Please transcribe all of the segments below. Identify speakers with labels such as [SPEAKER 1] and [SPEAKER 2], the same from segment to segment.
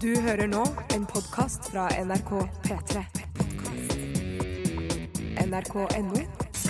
[SPEAKER 1] Du hører nå en podkast fra NRK P3. NRK.no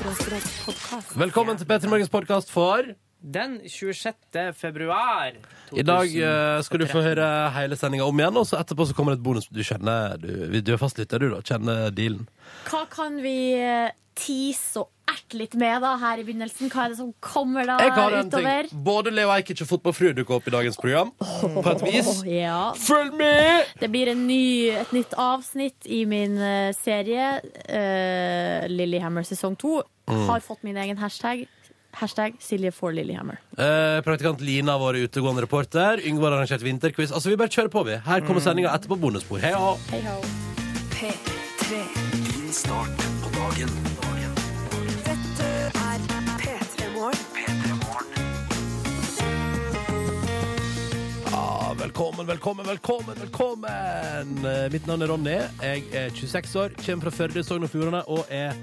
[SPEAKER 1] podkast.
[SPEAKER 2] Velkommen til Petter Morgens podkast for
[SPEAKER 3] Den 26. februar
[SPEAKER 2] I dag eh, skal du få høre hele sendinga om igjen, og så etterpå så kommer det et bonus. Du kjenner Du, du er fastlytter, du, da. Kjenner dealen.
[SPEAKER 4] Hva kan vi eh, tease og erte litt med da her i begynnelsen? Hva er det som kommer da
[SPEAKER 2] Jeg har en
[SPEAKER 4] utover?
[SPEAKER 2] ting. Både Leo Ajkic og Fotballfrue dukker opp i dagens program. På et vis.
[SPEAKER 4] Åh, ja.
[SPEAKER 2] Følg med!
[SPEAKER 4] Det blir en ny, et nytt avsnitt i min eh, serie. Uh, Lillehammer sesong to.
[SPEAKER 2] Mm.
[SPEAKER 4] Har fått min egen hashtag. Hashtag Silje for Lillehammer.
[SPEAKER 2] Eh, praktikant Lina, vår utegående reporter. Yngve har arrangert vinterquiz. Altså, vi bare kjører på, vi. Her
[SPEAKER 4] Mm.
[SPEAKER 2] kommer sendinga etterpå bonusspor. Hei og
[SPEAKER 1] P3.
[SPEAKER 5] Din start på dagen. dagen.
[SPEAKER 1] Dette er P3 Morgen.
[SPEAKER 5] P3 Morgen.
[SPEAKER 2] Ja, velkommen, velkommen, velkommen, velkommen! Eh, Mitt navn er Ronny. Jeg er 26 år, kommer fra Førde, Sogn og Fjordane, og er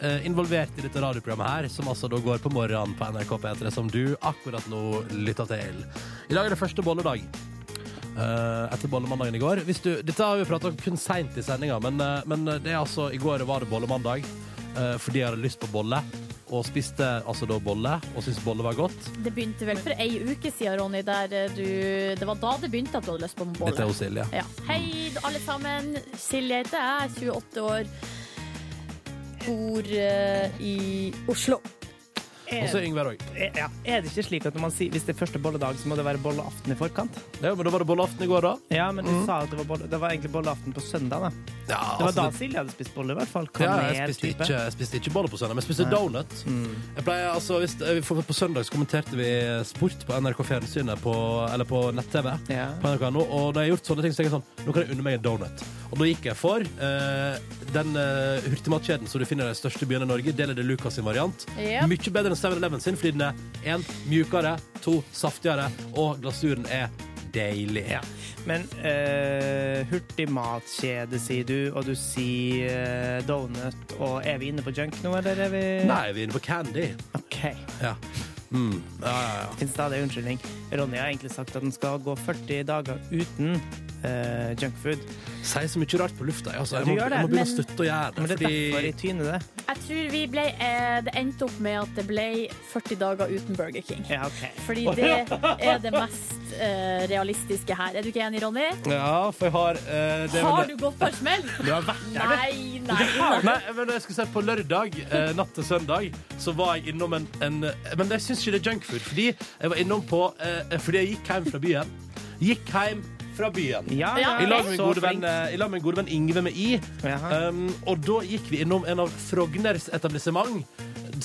[SPEAKER 2] eh, involvert i dette radioprogrammet her, som altså da går på morgenen på NRK P3, som du akkurat nå lytter til. I dag er det første bolledag. Eh, etter bollemandagen i går. Hvis du, dette har vi prata om kun seint i sendinga, men, eh, men det er altså, i går var det bollemandag eh, fordi jeg hadde lyst på bolle. Og spiste altså da bolle, og syntes bolle var godt.
[SPEAKER 4] Det begynte vel for ei uke siden, Ronny. Der eh, du, det var da det begynte at du hadde lyst på en bolle.
[SPEAKER 2] Dette er hos Silje.
[SPEAKER 4] Ja. Hei, alle sammen. Silje heter jeg, 28 år. Bor eh, i Oslo.
[SPEAKER 2] Og så
[SPEAKER 3] er,
[SPEAKER 2] er Yngve òg.
[SPEAKER 3] Eh, ja, er det ikke slik at når man sier hvis det er første bolledag, så må det være bolleaften i forkant? Mm.
[SPEAKER 2] Ja, men da var det bolleaften i går, da.
[SPEAKER 3] Ja, men du sa at det var, bolle, det var egentlig bolleaften på søndag, da.
[SPEAKER 2] Ja,
[SPEAKER 3] Det var
[SPEAKER 2] altså,
[SPEAKER 3] da
[SPEAKER 2] det-
[SPEAKER 3] Silje hadde spist bolle, i hvert fall.
[SPEAKER 2] ja,
[SPEAKER 3] Kanel,
[SPEAKER 2] jeg, spiste
[SPEAKER 3] type. Mm.
[SPEAKER 2] ikke, jeg spiste ikke boller på søndag, men jeg spiste donut. Jeg pleier, altså, hvis, for, på søndag så kommenterte vi sport på NRK Fjernsynet, på, eller på nett-TV.
[SPEAKER 3] Ja.
[SPEAKER 2] På NRK.no, og når jeg har gjort sånne ting, så tenker jeg sånn Nå kan jeg unne meg en donut. Og da gikk jeg for eh, den eh, hurtigmatkjeden som du finner i de største byene i Norge, Deler de Lucas sin variant.
[SPEAKER 4] Ja.
[SPEAKER 2] Mye bedre enn 7-Eleven sin, fordi den er én mjukere, to saftigere, og glasuren er deilig.
[SPEAKER 3] Ja. Men eh, hurtig matkjede, sier du, og du sier eh, donut. Og er vi inne på junk nå, eller er vi
[SPEAKER 2] Nei, vi er inne på candy.
[SPEAKER 3] OK.
[SPEAKER 2] Ja. Mm. ja, ja, ja.
[SPEAKER 3] Finnes stadig unnskyldning. Ronny har egentlig sagt at han skal gå 40 dager uten eh, junkfood.
[SPEAKER 2] sier så mye rart på lufta. jeg, Altså, jeg,
[SPEAKER 3] Du
[SPEAKER 2] må,
[SPEAKER 3] gjør det,
[SPEAKER 2] jeg må begynne å
[SPEAKER 4] men-
[SPEAKER 2] slutte å gjøre det.
[SPEAKER 3] Men det er derfor
[SPEAKER 2] Fordi
[SPEAKER 3] jeg tyner det.
[SPEAKER 4] Jeg tror vi ble eh, Det endte opp med at det ble 40 dager uten Burger King.
[SPEAKER 3] Ja, OK.
[SPEAKER 4] Fordi det er det mest eh, realistiske her. Er du ikke enig, Ronny?
[SPEAKER 2] Ja, for jeg har eh, det, er vel
[SPEAKER 4] Har
[SPEAKER 2] det.
[SPEAKER 4] du gått på en smell?
[SPEAKER 2] Du har vært der, du.
[SPEAKER 4] Nei, nei. nei.
[SPEAKER 2] Nei, men jeg skulle si På lørdag eh, natt til søndag Så var jeg innom en, en Men jeg syns ikke det er junkfood. Fordi jeg var innom på eh, Fordi jeg gikk hjem fra byen. Gikk hjem fra byen.
[SPEAKER 3] Ja,
[SPEAKER 4] Ja,
[SPEAKER 2] I lag med min
[SPEAKER 3] så
[SPEAKER 2] gode venn,
[SPEAKER 3] flink.
[SPEAKER 2] eh, i lag med min gode venn Ingve med I.
[SPEAKER 3] Jaha.
[SPEAKER 2] Um, og da gikk vi innom en av Frogners etablissement,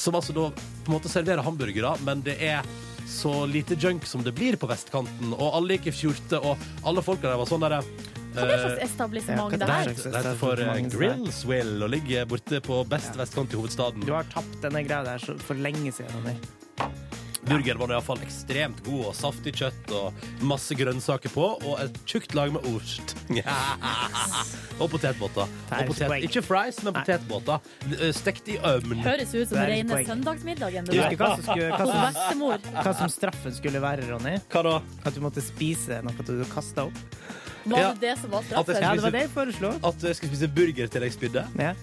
[SPEAKER 2] som altså da på en måte serverer hamburgere, men det er så lite junk som det blir på vestkanten. Og alle gikk i fjorte, og alle folka der var sånn derre
[SPEAKER 4] Hva er det slags establissement det
[SPEAKER 2] Nei,
[SPEAKER 4] her?
[SPEAKER 2] det heter for eh, Grillswill og ligger borte på best vestkant i hovedstaden.
[SPEAKER 3] Du har tapt denne greia der så- for lenge siden, Ronny.
[SPEAKER 2] Burgeren var iallfall ekstremt god, og saftig kjøtt og masse grønnsaker på, og et tjukt lag med ost. og potetbåter.
[SPEAKER 3] Det er
[SPEAKER 2] Og potet,
[SPEAKER 3] poeng.
[SPEAKER 2] ikke fries, men potetbåter. Eh, Stekt i ovn.
[SPEAKER 4] Høres ut som
[SPEAKER 3] Det er
[SPEAKER 4] den
[SPEAKER 3] litt
[SPEAKER 4] rene
[SPEAKER 3] poeng.
[SPEAKER 4] søndagsmiddagen.
[SPEAKER 3] Du
[SPEAKER 4] Det
[SPEAKER 3] husker
[SPEAKER 4] der.
[SPEAKER 3] hva som, skulle, hva,
[SPEAKER 4] Hos
[SPEAKER 3] som,
[SPEAKER 4] bestemor.
[SPEAKER 3] hva som straffen skulle være, Ronny?
[SPEAKER 2] Hva da?
[SPEAKER 3] At du måtte spise noe du kasta opp?
[SPEAKER 4] Var
[SPEAKER 2] Ja.
[SPEAKER 4] det det som var
[SPEAKER 2] At jeg
[SPEAKER 4] straffen?
[SPEAKER 3] Ja,
[SPEAKER 2] skal
[SPEAKER 3] det var det jeg foreslo.
[SPEAKER 2] At jeg skal spise burger til jeg spydde?
[SPEAKER 3] Ja.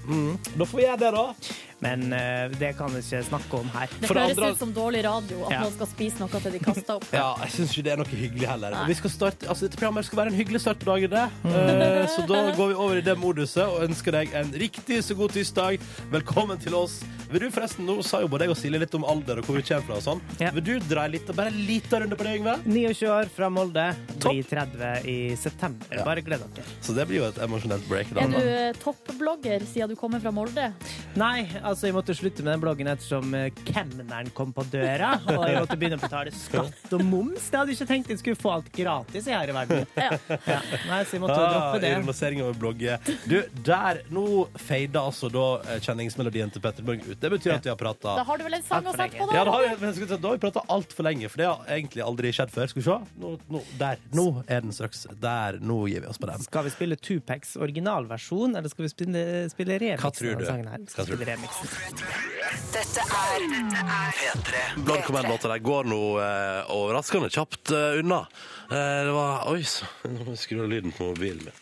[SPEAKER 2] Da får vi gjøre det, da.
[SPEAKER 3] Men eh, det kan vi ikke snakke om her.
[SPEAKER 4] Det
[SPEAKER 2] For det
[SPEAKER 4] høres
[SPEAKER 2] andre-
[SPEAKER 4] ut som dårlig radio at
[SPEAKER 3] Ja.
[SPEAKER 4] noen skal spise noe til de kaster opp.
[SPEAKER 2] Ja, jeg syns ikke det er noe hyggelig heller. Og vi skal starte, altså Dette programmet skal være en hyggelig start på dagen, det. Eh, så da går vi over i det moduset og ønsker deg en riktig så god tirsdag. Velkommen til oss. Vil du forresten, Nå sa jo både jeg og Silje litt om alder og hvor vi kommer fra. og sånn
[SPEAKER 3] Ja.
[SPEAKER 2] Vil du dra litt, bare en liten runde på det, Yngve?
[SPEAKER 3] 29 år fra Molde.
[SPEAKER 2] Topp.
[SPEAKER 3] Blir 30 i september.
[SPEAKER 2] Ja.
[SPEAKER 3] Bare gled dere.
[SPEAKER 2] Så det blir jo et emosjonelt break. Da,
[SPEAKER 4] Er du
[SPEAKER 2] da.
[SPEAKER 4] eh, toppblogger siden du kommer fra Molde?
[SPEAKER 3] Nei, altså jeg måtte slutte med den bloggen ettersom eh, kemneren kom på døra. Og jeg måtte begynne å betale skatt og moms. Det hadde jeg ikke tenkt jeg skulle få alt gratis i her i verden.
[SPEAKER 4] Ja.
[SPEAKER 3] Ja. Nei, så jeg måtte
[SPEAKER 2] Ah,
[SPEAKER 3] droppe det.
[SPEAKER 2] Ironisering over blogget. Du, der, Nå fader altså da eh, kjenningsmelodien til Petter Borg ut. Det betyr at vi har prata
[SPEAKER 4] Da har du vel en sang
[SPEAKER 3] Takk
[SPEAKER 4] å
[SPEAKER 3] for
[SPEAKER 4] sette på,
[SPEAKER 3] lenge.
[SPEAKER 4] da?
[SPEAKER 2] Ja, det har, jeg- men jeg skulle si, da har vi prata altfor lenge, for det har egentlig aldri skjedd før. Skal vi se. Nå, nå, der. Nå er den straks. Der. Nå gir vi oss på den.
[SPEAKER 3] Skal vi spille Tupacs originalversjon, eller skal vi spille, spille remix?
[SPEAKER 2] Hva tror
[SPEAKER 3] av
[SPEAKER 2] du?
[SPEAKER 3] den sangen her?
[SPEAKER 2] Hva tror du?
[SPEAKER 3] Spille remix. Dette er
[SPEAKER 6] P3.
[SPEAKER 2] Blant kom en låt der går nå eh, overraskende kjapt eh, unna. Eh, det var Oi sann, nå må jeg skru av lyden på mobilen min.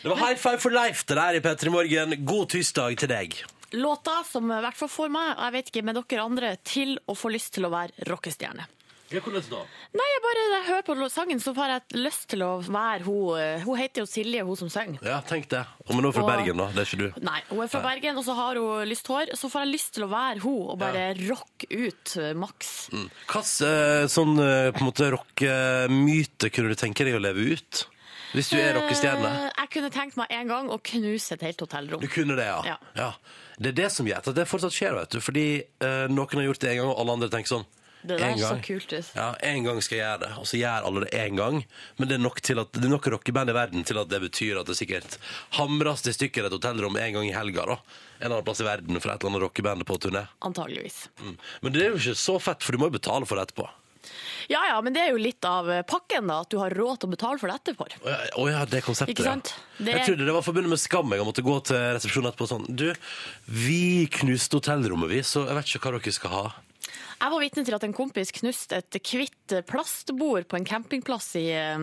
[SPEAKER 2] Det var High Five for Life det der i P3 Morgen. God tirsdag til deg.
[SPEAKER 4] Låta som i hvert fall får meg, og jeg vet ikke med dere andre, til å få lyst til å være rockestjerne.
[SPEAKER 2] Hvordan da?
[SPEAKER 4] Nei, jeg bare når jeg hører på sangen, så får jeg lyst til å være hun eh, Hun heter jo Silje, hun som synger.
[SPEAKER 2] Ja, tenk det. Og men nå fra
[SPEAKER 4] Og-
[SPEAKER 2] Bergen, da. Det er ikke du.
[SPEAKER 4] Nei, hun er fra Bergen, og så har hun lyst hår. Så får jeg lyst til å være hun og bare rock ut eh, maks.
[SPEAKER 2] Hvilken eh, sånn eh, på en måte rockemyte kunne du tenke deg å leve ut? Hvis du er rockestjerne?
[SPEAKER 4] Eh, Jeg kunne tenkt meg en gang å knuse et helt hotellrom.
[SPEAKER 2] Du kunne det, ja. ja.
[SPEAKER 4] Ja.
[SPEAKER 2] Det er det som gjør at det fortsatt skjer, vet du. Fordi eh, noen har gjort det en gang, og alle andre tenker sånn.
[SPEAKER 4] Det der
[SPEAKER 2] «En
[SPEAKER 4] så
[SPEAKER 2] gang.
[SPEAKER 4] kult ut.
[SPEAKER 2] Ja, en gang skal jeg gjøre det, og så gjør alle det en gang. Men det er nok, til at, det er nok rockeband i verden til at det betyr at det sikkert hamres til stykker et hotellrom en gang i helga, da. En annen plass i verden fra et eller annet rockeband på turné.
[SPEAKER 4] Antageligvis.
[SPEAKER 2] Mm. Men det er jo ikke så fett, for du må jo betale for det etterpå.
[SPEAKER 4] Ja ja, men det er jo litt av eh, pakken, da. At du har råd til å betale for det etterpå.
[SPEAKER 2] Å ja, å ja, det konseptet,
[SPEAKER 4] Ikke sant?
[SPEAKER 2] ja.
[SPEAKER 4] Det er-
[SPEAKER 2] Jeg trodde det var forbundet med skam. Jeg måtte gå til resepsjonen etterpå og sånn Du, vi knuste hotellrommet, vi, så jeg vet ikke hva dere skal ha.
[SPEAKER 4] Jeg var vitne til at en kompis knuste et kvitt plastbord på en campingplass i, eh,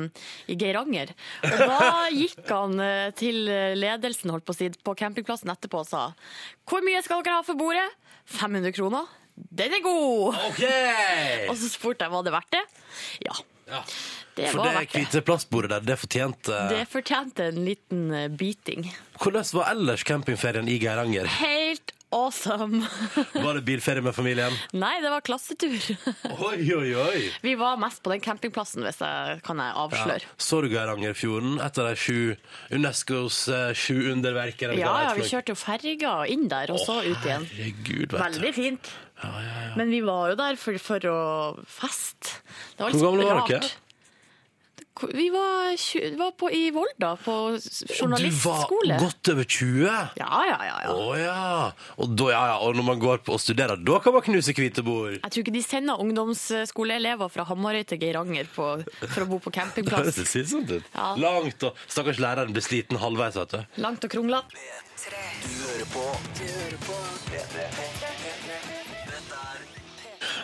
[SPEAKER 4] i Geiranger. Og da gikk han eh, til ledelsen holdt på, å si, på campingplassen etterpå og sa Hvor mye skal dere ha for bordet? 500 kroner. Den er god!
[SPEAKER 2] OK!
[SPEAKER 4] Og så spurte jeg var det verdt det. Ja,
[SPEAKER 2] Ja.
[SPEAKER 4] det
[SPEAKER 2] For
[SPEAKER 4] var
[SPEAKER 2] det
[SPEAKER 4] verdt det.
[SPEAKER 2] hvite plastbordet der, det fortjente
[SPEAKER 4] Det fortjente en liten eh, biting.
[SPEAKER 2] Hvordan var ellers campingferien i Geiranger?
[SPEAKER 4] Helt awesome!
[SPEAKER 2] Var det bilferie med familien?
[SPEAKER 4] Nei, det var klassetur.
[SPEAKER 2] Oi, oi, oi!
[SPEAKER 4] Vi var mest på den campingplassen, hvis jeg kan jeg
[SPEAKER 2] Ja.
[SPEAKER 4] avsløre.
[SPEAKER 2] Så du Geirangerfjorden etter de sju Unescos eh, sju underverk? eller hva
[SPEAKER 4] Ja,
[SPEAKER 2] det
[SPEAKER 4] ja,
[SPEAKER 2] heter
[SPEAKER 4] vi
[SPEAKER 2] for noe?
[SPEAKER 4] kjørte jo ferga inn der, og så ut igjen.
[SPEAKER 2] Herregud, vet du.
[SPEAKER 4] Veldig fint. Men vi var jo der for, for å feste. Det var litt
[SPEAKER 2] Hvor gamle var
[SPEAKER 4] rart.
[SPEAKER 2] dere?
[SPEAKER 4] Hvor- Vi var, tju- vi var på, i Volda, på
[SPEAKER 2] Du
[SPEAKER 4] journalistskole.
[SPEAKER 2] var godt over 20? Å
[SPEAKER 4] Ja, ja, ja, ja.
[SPEAKER 2] ja. Og, da, ja, ja. og når man går på og studerer, da kan man knuse hvite bord?
[SPEAKER 4] Jeg tror ikke de sender ungdomsskoleelever fra Hamarøy til Geiranger på, for å bo på
[SPEAKER 2] Det
[SPEAKER 4] campingplass.
[SPEAKER 2] ser sånn ut.
[SPEAKER 4] Ja.
[SPEAKER 2] Langt, og stakkars læreren blir sliten halvveis, vet du.
[SPEAKER 4] Langt og kronglete.
[SPEAKER 6] Du hører på P3.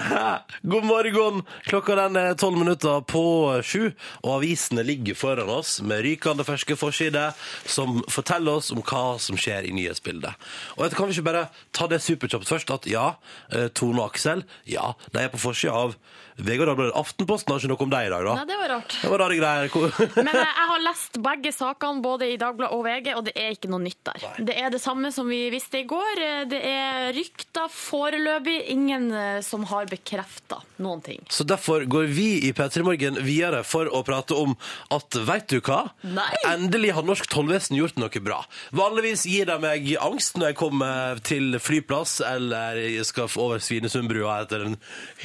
[SPEAKER 2] God morgen! Klokka den er tolv minutter på sju, og avisene ligger foran oss med rykende ferske forsider som forteller oss om hva som skjer i nyhetsbildet. Og vet du, kan vi ikke bare ta det superkjapt først, at ja, eh, Tone og Aksel, ja, de er på forsida av VG og Dagbladet. Aftenposten har ikke noe om deg i dag,
[SPEAKER 4] Nei,
[SPEAKER 2] da.
[SPEAKER 4] det var rart.
[SPEAKER 2] Det var rare greier. Hvor-
[SPEAKER 4] Men eh, jeg har lest begge sakene, både i Dagbladet og VG, og det er ikke noe nytt der. Det er det samme som vi visste i går. Eh, Det er rykter foreløpig. Ingen eh, som har bekrefta noen ting.
[SPEAKER 2] Så derfor går vi i P3 Morgen videre for å prate om at veit du hva?
[SPEAKER 4] Nei.
[SPEAKER 2] Endelig har norsk tollvesen gjort noe bra. Vanligvis gir de meg angst når jeg kommer til flyplass eller jeg skal over Svinesundbrua etter en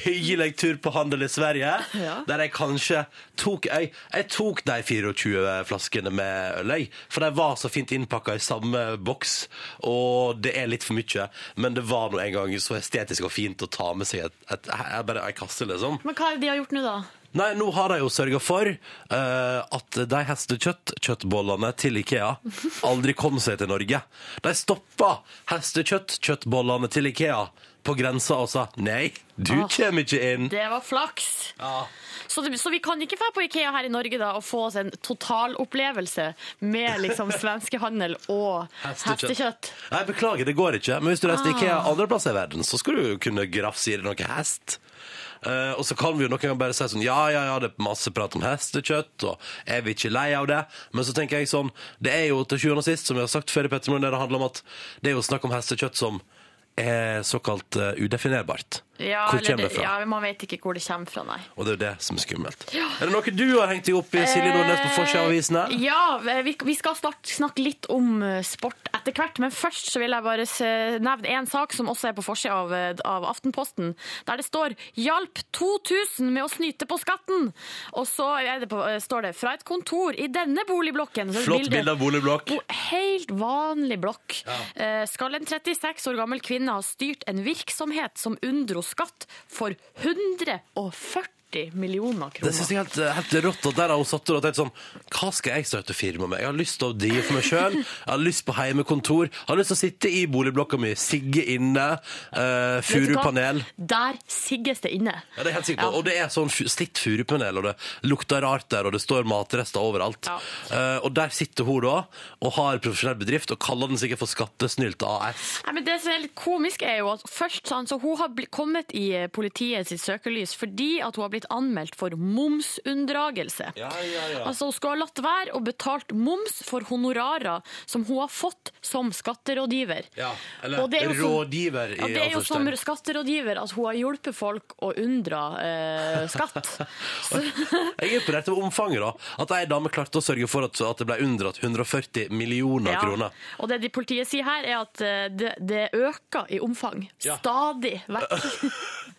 [SPEAKER 2] hyggelig tur på handel i Sverige,
[SPEAKER 4] Ja.
[SPEAKER 2] der jeg kanskje tok jeg, jeg tok de 24 flaskene med øl, jeg, for de var så fint innpakka i samme boks, og det er litt for mye, men det var nå en gang så estetisk og fint å ta med seg et, et, jeg bare ei kasse, liksom.
[SPEAKER 4] Men hva er det de har gjort nå, da?
[SPEAKER 2] Nei, nå har de jo sørga for eh, at de hestekjøtt-kjøttbollene til Ikea aldri kom seg til Norge. De stoppa hestekjøtt-kjøttbollene til Ikea på grensa og sa nei, du
[SPEAKER 4] Ah.
[SPEAKER 2] kommer ikke inn.
[SPEAKER 4] Det var flaks!
[SPEAKER 2] Ja.
[SPEAKER 4] Så, det, så vi kan ikke dra på Ikea her i Norge da, og få oss en totalopplevelse med liksom svenskehandel og
[SPEAKER 2] Hestekjøtt.
[SPEAKER 4] hestekjøtt.
[SPEAKER 2] Nei, beklager, det går ikke. Men hvis du reiser til
[SPEAKER 4] Ah.
[SPEAKER 2] Ikea andre plasser i verden, så skal du jo kunne grafse i deg noe hest. Eh, og så kan vi jo noen ganger bare si sånn Ja, ja, ja, det er masse prat om hestekjøtt, og er vi ikke lei av det? Men så tenker jeg sånn Det er jo til sjuende og sist, som vi har sagt før i Pettermoen, det handler om at det er jo snakk om hestekjøtt som er såkalt eh, udefinerbart.
[SPEAKER 4] Ja,
[SPEAKER 2] Hvor
[SPEAKER 4] eller
[SPEAKER 2] kommer det
[SPEAKER 4] det-
[SPEAKER 2] fra?
[SPEAKER 4] Ja, man vet ikke hvor det kommer fra, nei.
[SPEAKER 2] Og det er jo det som er skummelt. Er det noe du har hengt deg opp i, Silje Nordnes, på forsida av avisene?
[SPEAKER 4] Eh, Ja, vi, vi skal snart snakke litt om eh, sport etter hvert, men først så vil jeg bare se- nevne en sak som også er på forsida av, eh, av Aftenposten, der det står 'Hjalp 2000 med å snyte på skatten'. Og så er det på, eh, står det 'Fra et kontor i denne boligblokken'. Så
[SPEAKER 2] Flott bilde av boligblokk.
[SPEAKER 4] Bo- Helt vanlig blokk. Eh, skal en 36 år gammel kvinne ha styrt en virksomhet som unndro skatt for 140 40 millioner
[SPEAKER 2] Det synes
[SPEAKER 4] kroner.
[SPEAKER 2] jeg er helt, eh, helt rått. Og der har hun satt og tenkt sånn Hva skal jeg starte firma med? Jeg har lyst til å drive for meg sjøl. Jeg har lyst på heimekontor. Jeg har lyst til å sitte i boligblokka mi, sigge inne, uh,
[SPEAKER 4] Vet du hva?
[SPEAKER 2] furupanel.
[SPEAKER 4] Der sigges det inne.
[SPEAKER 2] Ja, det er helt sikkert.
[SPEAKER 4] Ja.
[SPEAKER 2] Og det er sånn fu- slitt furupanel, og det lukter rart der, og det står matrester overalt.
[SPEAKER 4] Ja.
[SPEAKER 2] Eh, og der sitter hun da, og har profesjonell bedrift, og kaller den sikkert for Skattesnylt AS.
[SPEAKER 4] Nei, men det som er litt komisk er jo at først sånn, så hun har bli- kommet i eh, politiet sitt søkelys fordi at hun har blitt anmeldt for momsunndragelse. Altså Hun skulle ha latt være å betalt moms for honorarer som hun har fått som skatterådgiver.
[SPEAKER 2] Ja, eller
[SPEAKER 4] Og det er jo som-
[SPEAKER 2] rådgiver
[SPEAKER 4] Ja,
[SPEAKER 2] i
[SPEAKER 4] det er jo som
[SPEAKER 2] anførselstegn.
[SPEAKER 4] skatterådgiver at hun har hjulpet folk å unndra eh, skatt. Så,
[SPEAKER 2] Jeg er imponert over omfanget, da. At ei dame klarte å sørge for at, at det ble unndratt 140 millioner kroner.
[SPEAKER 4] Og det de politiet sier her, er at eh, det, det øker i omfang.
[SPEAKER 2] Ja.
[SPEAKER 4] Stadig vekk.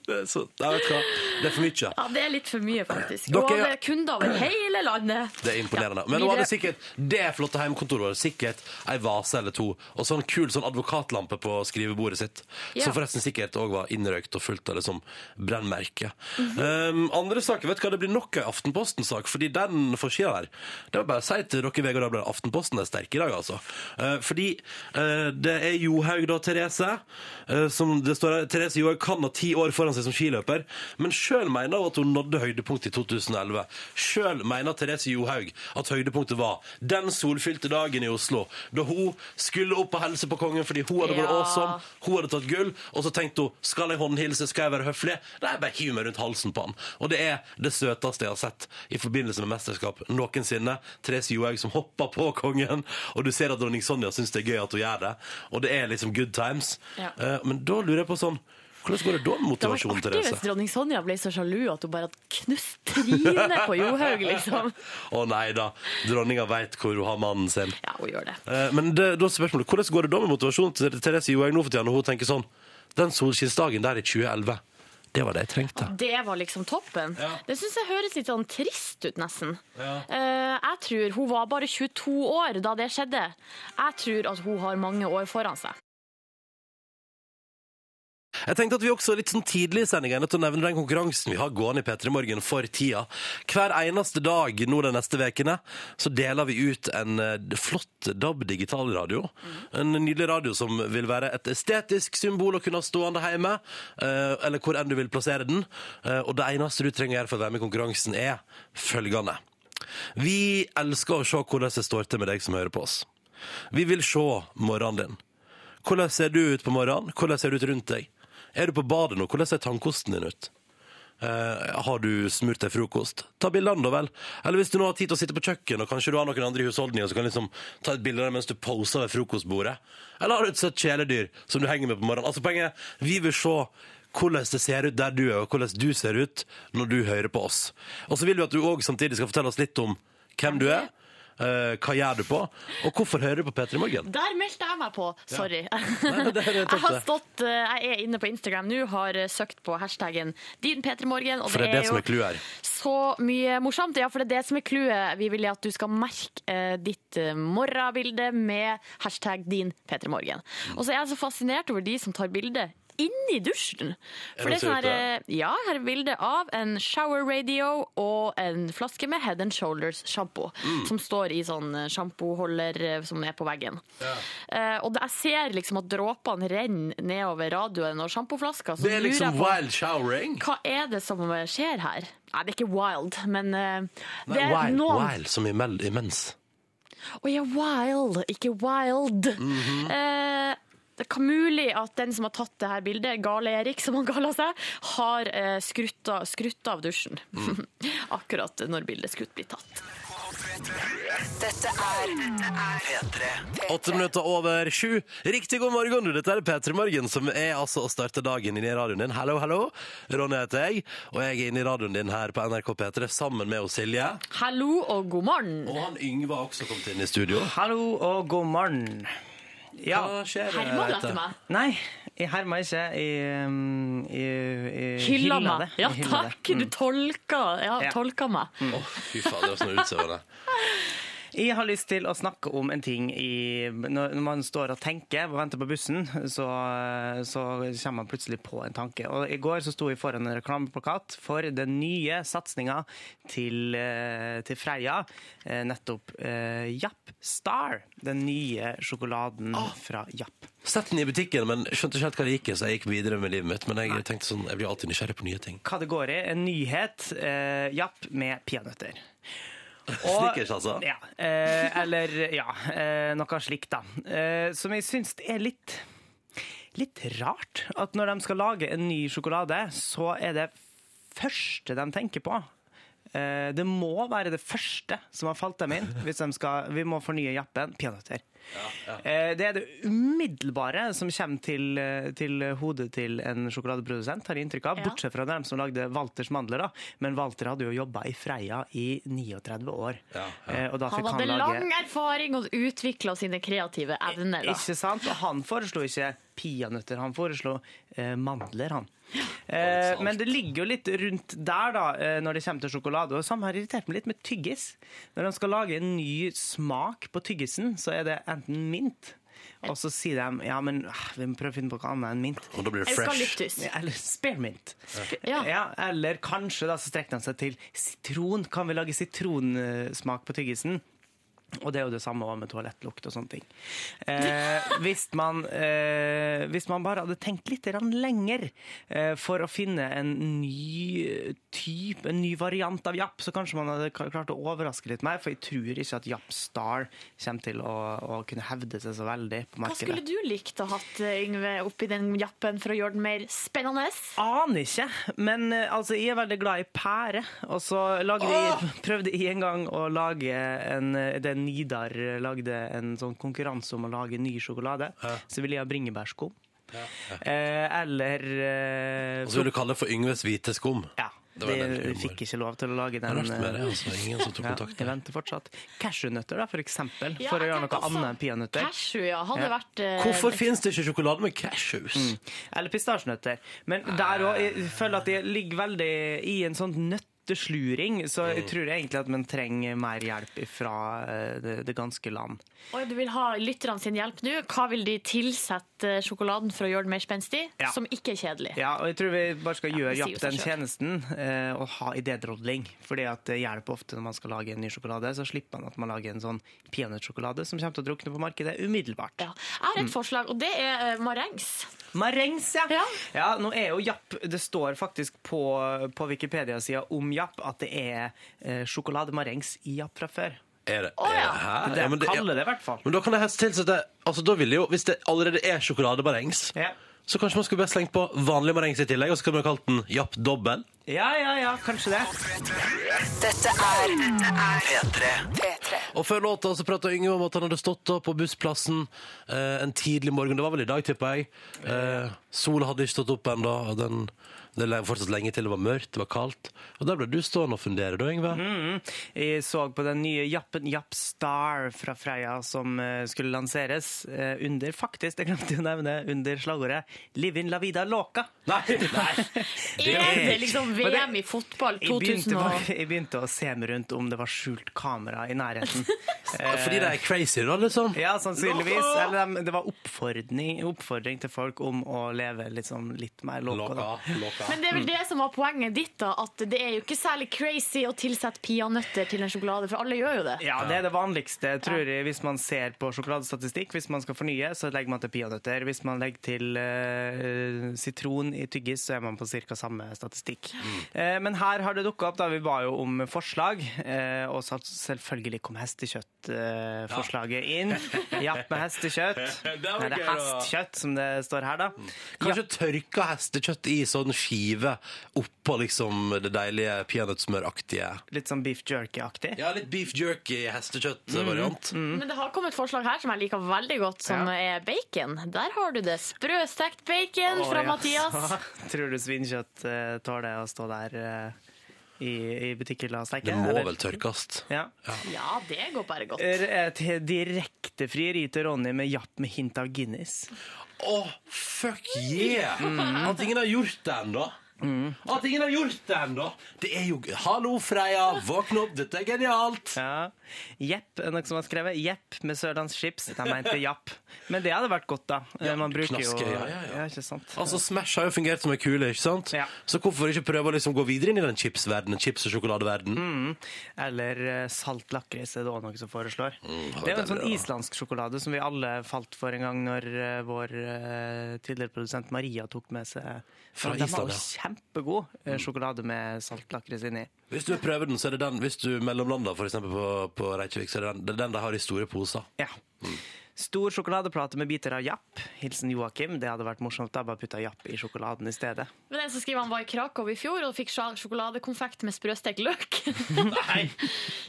[SPEAKER 2] Det er, så, jeg vet hva, det er for mye.
[SPEAKER 4] Ja, det er litt for mye, faktisk.
[SPEAKER 2] Dere-
[SPEAKER 4] Og det er kunder over hele landet.
[SPEAKER 2] Det er imponerende.
[SPEAKER 4] Ja,
[SPEAKER 2] Men hun
[SPEAKER 4] videre.
[SPEAKER 2] hadde sikkert det flotte hjemmekontoret vårt. Sikkert ei vase eller to. Og sånn kul sånn advokatlampe på skrivebordet sitt.
[SPEAKER 4] Ja.
[SPEAKER 2] Som forresten sikkert òg var innrøykt og fullt av det som brennmerke. um, andre saker, vet du hva, det blir nok ei Aftenposten-sak, fordi den forsida der Det var bare å si til dere i VG og Dagbladet Aftenposten er sterke i dag, altså. Eh, fordi eh, det er Johaug, da, Therese. eh, som det står her, Therese Johaug kan ha ti år foran seg som skiløper, men sjøl mener hun at hun nådde høydepunktet i 2011. Sjøl mener Therese Johaug at høydepunktet var den solfylte dagen i Oslo, da hun skulle opp og helse på kongen fordi hun hadde vært
[SPEAKER 4] Ja.
[SPEAKER 2] awesome, hun hadde tatt gull, og så tenkte hun skal jeg håndhilse, skal jeg være høflig? Nei, jeg bare hiver meg rundt halsen på han. Og det er det søteste jeg har sett i forbindelse med mesterskap noensinne. Therese Johaug som hopper på kongen, og du ser at dronning Sonja syns det er gøy at hun gjør det, og det er liksom good times.
[SPEAKER 4] Ja.
[SPEAKER 2] Eh, Men da lurer jeg på sånn hvordan går det da med
[SPEAKER 4] Det var
[SPEAKER 2] motivasjonen,
[SPEAKER 4] artig hvis
[SPEAKER 2] Therese?
[SPEAKER 4] dronning Sonja ble så sjalu at hun bare knuste trynet på Johaug, liksom.
[SPEAKER 2] Å nei da, dronninga veit hvor hun har mannen sin.
[SPEAKER 4] Ja, hun gjør det.
[SPEAKER 2] Eh, Men det, da er spørsmålet, hvordan går det da med motivasjonen til Therese Johaug nå for tida, når hun tenker sånn Den solskinnsdagen der i 2011, det var det jeg trengte.
[SPEAKER 4] Det var liksom toppen.
[SPEAKER 2] Ja.
[SPEAKER 4] Det syns jeg høres litt sånn trist ut, nesten.
[SPEAKER 2] Ja.
[SPEAKER 4] Eh, jeg tror hun var bare 22 år da det skjedde. Jeg tror at hun har mange år foran seg.
[SPEAKER 2] Jeg tenkte at vi også litt sånn tidlig i sendingen er nødt til å nevne den konkurransen vi har gående i P3 Morgen for tida. Hver eneste dag nå de neste ukene så deler vi ut en eh, flott DAB digitalradio. En nydelig radio som vil være et estetisk symbol å kunne ha stående hjemme, eh, eller hvor enn du vil plassere den. Eh, Og det eneste du trenger å gjøre for å være med i konkurransen, er følgende. Vi elsker å se hvordan det står til med deg som hører på oss. Vi vil se morgenen din. Hvordan ser du ut på morgenen? Hvordan ser du ut rundt deg? Er du på badet nå? Hvordan ser tannkosten din ut? Eh, har du smurt deg frokost? Ta bildene, da vel. Eller hvis du nå har tid til å sitte på kjøkken, og kanskje du har noen andre i husholdningen som kan liksom ta et bilde av deg mens du poser ved frokostbordet. Eller har du et søtt kjæledyr som du henger med på morgenen? Altså Poenget er, vi vil se hvordan det ser ut der du er, og hvordan du ser ut når du hører på oss. Og så vil vi at du òg samtidig skal fortelle oss litt om hvem du er, eh, hva gjør du på, og hvorfor hører du på P3 Morgen?
[SPEAKER 4] Der meldte jeg meg på! Sorry.
[SPEAKER 2] Nei, det er
[SPEAKER 4] jeg
[SPEAKER 2] topp,
[SPEAKER 4] har
[SPEAKER 2] det.
[SPEAKER 4] stått, eh, jeg er inne på Instagram nå, har eh, søkt på hashtaggen din P3morgen.
[SPEAKER 2] For det er det som er clouet her.
[SPEAKER 4] Så mye morsomt. Ja, for det er det som er clouet. Vi vil at du skal merke eh, ditt eh, morgenbilde med hashtag din P3morgen.
[SPEAKER 2] Mm.
[SPEAKER 4] Og så er jeg så fascinert over de som tar bilde inni dusjen.
[SPEAKER 2] Er det
[SPEAKER 4] For det er sånn
[SPEAKER 2] så
[SPEAKER 4] her, eh, ja, her er bilde av en shower radio og en flaske med Head and Shoulders sjampo.
[SPEAKER 2] Mm.
[SPEAKER 4] Som står i sånn eh, sjampoholder eh, som er på veggen. Eh, og det, jeg ser liksom at dråpene renner nedover radioen og sjampoflaska. så
[SPEAKER 2] Det er
[SPEAKER 4] lurer jeg
[SPEAKER 2] liksom
[SPEAKER 4] på-
[SPEAKER 2] wild showering.
[SPEAKER 4] hva er det som skjer her? Nei, det er ikke wild, men eh, det
[SPEAKER 2] Nei,
[SPEAKER 4] er
[SPEAKER 2] wild,
[SPEAKER 4] noen
[SPEAKER 2] wild som imell, imens.
[SPEAKER 4] Å ja, wild, ikke wild. Eh, det er mulig at den som har tatt det her bildet, Gale Erik, som han kaller seg, har eh, skrutt, av, skrutt av dusjen. Akkurat når bildet skutt blir tatt.
[SPEAKER 6] Dette er P3.
[SPEAKER 2] Åtte minutter over sju. Riktig god morgen, du. Dette er P3 Morgen, som er altså å starte dagen inne i radioen din. Hallo, hallo. Ronny heter jeg, og jeg er inne i radioen din her på NRK P3 sammen med oss, Silje.
[SPEAKER 4] Hallo og god morgen.
[SPEAKER 2] Og han Yngve har også kommet inn i studio.
[SPEAKER 7] Hallo og god morgen. Ja.
[SPEAKER 2] Hva skjer? eh,
[SPEAKER 4] Herman
[SPEAKER 2] Reite?
[SPEAKER 4] etter meg.
[SPEAKER 7] Nei, jeg herma ikke. Jeg, um, jeg, jeg
[SPEAKER 4] Hylla
[SPEAKER 7] hylla
[SPEAKER 4] meg.
[SPEAKER 7] det.
[SPEAKER 4] Ja,
[SPEAKER 7] Jeg hylla det.
[SPEAKER 4] takk. Du tolka, ja,
[SPEAKER 7] Ja.
[SPEAKER 4] tolka meg.
[SPEAKER 2] Å, fy fader, det var sånn utseende.
[SPEAKER 3] Jeg har lyst til å snakke om en ting i, når når man står og tenker og venter på bussen, så, så kommer man plutselig på en tanke. Og I går så sto jeg foran en reklameplakat for den nye satsinga til, eh, til Freia. eh, Nettopp eh, Japp Star. Den nye sjokoladen fra Japp.
[SPEAKER 2] Sett den i butikken, men skjønte ikke helt hva det gikk i, så jeg gikk videre med livet mitt. Men jeg tenkte sånn, jeg blir alltid nysgjerrig på nye ting.
[SPEAKER 3] Hva det går i? En nyhet. Eh, Japp med peanøtter. Og-
[SPEAKER 2] Snickers, altså.
[SPEAKER 3] Ja, eh, eller ja, eh, noe slikt, da. Eh, som jeg syns er litt litt rart. At når de skal lage en ny sjokolade, så er det første de tenker på. Eh, det må være det første som har falt dem inn hvis de skal, vi må fornye jappen. Peanøtter. Eh, Det er det umiddelbare som kommer til, eh, til hodet til en sjokoladeprodusent, har jeg inntrykk av.
[SPEAKER 4] Ja.
[SPEAKER 3] Bortsett fra dem som lagde Walters mandler, da. Men Walter hadde jo jobba i Freia i 39 år. Eh, Og da
[SPEAKER 4] Han
[SPEAKER 3] fikk han,
[SPEAKER 4] hadde lang
[SPEAKER 3] lage
[SPEAKER 4] erfaring og utvikla sine kreative evner. Da.
[SPEAKER 3] Ikke sant? Og han foreslo ikke peanøtter, han foreslo eh, mandler, han. Eh, men det ligger jo litt rundt der, da, eh, når det kommer til sjokolade. Og samme har irritert meg litt med tyggis. Når de skal lage en ny smak på tyggisen, så er det enten mint, og så sier de ja, men ah, vi må prøve å finne på noe annet enn mint.
[SPEAKER 2] Og da blir det fresh.
[SPEAKER 4] Eukalyptus.
[SPEAKER 3] Ja, Eller spearmint.
[SPEAKER 4] Ja.
[SPEAKER 3] Ja, eller kanskje da, så strekker han seg til sitron. Kan vi lage sitronsmak på tyggisen? Og det er jo det samme også med toalettlukt og sånne ting. Eh, hvis, man, eh, hvis man bare hadde tenkt litt grann lenger eh, for å finne en ny type, en ny variant av Japp, så kanskje man hadde ka- klart å overraske litt mer, for jeg tror ikke at Japp Star kommer til å, å kunne hevde seg så veldig på
[SPEAKER 4] Hva skulle
[SPEAKER 3] markedet.
[SPEAKER 4] du likt å hatt eh, Yngve, oppi den jappen for å gjøre den mer spennende?
[SPEAKER 3] Aner ikke, men eh, altså, jeg er veldig glad i pære. Og så lagde jeg, prøvde jeg en gang å lage en eh, Det Nidar lagde en sånn konkurranse om å lage ny sjokolade. Så ville jeg ha bringebærskum. Eh, eller eh,
[SPEAKER 2] Og så vil du kalle det for Yngves hvite skum.
[SPEAKER 3] Ja.
[SPEAKER 2] Altså, Det var
[SPEAKER 3] De
[SPEAKER 2] den humoren.
[SPEAKER 3] fikk ikke lov til å lage
[SPEAKER 2] Det
[SPEAKER 3] den.
[SPEAKER 2] er rart med det,
[SPEAKER 3] eh,
[SPEAKER 2] altså. Ingen som tok
[SPEAKER 3] Ja,
[SPEAKER 2] kontakt.
[SPEAKER 3] jeg venter fortsatt. Cashewnøtter, da, for eksempel.
[SPEAKER 4] Ja,
[SPEAKER 3] for å
[SPEAKER 4] jeg
[SPEAKER 3] gjøre noe
[SPEAKER 4] tenker også
[SPEAKER 3] annet enn peanøtter.
[SPEAKER 4] Cashew, ja. Hadde
[SPEAKER 3] Ja.
[SPEAKER 4] vært eh,
[SPEAKER 2] Hvorfor finnes det ikke sjokolade med cashews?
[SPEAKER 3] Mm. Eller pistasjenøtter. Men der òg jeg føler at jeg ligger veldig i en sånn nøttesluring, så
[SPEAKER 4] Mm.
[SPEAKER 3] jeg tror egentlig at man trenger mer hjelp fra det, det ganske land.
[SPEAKER 4] Oi, du vil ha lytterne sin hjelp nå. Hva vil de tilsette eh, sjokoladen for å gjøre den mer spenstig?
[SPEAKER 3] Ja.
[SPEAKER 4] Som ikke er kjedelig.
[SPEAKER 3] Ja, og jeg tror vi bare skal gjøre
[SPEAKER 4] det sier jo
[SPEAKER 3] Japp
[SPEAKER 4] seg
[SPEAKER 3] den
[SPEAKER 4] selv.
[SPEAKER 3] tjenesten eh, og ha idédrodling. Fordi at det hjelper ofte når man skal lage en ny sjokolade, så slipper man at man lager en sånn peanøttsjokolade som kommer til å drukne på markedet umiddelbart.
[SPEAKER 4] Ja. Jeg
[SPEAKER 3] Mm.
[SPEAKER 4] har et forslag, og det er eh, marengs.
[SPEAKER 3] Marengs, ja.
[SPEAKER 4] Ja.
[SPEAKER 3] ja. Nå er jo Japp Det står faktisk på, på Wikipedia-sida om Japp at det er eh, sjokolade-marengs i Japp fra før.
[SPEAKER 2] Er det,
[SPEAKER 4] Å,
[SPEAKER 2] er det
[SPEAKER 4] ja.
[SPEAKER 2] her?
[SPEAKER 3] Det
[SPEAKER 2] Ja, men det-
[SPEAKER 3] kaller det i hvert fall.
[SPEAKER 2] Men da kan jeg helst tilsette Altså da ville jo, Hvis det allerede er sjokolade marengs,
[SPEAKER 3] Ja.
[SPEAKER 2] så kanskje man skulle bare slengt på vanlig marengs i tillegg, og så kan man kalt den Japp dobbel.
[SPEAKER 3] Ja, ja, ja, kanskje det.
[SPEAKER 6] Dette er P3. P3.
[SPEAKER 2] Og før låta så prata Yngve om at han hadde stått opp på bussplassen eh, en tidlig morgen. Det var vel i dag, tipper jeg. Eh, sola hadde ikke stått opp ennå. og den- Det er fortsatt lenge til det var mørkt, det var kaldt. Og der ble du stående og fundere, da, Yngve.
[SPEAKER 3] Mm. Jeg så på den nye Jappen Japp Star fra Freia som eh, skulle lanseres eh, under faktisk, det glemte jeg å nevne, under slagordet 'Livin la vida loca'.
[SPEAKER 2] Nei, nei.
[SPEAKER 4] Er det liksom
[SPEAKER 3] Men det-
[SPEAKER 4] VM i fotball
[SPEAKER 3] Jeg begynte,
[SPEAKER 4] 2000 og
[SPEAKER 3] bare- jeg begynte å se meg rundt om det var skjult kamera i nærheten.
[SPEAKER 2] Fordi det er crazy, da, liksom.
[SPEAKER 3] Ja, sannsynligvis. Eller de, det var oppfordring, oppfordring til folk om å leve liksom litt mer loco. da.
[SPEAKER 2] Låka, låka.
[SPEAKER 4] Men det er vel
[SPEAKER 3] Mm.
[SPEAKER 4] det som var poenget ditt, da. At det er jo ikke særlig crazy å tilsette peanøtter til en sjokolade, for alle gjør jo det.
[SPEAKER 3] Ja, det er det vanligste, tror jeg, hvis man ser på sjokoladestatistikk. Hvis man skal fornye, så legger man til peanøtter. Hvis man legger til eh, sitron i tyggis, så er man på ca. samme statistikk. Eh, men her har det dukka opp, da vi ba jo om forslag, eh, og så selvfølgelig kom hestekjøttforslaget inn. Japp med hestekjøtt.
[SPEAKER 2] Det var
[SPEAKER 3] Nei, det er
[SPEAKER 2] gøy, da. Mm.
[SPEAKER 3] hestkjøtt som det står her, da.
[SPEAKER 2] Kanskje tørka hestekjøtt i sånn skive oppå liksom det deilige peanøttsmøraktige.
[SPEAKER 3] Litt sånn beef jerky-aktig.
[SPEAKER 2] Ja, litt beef jerky hestekjøtt-variant.
[SPEAKER 4] Men det har kommet forslag her som jeg liker veldig godt, som er bacon. Der har du det. Sprøstekt bacon
[SPEAKER 3] Å,
[SPEAKER 4] fra
[SPEAKER 3] ja.
[SPEAKER 4] Mathias.
[SPEAKER 3] Tror du svinkjøtt eh, tåler å stå der eh, i, i butikkhylla og steike?
[SPEAKER 2] Det må
[SPEAKER 3] eller?
[SPEAKER 2] vel tørkast.
[SPEAKER 3] Ja.
[SPEAKER 4] Ja, det går bare godt.
[SPEAKER 3] Er Et direkte frieri til Ronny med japp med hint av Guinness.
[SPEAKER 2] Mm. Åh, fuck yeah! At ingen har gjort det ennå. At ingen har gjort det ennå! Det er jo Hallo, Freia! Våkn opp! Dette er genialt!
[SPEAKER 3] Ja. Jepp, er det noen som har skrevet. Jepp med sørlandschips. De mente japp. Men det hadde vært godt, da.
[SPEAKER 2] Ja,
[SPEAKER 3] Man bruker
[SPEAKER 2] knaske,
[SPEAKER 3] jo
[SPEAKER 2] ja, ja, ja.
[SPEAKER 3] ikke sant?
[SPEAKER 2] Altså, Smash har jo fungert som en kule, ikke sant?
[SPEAKER 3] Ja.
[SPEAKER 2] Så hvorfor ikke prøve å liksom gå videre inn i den chipsverdenen? Chips- og sjokoladeverdenen?
[SPEAKER 3] Eller eh, salt lakris er det òg noen som foreslår.
[SPEAKER 2] det
[SPEAKER 3] det er jo en
[SPEAKER 2] er
[SPEAKER 3] sånn
[SPEAKER 2] det, ja.
[SPEAKER 3] islandsk sjokolade som vi alle falt for en gang når eh, vår eh, tidligere produsent Maria tok med seg
[SPEAKER 2] Fra
[SPEAKER 3] Den
[SPEAKER 2] Island,
[SPEAKER 3] var jo kjempegod eh, sjokolade med salt lakris inni.
[SPEAKER 2] Hvis du vil prøve den, så er det den. Hvis du mellomlander for eksempel på, på Reykjavik, så er det den, det er den de har i store poser.
[SPEAKER 3] Ja. Stor sjokoladeplate med biter av japp. Hilsen Joakim. Det hadde vært morsomt. Da bare putta japp i sjokoladen i stedet.
[SPEAKER 4] Men den som skriver han var i Krakow i fjor og fikk sj- sjokoladekonfekt med sprøstekt løk.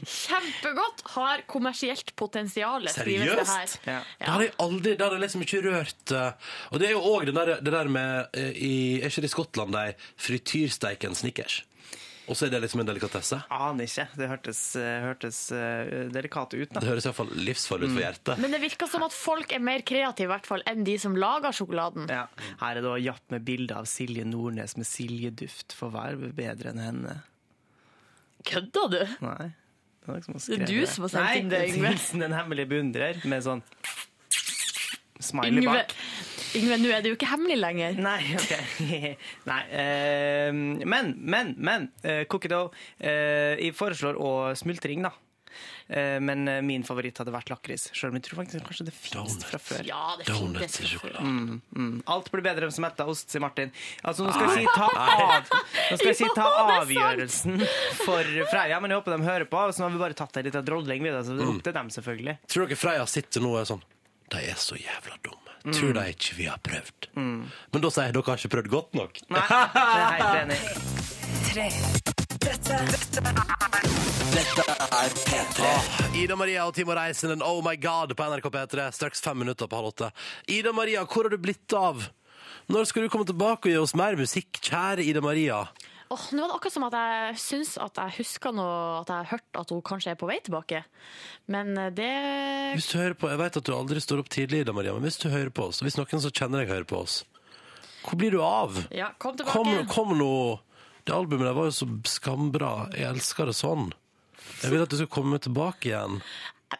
[SPEAKER 4] Kjempegodt! Har kommersielt potensial, skrives det her.
[SPEAKER 2] Seriøst?
[SPEAKER 3] Ja.
[SPEAKER 2] Det har jeg aldri Det har jeg liksom ikke rørt eh, Og det er jo òg det, der- det der med eh, i, Er ikke det i Skottland de frityrsteiker en snickers? Og så er det liksom en delikatesse?
[SPEAKER 3] Aner ikke. Det hørtes, eh, hørtes eh, delikat ut,
[SPEAKER 2] Det
[SPEAKER 3] da.
[SPEAKER 2] høres iallfall livsfarlig ut for hjertet.
[SPEAKER 4] Men det virker som at folk er mer kreative i hvert fall enn de som lager sjokoladen.
[SPEAKER 3] Ja. Her er det også japp med bilde av Silje Nordnes med Siljeduft. For hva er bedre enn henne?
[SPEAKER 4] Kødder du?
[SPEAKER 3] Nei. Det er, noen som har
[SPEAKER 4] Det er
[SPEAKER 3] skrevet
[SPEAKER 4] du som har sendt
[SPEAKER 3] Nei,
[SPEAKER 4] inn det, Yngve.
[SPEAKER 3] Hilsen en hemmelig beundrer med sånn smiley
[SPEAKER 4] Yngve,
[SPEAKER 3] bak.
[SPEAKER 4] Yngve, nå er det jo ikke hemmelig lenger.
[SPEAKER 3] Nei, ok. Nei, eh, men, men, men. eh, cookie dough. Eh, jeg foreslår å smultring, da. Eh, men eh, min favoritt hadde vært lakris. Selv om jeg tror faktisk kanskje det fins
[SPEAKER 2] Donut.
[SPEAKER 3] fra før.
[SPEAKER 4] Ja, det er fint.
[SPEAKER 2] Donuts i
[SPEAKER 4] det skal-
[SPEAKER 2] sjokolade.
[SPEAKER 3] Alt blir bedre enn smelta ost, sier Martin. Altså, nå skal jeg si ta, av, nå skal jeg si ta
[SPEAKER 4] Ja, det er
[SPEAKER 3] avgjørelsen for Freia, men jeg håper de hører på. Så nå har vi bare tatt en liten drolling videre, så det er opp til dem, selvfølgelig.
[SPEAKER 2] Tror dere Freia sitter nå og er sånn De er så jævla dumme. Tror de ikke vi har prøvd. Men da sier jeg dere har ikke prøvd godt nok.
[SPEAKER 3] Nei, det er jeg helt enig. i.
[SPEAKER 2] Ah, Ida Maria og Timo Reisenden, Oh My God på NRK P3. Straks fem minutter på halv åtte. Ida Maria, hvor har du blitt av? Når skal du komme tilbake og gi oss mer musikk, kjære Ida Maria?
[SPEAKER 4] Åh, nå var det akkurat som at jeg syns at jeg husker noe, at jeg har hørt at hun kanskje er på vei tilbake. Men eh, det
[SPEAKER 2] Hvis du hører på, Jeg vet at du aldri står opp tidlig, Ida Maria, men hvis du hører på oss, og hvis noen som kjenner deg, hører på oss, hvor blir du av?
[SPEAKER 4] Ja, kom tilbake.
[SPEAKER 2] Kom, kom nå! Det albumet der var jo så skambra. Jeg elsker det sånn. Jeg vil at du skal komme tilbake igjen.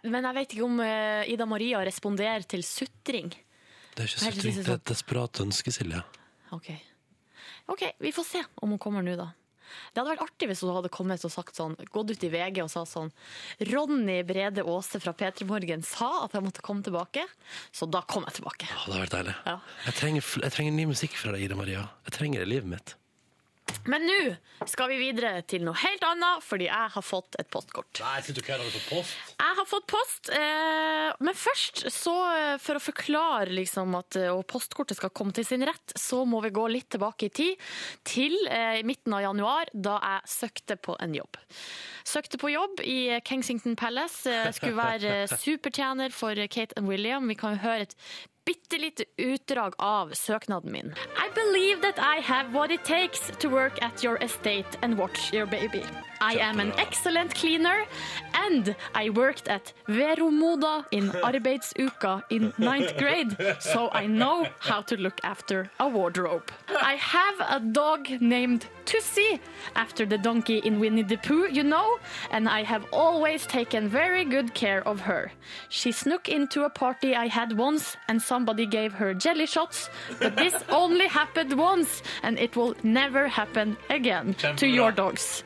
[SPEAKER 4] Men jeg vet ikke om eh, Ida Maria responderer til sutring.
[SPEAKER 2] Det er ikke så
[SPEAKER 4] Nei, det
[SPEAKER 2] trygt.
[SPEAKER 4] synes jeg
[SPEAKER 2] Det er et desperat ønske, Silje.
[SPEAKER 4] Ok. Ok, vi får se om hun kommer nå, da. Det hadde vært artig hvis hun hadde kommet og sagt sånn, gått ut i VG og sa sånn Ronny Brede Aase fra P3 Morgen sa at jeg måtte komme tilbake, så da kom jeg tilbake.
[SPEAKER 2] Å, det har vært deilig.
[SPEAKER 4] Ja.
[SPEAKER 2] Jeg, trenger, fl- jeg trenger ny musikk fra deg, Ida Maria. Jeg trenger det i livet mitt.
[SPEAKER 4] Men nå skal vi videre til noe helt annet, fordi jeg har fått et postkort.
[SPEAKER 2] Nei, slutt å kødde. Har du fått post?
[SPEAKER 4] Jeg har fått post, eh, men først, så eh, for å forklare liksom at eh, og postkortet skal komme til sin rett, så må vi gå litt tilbake i tid, til eh, midten av januar, da jeg søkte på en jobb. Søkte på jobb i Kensington Palace, eh, skulle være eh, supertjener for Kate and William. Vi kan jo høre et bitte lite utdrag av søknaden min. I believe that I have what it takes to work at your estate and watch your baby. I am an excellent cleaner and I worked at Veromoda in arbeidsuka in ninth grade, so I know how to look after a wardrobe. I have a dog named Tussie after the donkey in Winnie the Pooh, you know, and I have always taken very good care of her. She snuck into a party I had once and somebody gave her jelly shots, but this only happened once and it will never happen again to your dogs.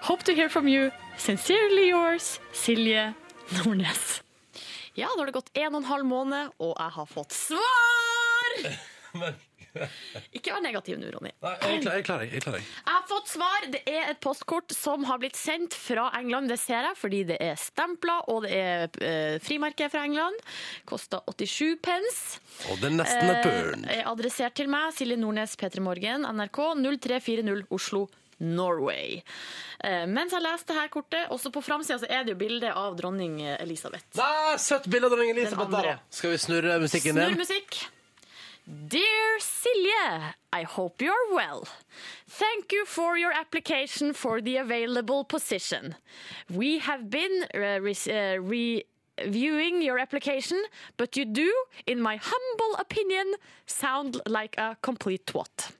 [SPEAKER 4] Hope to hear from you. Sincerely yours, Silje Nordnes. Ja, da har det gått en og en halv måned, og jeg har fått svar! Ikke vær negativ nå, Ronny.
[SPEAKER 2] Nei, jeg klarer, jeg klarer, jeg klarer.
[SPEAKER 4] Jeg har fått svar. Det er et postkort som har blitt sendt fra England. Det ser jeg, fordi det er stempla, og det er eh, frimerke fra England. Kosta 87 pence.
[SPEAKER 2] Og det er nesten et burn.
[SPEAKER 4] Eh, er adressert til meg, Silje Nordnes, P3 Morgen, NRK 0340 Oslo. Norway. Eh, mens jeg leste her kortet, også på framsida, så er det jo bilde av dronning Elisabeth.
[SPEAKER 2] Nei, søtt bilde av dronning Elisabeth.
[SPEAKER 4] Den andre.
[SPEAKER 2] der, da. Skal vi snurre musikken
[SPEAKER 4] Snurr
[SPEAKER 2] din?
[SPEAKER 4] musikk. Dear Silje, I hope you're well. Thank you for your application for the available position. We have been uh, re- uh, reviewing your application, but you do, in my humble opinion, sound like a complete twat.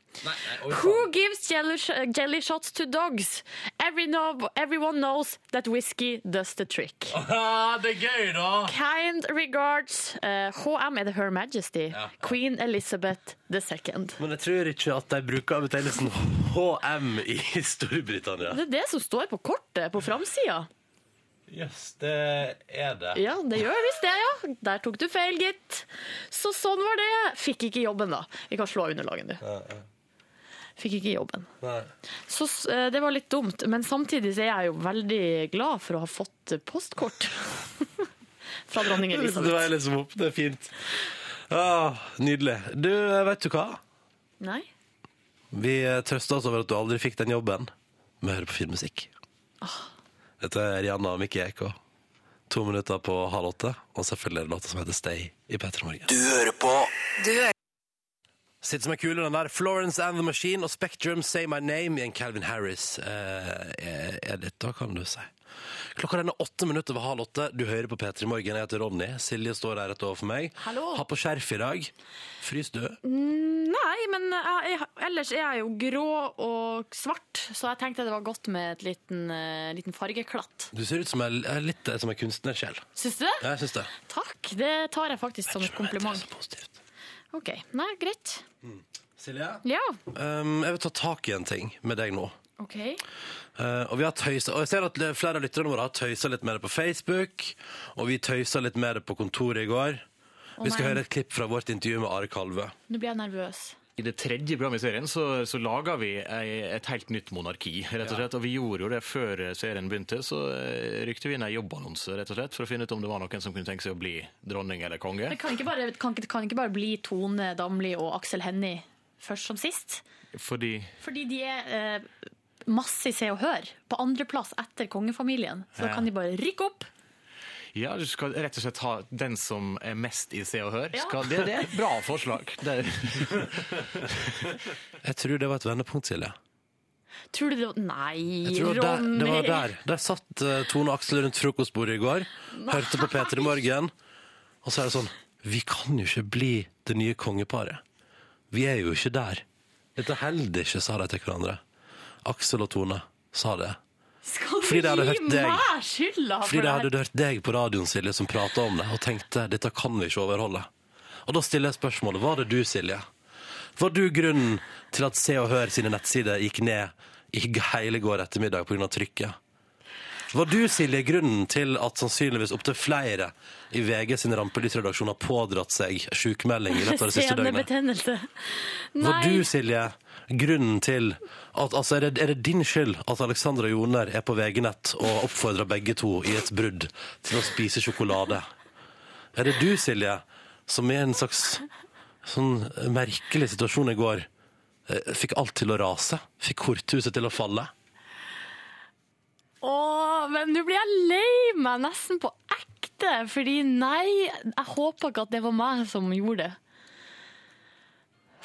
[SPEAKER 4] Who gives jelly, sh- jelly shots to dogs? Every no, everyone knows that whiskey does the trick.
[SPEAKER 2] Ah. det er gøy, da!
[SPEAKER 4] Kind regards eh, HM, er det Her Majesty?
[SPEAKER 2] ja.
[SPEAKER 4] Queen Elizabeth II.
[SPEAKER 2] Men jeg tror ikke at de bruker betegnelsen HM i Storbritannia.
[SPEAKER 4] Det er det som står på kortet på framsida.
[SPEAKER 2] Yes, det er det.
[SPEAKER 4] Ja, det gjør visst det, ja. Der tok du feil, gitt. Så sånn var det. Fikk ikke jobben, da. Vi kan slå av underlagen, du. Fikk ikke jobben.
[SPEAKER 2] Nei.
[SPEAKER 4] Så s- eh, det var litt dumt, men samtidig så er jeg jo veldig glad for å ha fått postkort. Fra dronning
[SPEAKER 2] Det
[SPEAKER 4] Elisabeth.
[SPEAKER 2] var liksom opp, det er fint. Ah, nydelig. Du, eh, vet du hva?
[SPEAKER 4] Nei?
[SPEAKER 2] Vi trøster oss over at du aldri fikk den jobben med å høre på filmmusikk. Dette er Rihanna og Mikke Eko. To minutter på halv åtte, og selvfølgelig er det låta som heter Stay i P3 Morgen.
[SPEAKER 6] Du hører
[SPEAKER 2] Sitter som er kule den der Florence and the Machine og Spectrum Say My Name i en Calvin Harris eh, er- er litt, da kan du si. Klokka den er åtte minutter over halv åtte. Du hører på P3 Morgen. Jeg heter Ronny. Silje står her rett overfor meg.
[SPEAKER 4] Hallo.
[SPEAKER 2] Har på skjerf i dag. Frys død.
[SPEAKER 4] Mm, Nei, men jeg, jeg- ellers er jeg jo grå og svart, så jeg tenkte det var godt med et liten, eh, liten fargeklatt.
[SPEAKER 2] Du ser ut som en, eh, litt eh, som en kunstnersjel.
[SPEAKER 4] Syns du det?
[SPEAKER 2] Ja, Jeg syns det.
[SPEAKER 4] Takk, det tar jeg faktisk som et
[SPEAKER 2] Det
[SPEAKER 4] kompliment.
[SPEAKER 2] er så positivt.
[SPEAKER 4] Ok, Nei, greit.
[SPEAKER 2] Silje?
[SPEAKER 4] Ja,
[SPEAKER 2] Um, jeg vil ta tak i en ting med deg nå.
[SPEAKER 4] OK.
[SPEAKER 2] Eh, og vi har tøyset, og jeg ser at flere av lytterne våre har tøysa litt med det på Facebook, og vi tøysa litt med det på kontoret i går. vi skal
[SPEAKER 4] nei.
[SPEAKER 2] høre et klipp fra vårt intervju med Are Kalve.
[SPEAKER 4] Nå blir jeg nervøs.
[SPEAKER 8] I det tredje programmet i serien så, så laga vi ei, et helt nytt monarki, rett og slett. Og vi gjorde jo det før serien begynte, så eh, rykte vi inn ei jobbannonse, rett og slett, for å finne ut om det var noen som kunne tenke seg å bli dronning eller konge.
[SPEAKER 4] Men kan ikke bare, kan, ikke- kan ikke bare bli Tone Damli og Aksel Hennie først som sist?
[SPEAKER 8] Fordi
[SPEAKER 4] Fordi de er eh, masse i Se og Hør. På andreplass etter kongefamilien. Så da
[SPEAKER 8] Ja.
[SPEAKER 4] kan de bare rykke opp.
[SPEAKER 8] Ja, du skal rett og slett ha den som er mest i Se og Hør.
[SPEAKER 4] Ja.
[SPEAKER 8] Skal, det, det er et bra forslag. Det er,
[SPEAKER 2] Jeg tror det var et vendepunkt, Silje.
[SPEAKER 4] Tror du det var Nei,
[SPEAKER 2] Jeg tror det var der, det var der. der satt eh, Tone og Aksel rundt frokostbordet i går, hørte på Peter i morgen, og så er det sånn Vi kan jo ikke bli det nye kongeparet. Vi er jo ikke der. Dette holder ikke, sa de til hverandre. Aksel og Tone sa det.
[SPEAKER 4] Skal du
[SPEAKER 2] Fordi de hadde
[SPEAKER 4] gi
[SPEAKER 2] hørt deg.
[SPEAKER 4] meg skylda for
[SPEAKER 2] Fordi
[SPEAKER 4] det
[SPEAKER 2] de
[SPEAKER 4] her?
[SPEAKER 2] hadde hørt deg på radioen, Silje, som prata om det, og tenkte dette kan vi ikke overholde. Og da stiller jeg spørsmålet var det du, Silje? Var du grunnen til at Se og Hør sine nettsider gikk ned i hele går ettermiddag pga. trykket? Var du, Silje, grunnen til at sannsynligvis opptil flere i VG sine rampelysredaksjon har pådratt seg sjukmelding i løpet av det siste døgnet?
[SPEAKER 4] Senebetennelse.
[SPEAKER 2] Var
[SPEAKER 4] Nei,
[SPEAKER 2] du, Silje, grunnen til at altså, er, det, er det din skyld at Alexandra Joner er på VG-nett og oppfordrer begge to i et brudd til å spise sjokolade? Er det du, Silje, som i en slags sånn merkelig situasjon i går eh, fikk alt til å rase? Fikk korthuset til å falle?
[SPEAKER 4] Åh, men nå blir jeg lei meg nesten på ekte. Fordi nei, jeg håper ikke at det var meg som gjorde det.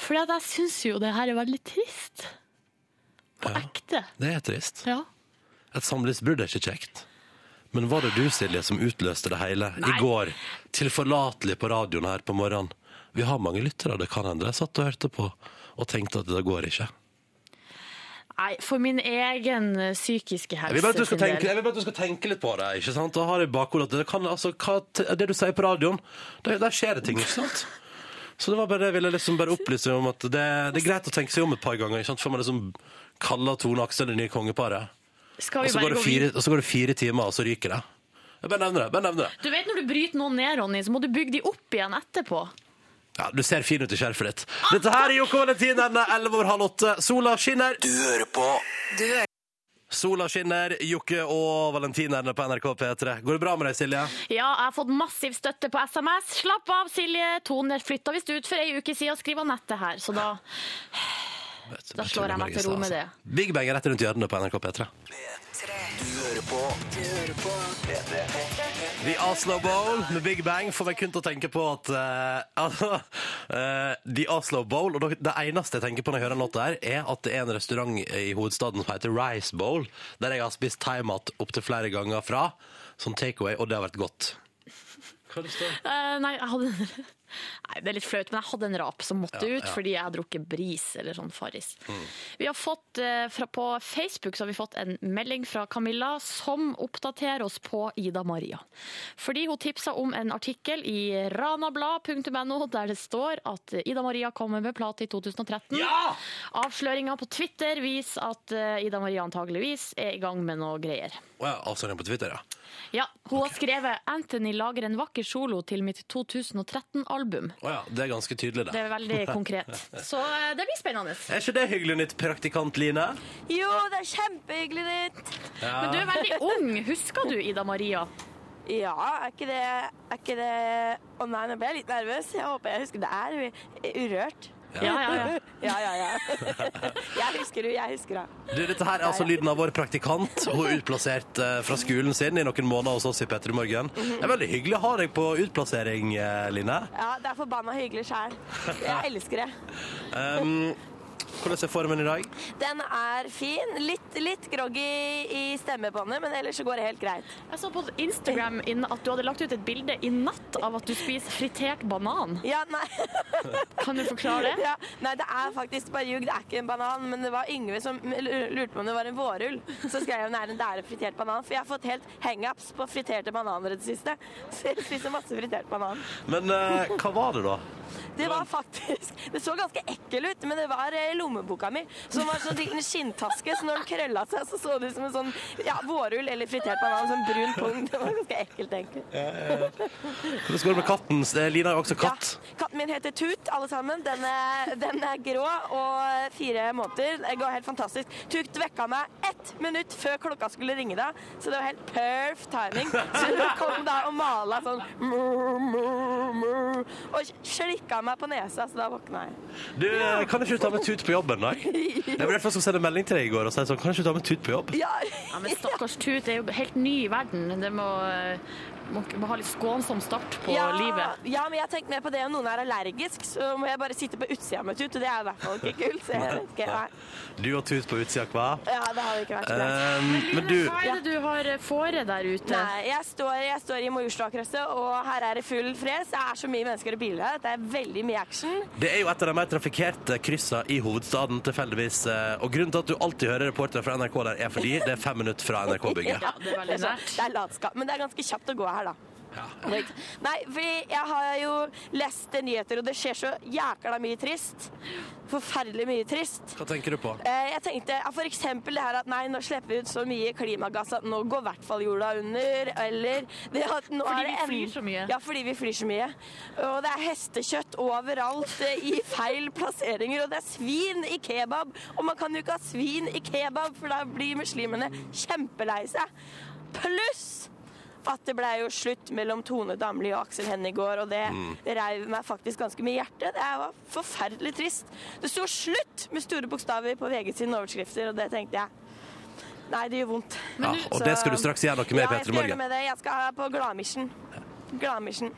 [SPEAKER 4] Fordi at jeg syns jo det her er veldig trist. På
[SPEAKER 2] Ja.
[SPEAKER 4] ekte.
[SPEAKER 2] Det er trist.
[SPEAKER 4] Ja.
[SPEAKER 2] Et samlivsbrudd er ikke kjekt. Men var det du, Silje, som utløste det hele i
[SPEAKER 4] Nei.
[SPEAKER 2] går? Tilforlatelig på radioen her på morgenen. Vi har mange lyttere, det kan hende. Jeg satt og hørte på og tenkte at det går ikke.
[SPEAKER 4] Nei, for min egen eh, psykiske helse
[SPEAKER 2] Jeg vil bare at du skal
[SPEAKER 4] sin del.
[SPEAKER 2] tenke, jeg vil bare at du skal tenke litt på det. ikke sant? Da har jeg i bakhodet at det, kan, altså, hva, t- det du sier på radioen, der, der skjer det ting. ikke sant? Så det var bare det jeg ville liksom bare opplyse om at det, det er greit å tenke seg om et par ganger ikke sant? før man liksom kaller Tone og Aksel det nye kongeparet.
[SPEAKER 4] Skal
[SPEAKER 2] Og
[SPEAKER 4] vi
[SPEAKER 2] så
[SPEAKER 4] bare
[SPEAKER 2] går, det
[SPEAKER 4] gå
[SPEAKER 2] fire-
[SPEAKER 4] videre?
[SPEAKER 2] og så går det fire timer, og så ryker det. Jeg bare nevner det. bare nevner det.
[SPEAKER 4] Du vet når du bryter noen ned, Ronny, så må du bygge de opp igjen etterpå.
[SPEAKER 2] Ja, Du ser fin ut i skjerfet ditt. Dette her er Joko Valentin, den er 11 over halv åtte. Sola skinner.
[SPEAKER 6] Du hører
[SPEAKER 2] Sola skinner, Jokke og Valentinerne på NRK P3. Går det bra med deg, Silje?
[SPEAKER 4] Ja, jeg har fått massiv støtte på SMS. Slapp av, Silje. Tone flytta visst ut for ei uke siden og skriv av nettet her, så da Da slår jeg meg til ro med det.
[SPEAKER 2] Big Bang er rett rundt hjørnet på NRK P3.
[SPEAKER 6] tre. Du hører på. Du hører på.
[SPEAKER 2] The Oslo Bowl med Big Bang får meg kun til å tenke på at eh, altså, eh, The Oslo Bowl, og det eneste jeg tenker på når jeg hører en låt der, er at det er en restaurant i hovedstaden som heter Rice Bowl, der jeg har spist thaimat opptil flere ganger fra, som takeaway, og det har vært godt. Hva er det står?
[SPEAKER 4] Eh, nei, jeg hadde Nei, det er litt flaut, men jeg hadde en rap som måtte ut fordi jeg hadde drukket bris eller sånn farris. Vi har fått, eh, fra, på Facebook så har vi fått en melding fra Camilla som oppdaterer oss på Ida Maria. Fordi hun tipsa om en artikkel i ranablad.no der det står at Ida Maria kommer med plate i 2013. Ja! Avsløringa på Twitter viser at eh, Ida Maria antageligvis er i gang med noe greier.
[SPEAKER 2] Å ja, avsending på Twitter, ja.
[SPEAKER 4] Ja, hun har skrevet 'Anthony lager en vakker solo til mitt 2013-album'.
[SPEAKER 2] Å ja. Det er ganske tydelig,
[SPEAKER 4] Det
[SPEAKER 2] det.
[SPEAKER 4] er veldig konkret. Så eh, det blir spennende.
[SPEAKER 2] Er ikke det hyggelig nytt, praktikant Line?
[SPEAKER 9] Jo, det er kjempehyggelig nytt.
[SPEAKER 4] Men du er veldig ung. Husker du Ida Maria?
[SPEAKER 9] Ja, er ikke det Er ikke det Å nei, nå ble jeg litt nervøs. Jeg håper jeg husker det er u- urørt.
[SPEAKER 4] Ja, ja, ja.
[SPEAKER 9] Ja, ja, ja. Jeg husker det, jeg husker det.
[SPEAKER 2] Du, dette her er altså lyden av vår praktikant. Hun er utplassert eh, fra skolen sin i noen måneder hos oss i Petter i morgen. Det er veldig hyggelig å ha deg på utplassering, eh, Line.
[SPEAKER 9] Ja, det er forbanna hyggelig sjæl. Jeg elsker det.
[SPEAKER 2] Um, hvordan er formen i dag?
[SPEAKER 9] Den er fin. Litt, litt groggy i stemmebåndet, men ellers så går det helt greit.
[SPEAKER 4] Jeg så på Instagram inn- at du hadde lagt ut et bilde i natt av at du spiser fritert banan.
[SPEAKER 9] Ja, nei.
[SPEAKER 4] Kan du forklare det?
[SPEAKER 9] Ja, nei, det er faktisk bare ljug. Det er ikke en banan, men det var Yngve som l- lurte på om det var en vårrull. Så skrev hun at det er en fritert banan, for jeg har fått helt hangups på friterte bananer i det siste. Så jeg spiser masse fritert banan.
[SPEAKER 2] Men eh, hva var det, da?
[SPEAKER 9] Det var faktisk Det så ganske ekkel ut, men det var eh, lommeboka mi, som var sånn liten skinntaske, så når den krølla seg, så så det ut som en sånn ja, vårrull eller fritert banan, sånn brun pung. Det var ganske ekkelt, egentlig.
[SPEAKER 2] Hvordan går det med katten? Eh, Line er jo også katt.
[SPEAKER 9] Ja, katten min heter Tut, alle sammen. Den er, den er grå og fire måneder. Det går helt fantastisk. Tut vekka meg ett minutt før klokka skulle ringe deg, så det var helt perf timing. Så hun kom da og mala sånn «Mu, mu, mu», og slikka meg på nesa, så da våkna jeg.
[SPEAKER 2] Du, eh, kan ikke du ta med Tut på jobben, da? Jeg var derfor som sendte melding til deg i går og sa sånn, kan ikke du ta med Tut på jobb?
[SPEAKER 9] Ja,
[SPEAKER 4] Ja, men stakkars Tut er jo helt ny i verden. Det må, eh, må, må ha litt skånsom start på
[SPEAKER 9] ja,
[SPEAKER 4] livet.
[SPEAKER 9] Ja, men jeg tenkte mer på det om noen er allergisk, så må jeg bare sitte på utsida med Tut, og det er i hvert fall ikke kult. Så jeg vet ikke. Nei.
[SPEAKER 2] Du og Tut på utsida, hva?
[SPEAKER 9] Ja, det hadde ikke vært så greit.
[SPEAKER 2] Um, men du,
[SPEAKER 4] Hva er det du har fore der ute?
[SPEAKER 9] Nei, jeg står, jeg står i Majorstuakrysset, og her er det full fres. Det er så mye mennesker og biler her at det er veldig mye action.
[SPEAKER 2] Det er jo et av de mer trafikkerte kryssene i hovedstaden, tilfeldigvis. eh, Og grunnen til at du alltid hører reportere fra NRK der, er fordi det er fem minutter fra NRK-bygget.
[SPEAKER 4] Ja, det er veldig
[SPEAKER 9] Så
[SPEAKER 4] nært.
[SPEAKER 9] Det er latskap, men det er ganske kjapt å gå her, da. Ikke sant? Nei, fordi jeg har jo lest nyheter, og det skjer så jækla mye trist. Forferdelig mye trist.
[SPEAKER 2] Hva tenker du på?
[SPEAKER 9] Eh, Jeg tenkte ja, for eksempel det her at nei, nå slipper vi ut så mye klimagass at nå går i hvert fall jorda under, eller det at nå
[SPEAKER 4] Fordi
[SPEAKER 9] er det
[SPEAKER 4] vi flyr
[SPEAKER 9] en-
[SPEAKER 4] så mye.
[SPEAKER 9] Ja, fordi vi flyr så mye. Og det er hestekjøtt overalt eh, i feil plasseringer, og det er svin i kebab. Og man kan jo ikke ha svin i kebab, for da blir muslimene kjempelei seg. Pluss at det ble jo slutt mellom Tone Damli og Aksel Hennie i går, og det
[SPEAKER 2] Mm.
[SPEAKER 9] reiv meg faktisk ganske mye i hjertet. Det var forferdelig trist. Det sto 'slutt' med store bokstaver på VG sine overskrifter, og det tenkte jeg Nei, det gjør vondt.
[SPEAKER 2] Ja, og det skal du straks gjøre noe med,
[SPEAKER 9] ja, jeg
[SPEAKER 2] Petter, i
[SPEAKER 9] skal gjøre noe
[SPEAKER 2] morgen.
[SPEAKER 9] med det. Jeg skal på Gladmission. Gladmission.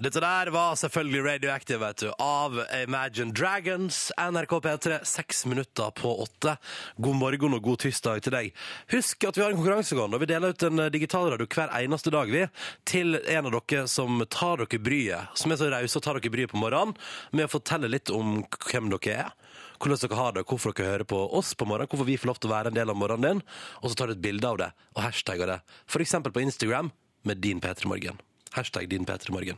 [SPEAKER 2] Dette der var selvfølgelig Radioactive, vet du, av Imagine Dragons, NRK P3, seks minutter på åtte. God morgen og god tirsdag til deg. Husk at vi har en konkurranse gående, og vi deler ut en eh, digital radio hver eneste dag, vi, til en av dere som tar dere bryet, som er så rause og tar dere bryet på morgenen, med å fortelle litt om hvem dere er. Hvordan dere har det, hvorfor dere hører på oss på morgenen, hvorfor vi får lov til å være en del av morgenen din, og så tar du et bilde av det, og hashtagger det. For eksempel på Instagram, med din P3 Morgen. Hashtag din P3 Morgen.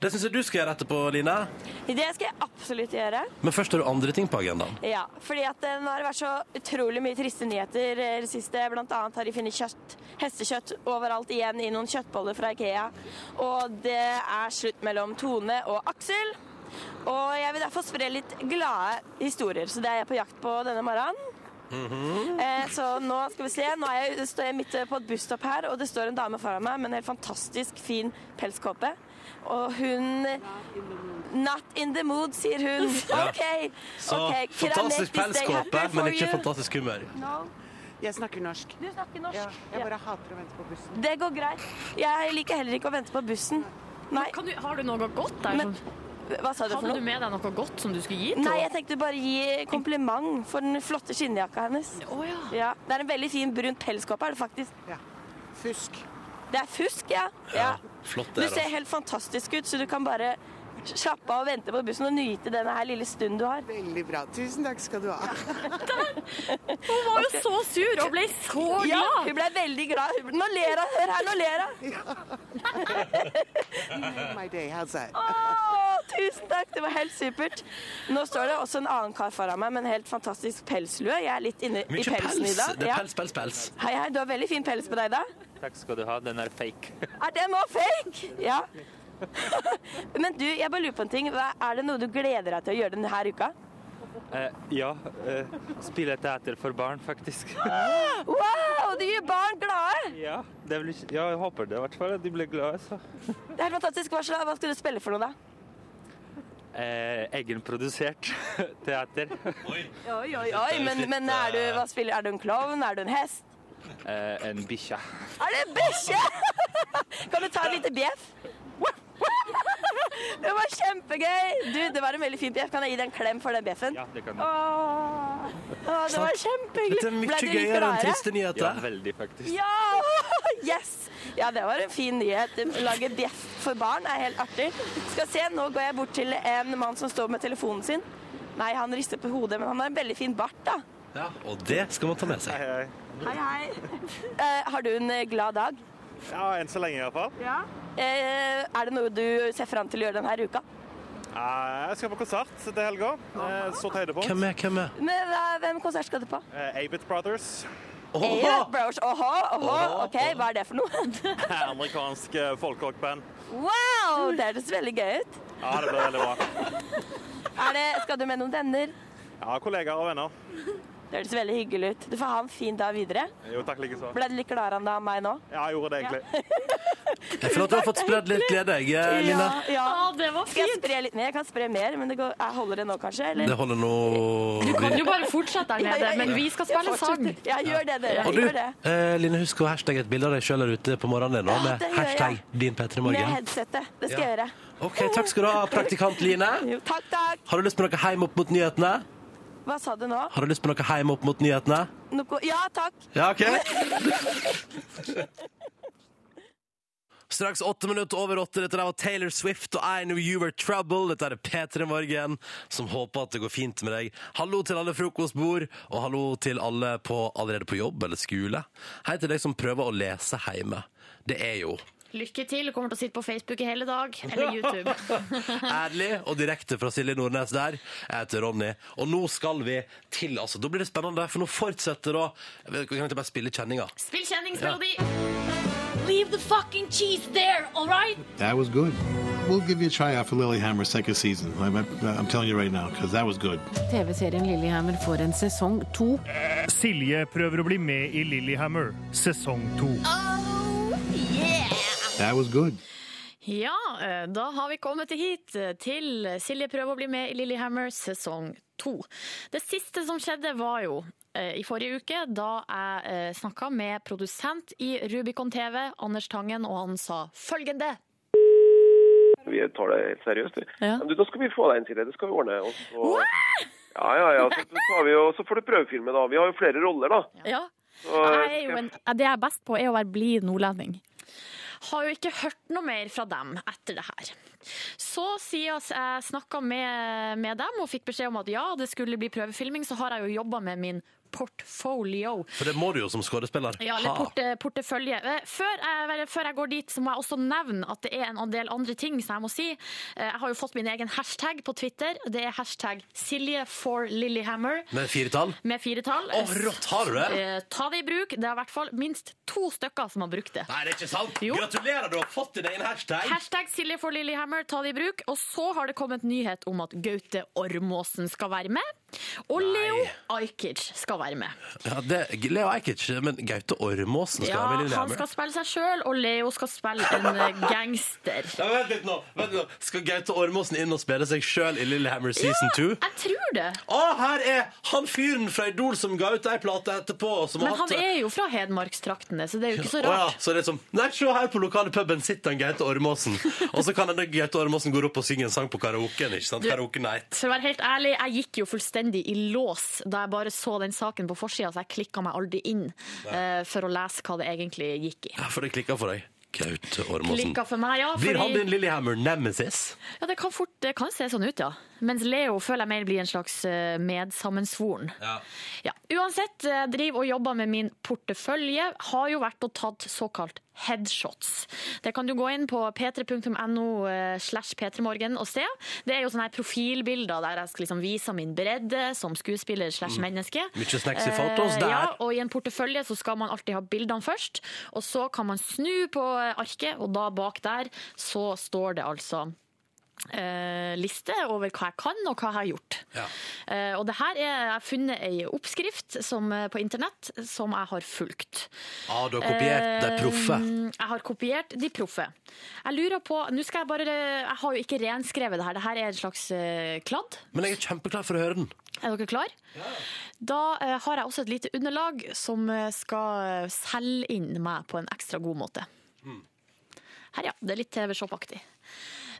[SPEAKER 2] Det syns jeg du skal gjøre etterpå, Line.
[SPEAKER 9] Det skal jeg absolutt gjøre.
[SPEAKER 2] Men først har du andre ting på agendaen.
[SPEAKER 9] Ja, fordi at eh, nå har det vært så utrolig mye triste nyheter eh, det siste. Blant annet har de funnet kjøtt, hestekjøtt overalt igjen i noen kjøttboller fra Ikea. Og det er slutt mellom Tone og Aksel. Og jeg vil derfor spre litt glade historier, så det er jeg på jakt på denne morgenen.
[SPEAKER 2] Mhm.
[SPEAKER 9] Eh, Så nå skal vi se. Nå er jeg, står jeg midt eh, på et busstopp her, og det står en dame foran meg med en helt fantastisk fin pelskåpe. Og hun Not in the mood, sier hun. OK.
[SPEAKER 2] Så
[SPEAKER 9] ok, can I
[SPEAKER 2] fantastisk
[SPEAKER 9] make this day
[SPEAKER 2] pelskåpe,
[SPEAKER 9] happy for
[SPEAKER 2] men ikke
[SPEAKER 9] you?
[SPEAKER 2] fantastisk humør.
[SPEAKER 10] Jeg snakker norsk.
[SPEAKER 9] Du snakker norsk.
[SPEAKER 10] Ja, jeg
[SPEAKER 9] Ja.
[SPEAKER 10] bare hater å vente på bussen.
[SPEAKER 9] Det går greit. Jeg liker heller ikke å vente på bussen. Nei.
[SPEAKER 4] Kan du, har du noe godt der?
[SPEAKER 9] Men-
[SPEAKER 4] som-
[SPEAKER 9] Hva sa du for
[SPEAKER 4] Hadde du
[SPEAKER 9] noe?
[SPEAKER 4] med deg noe godt som du skulle gi til
[SPEAKER 9] Nei, jeg tenkte bare gi kompliment for den flotte skinnjakka hennes.
[SPEAKER 4] Å ja.
[SPEAKER 9] Ja, Det er en veldig fin brun pelskåpe, er det faktisk.
[SPEAKER 10] Fusk.
[SPEAKER 9] Det er fusk, ja. ja.
[SPEAKER 2] Flott
[SPEAKER 9] Du
[SPEAKER 2] det, altså. da.
[SPEAKER 9] ser helt fantastisk ut, så du kan bare slappe av og vente på bussen og nyte denne her lille stunden du har.
[SPEAKER 10] Veldig bra. Tusen takk skal du ha.
[SPEAKER 4] Hun var jo så sur og ble så
[SPEAKER 9] Ja,
[SPEAKER 4] glad!
[SPEAKER 9] hun ble veldig glad. Hun- Nå ler hun. Hør her, nå ler hun.
[SPEAKER 10] My day, how's that?
[SPEAKER 9] Å, Tusen takk, det var helt supert. Nå står det også en annen kar foran meg med en helt fantastisk pelslue. Jeg er litt inne i
[SPEAKER 2] Mykje
[SPEAKER 9] pelsen i
[SPEAKER 2] pels!
[SPEAKER 9] dag.
[SPEAKER 2] Det er
[SPEAKER 9] Ja.
[SPEAKER 2] pels, pels, pels.
[SPEAKER 9] Hei, hei, du har veldig fin pels på deg i dag.
[SPEAKER 11] Takk skal du ha, den er fake.
[SPEAKER 9] Er den òg fake? Ja. Men du, jeg bare lurer på en ting. Hva- Er det noe du gleder deg til å gjøre denne uka?
[SPEAKER 11] Eh, ja, eh, spille teater for barn, faktisk.
[SPEAKER 9] Wow, du gjør barn glade!
[SPEAKER 11] ja, det blir, ja, jeg håper det i hvert fall, at de blir altså. glade. Så.
[SPEAKER 9] Det er helt fantastisk. Hva, slags, hva skal du spille for noe, da?
[SPEAKER 11] Eh, egenprodusert teater.
[SPEAKER 9] Oi, oi, oi, men, men er, du, hva spiller, er du en klovn? Er du en hest?
[SPEAKER 11] Eh, en bikkje.
[SPEAKER 9] Er det en bikkje? Kan du ta et lite bjeff? Det var kjempegøy! Du, det var en veldig fin bjeff. Kan jeg gi deg en klem for den bjeffen?
[SPEAKER 11] Ja, det kan du.
[SPEAKER 9] Åh, åh, det var kjempehyggelig. Ble
[SPEAKER 2] Dette er mye
[SPEAKER 9] du litt
[SPEAKER 2] gøyere enn
[SPEAKER 9] gladere?
[SPEAKER 2] triste
[SPEAKER 11] Ja,
[SPEAKER 2] nyheter.
[SPEAKER 11] veldig, faktisk.
[SPEAKER 9] Ja! Yes! Ja, det var en fin nyhet. Lage bjeff for barn er helt artig. Skal se, nå går jeg bort til en mann som står med telefonen sin. Nei, han rister på hodet, men han har en veldig fin bart, da.
[SPEAKER 2] Ja, og det skal man ta med seg.
[SPEAKER 9] Hei, hei. Eh, har du en eh, glad dag?
[SPEAKER 11] Ja, enn så lenge i hvert fall.
[SPEAKER 9] Eh, er det noe du ser fram til å gjøre denne uka?
[SPEAKER 11] Jeg skal på konsert til helga. Så til høydepunkt.
[SPEAKER 2] Hvem er, hvem er?
[SPEAKER 9] Men, eh, hvem konsert skal du på?
[SPEAKER 11] Abit Brothers.
[SPEAKER 2] Åh!
[SPEAKER 9] Eira Brothers. Åhå, åhå. OK, hva er det for noe?
[SPEAKER 11] Amerikansk eh, folkerockband.
[SPEAKER 9] Wow! Det hørtes veldig gøy ut.
[SPEAKER 11] Ja, det blir veldig bra.
[SPEAKER 9] Er det, skal du med noen venner?
[SPEAKER 11] Ja, kollegaer og venner.
[SPEAKER 9] Det hørtes veldig hyggelig ut. Du får ha en fin dag videre.
[SPEAKER 11] Jo, takk likeså.
[SPEAKER 9] Ble du litt gladere enn deg av meg nå?
[SPEAKER 11] Ja, jeg gjorde det egentlig.
[SPEAKER 2] Jeg føler at du har fått spredd litt glede, jeg, eh, Line.
[SPEAKER 9] Ja, ja.
[SPEAKER 4] Ja, det var
[SPEAKER 9] Skal jeg
[SPEAKER 4] fint!
[SPEAKER 9] spre litt mer? Jeg kan spre mer, men det går, jeg holder det nå, kanskje? Eller?
[SPEAKER 2] Det holder nå
[SPEAKER 4] Kan du bare fortsette der nede, men vi skal spille
[SPEAKER 9] Jeg fortsetter.
[SPEAKER 4] sang.
[SPEAKER 9] Ja, gjør det, dere.
[SPEAKER 2] Og du,
[SPEAKER 9] Gjør det.
[SPEAKER 2] eh, Line, husk å hashtagge et bilde av deg sjøl der ute på morgenen din nå,
[SPEAKER 9] Ja,
[SPEAKER 2] med
[SPEAKER 9] det gjør
[SPEAKER 2] hashtag
[SPEAKER 9] jeg.
[SPEAKER 2] din P3
[SPEAKER 9] Med
[SPEAKER 2] Morgen.
[SPEAKER 9] headsetet. Det skal
[SPEAKER 2] Ja.
[SPEAKER 9] jeg gjøre.
[SPEAKER 2] OK, takk skal du ha, praktikant Line.
[SPEAKER 9] Jo, takk, takk.
[SPEAKER 2] Har du lyst på noe heim opp mot nyhetene?
[SPEAKER 9] Hva sa du nå?
[SPEAKER 2] Har du lyst på noe heim opp mot nyhetene?
[SPEAKER 9] Noe? Ja, takk.
[SPEAKER 2] Ja, OK. Straks åtte minutter over åtte. Dette der var Taylor Swift og I Knew You Were Trouble. Dette er P3 Morgen, som håper at det går fint med deg. Hallo til alle frokostbord, og hallo til alle på, allerede på jobb eller skole. Hei til deg som prøver å lese hjemme. Det er jo
[SPEAKER 4] Lykke til. Kommer til å sitte på Facebook i hele dag. Eller YouTube.
[SPEAKER 2] Ærlig og direkte fra Silje Nordnes der. Jeg heter Ronny. Og nå skal vi til altså, Da blir det spennende, for nå fortsetter da Vi kan ikke bare spille kjenninga.
[SPEAKER 4] Spill kjenningsmelodi. Leave the fucking cheese there, all right?
[SPEAKER 12] That was good. We'll give you a tryout for Lilyhammer second season. I'm, I'm telling you right now, because that was good.
[SPEAKER 6] TV-serien Lillehammer får en sesong to.
[SPEAKER 11] Silje prøver å bli med i Lillehammer, sesong to.
[SPEAKER 12] That was good.
[SPEAKER 4] Ja, eh, da har vi kommet hit eh, til Silje prøver å bli med i Lillehammer sesong to. Det siste som skjedde var jo eh, i forrige uke, da jeg snakka med produsent i Rubicon TV, Anders Tangen, og han sa følgende.
[SPEAKER 11] Vi tar det helt seriøst. vi.
[SPEAKER 4] Ja.
[SPEAKER 11] Men Du, da skal vi få deg en, Silje. Det skal vi ordne. Og så, ja, ja, ja. Så, tar vi, og så får du prøvefilme, da. Vi har jo flere roller, da.
[SPEAKER 4] Ja.
[SPEAKER 11] Så,
[SPEAKER 4] Jeg er jo en, det jeg er best på, er å være blid nordlending. Har jo ikke hørt noe mer fra dem etter det her. Så siden jeg snakka med, med dem og fikk beskjed om at ja, det skulle bli prøvefilming, så har jeg jo jobba med min portfolio.
[SPEAKER 2] For det må du jo som skuespiller.
[SPEAKER 4] Ja, eller porte, portefølje. Eh, Før jeg, vel, før jeg går dit, så må jeg også nevne at det er en del andre ting som jeg må si. Eh, Jeg har jo fått min egen hashtag på Twitter. Det er hashtag Silje for Lillehammer
[SPEAKER 2] Med firetall.
[SPEAKER 4] med fire tall.
[SPEAKER 2] Å, rått! Har du det?
[SPEAKER 4] Eh, Ta det i bruk. Det er i hvert fall minst to stykker som har brukt det.
[SPEAKER 2] Nei, det er ikke sant!
[SPEAKER 4] Jo.
[SPEAKER 2] Gratulerer, du har fått i deg en hashtag!
[SPEAKER 4] Hashtag Silje for Lillehammer, ta det i bruk. Og så har det kommet nyhet om at Gaute Ormåsen skal være med. Og Leo Ajkic skal være med.
[SPEAKER 2] Ja, det, Leo Ajkic, men Gaute Ormåsen skal være
[SPEAKER 4] Ja,
[SPEAKER 2] med i
[SPEAKER 4] han
[SPEAKER 2] Lillehammer.
[SPEAKER 4] skal spille seg sjøl, og Leo skal spille en eh, gangster.
[SPEAKER 2] Ja, vent litt nå, vent litt nå. Skal Gaute Ormåsen inn og spille seg sjøl i Lillehammer season 2?
[SPEAKER 4] Jeg tror det.
[SPEAKER 2] Å, her er han fyren fra Idol som ga ut ei plate etterpå. Som
[SPEAKER 4] Men
[SPEAKER 2] har hatt-
[SPEAKER 4] han er jo fra Hedmarkstraktene, så det er jo ikke
[SPEAKER 2] Å
[SPEAKER 4] så
[SPEAKER 2] ja,
[SPEAKER 4] rart.
[SPEAKER 2] så det er som Nei, se her på lokale puben sitter han Gaute Ormåsen. Og så kan denne Gaute Ormåsen gå opp og synge en sang på karaoken. ikke sant? Karaoke night.
[SPEAKER 4] For å være helt ærlig, jeg gikk jo fullstendig i lås da jeg bare så den saken på forsida, så jeg klikka meg aldri inn eh, for å lese hva det egentlig gikk i.
[SPEAKER 2] Ja, for det klikka for deg. Gaute Ormåsen.
[SPEAKER 4] Klikka for meg, ja.
[SPEAKER 2] Blir han
[SPEAKER 4] fordi-
[SPEAKER 2] din Lillehammer nemesis?
[SPEAKER 4] Ja, det kan, fort, det kan se sånn ut, ja. Mens Leo føler jeg mer blir en slags eh, medsammensvoren.
[SPEAKER 2] Ja.
[SPEAKER 4] Ja, uansett, eh, driver og jobber med min portefølje. Har jo vært og tatt såkalt headshots. Det kan du gå inn på p3.no eh, slash p3morgen og se. Det er jo sånne her profilbilder der jeg skal liksom vise min bredde som skuespiller slash
[SPEAKER 2] Mm.
[SPEAKER 4] menneske.
[SPEAKER 2] Mye snacks i fotos
[SPEAKER 4] Eh,
[SPEAKER 2] der.
[SPEAKER 4] Ja, og i en portefølje så skal man alltid ha bildene først, og så kan man snu på eh, arket, og da bak der så står det altså eh, liste over hva jeg kan og hva jeg har gjort. Eh, og det her er jeg har funnet ei oppskrift som, eh, på internett som jeg har fulgt.
[SPEAKER 2] Ja, du har kopiert de proffe.
[SPEAKER 4] Eh, Jeg har kopiert de proffe. Jeg lurer på, nå skal jeg bare, jeg har jo ikke renskrevet det her, det her er en slags eh, kladd.
[SPEAKER 2] Men jeg er kjempeklar for å høre den.
[SPEAKER 4] Er dere klar? Da eh, har jeg også et lite underlag som eh, skal eh, selge inn meg på en ekstra god måte.
[SPEAKER 2] Mm.
[SPEAKER 4] Her, ja. Det er litt TV-shop-aktig.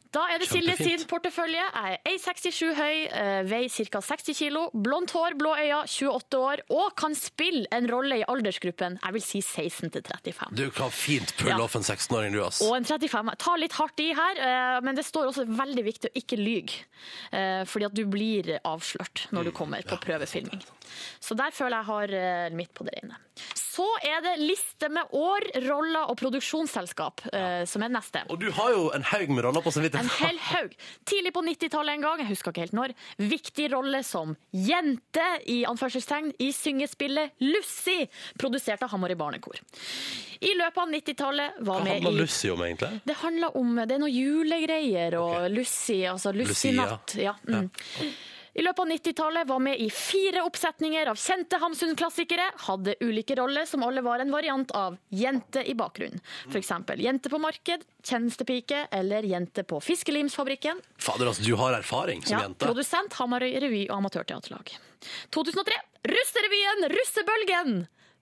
[SPEAKER 4] Da er det Silje
[SPEAKER 2] Kjempefint.
[SPEAKER 4] sin portefølje. Jeg er 1,67 høy, eh, veier ca. 60 kg, blondt hår, blå øyne, 28 år og kan spille en rolle i aldersgruppen jeg vil si 16 til 35.
[SPEAKER 2] Du kan fint pulle off en 16-åring, du, ass.
[SPEAKER 4] Og en 35. Ta litt hardt i her, eh, men det står også veldig viktig å ikke lyge. eh, Fordi at du blir avslørt når du
[SPEAKER 2] Mm,
[SPEAKER 4] kommer på prøvefilming. Så der føler jeg har eh, mitt på det rene. Så er det liste med år, roller og produksjonsselskap eh, som er neste.
[SPEAKER 2] Og du har jo en haug med roller på
[SPEAKER 4] En
[SPEAKER 2] samvittigheten.
[SPEAKER 4] hel haug. Tidlig på 90-tallet en gang, jeg husker ikke helt når, viktig rolle som jente i anførselstegn i syngespillet Lucy, produsert av Hamar i barnekor. I løpet av 90-tallet
[SPEAKER 2] Hva
[SPEAKER 4] var med
[SPEAKER 2] handler
[SPEAKER 4] i
[SPEAKER 2] Lucy om, egentlig?
[SPEAKER 4] det handler om Det er noen julegreier og Lucy, altså Lucy-natt.
[SPEAKER 2] Lucia.
[SPEAKER 4] Ja. Mm. I løpet av 90-tallet var med i fire oppsetninger av kjente Hamsun-klassikere. Hadde ulike roller som alle var en variant av jente i bakgrunnen. F.eks. jente på marked, tjenestepike eller jente på fiskelimsfabrikken.
[SPEAKER 2] Fader, altså, du har erfaring som
[SPEAKER 4] Ja,
[SPEAKER 2] jente.
[SPEAKER 4] Produsent Hamarøy revy og amatørteaterlag. 2003 Russerevyen! Russebølgen!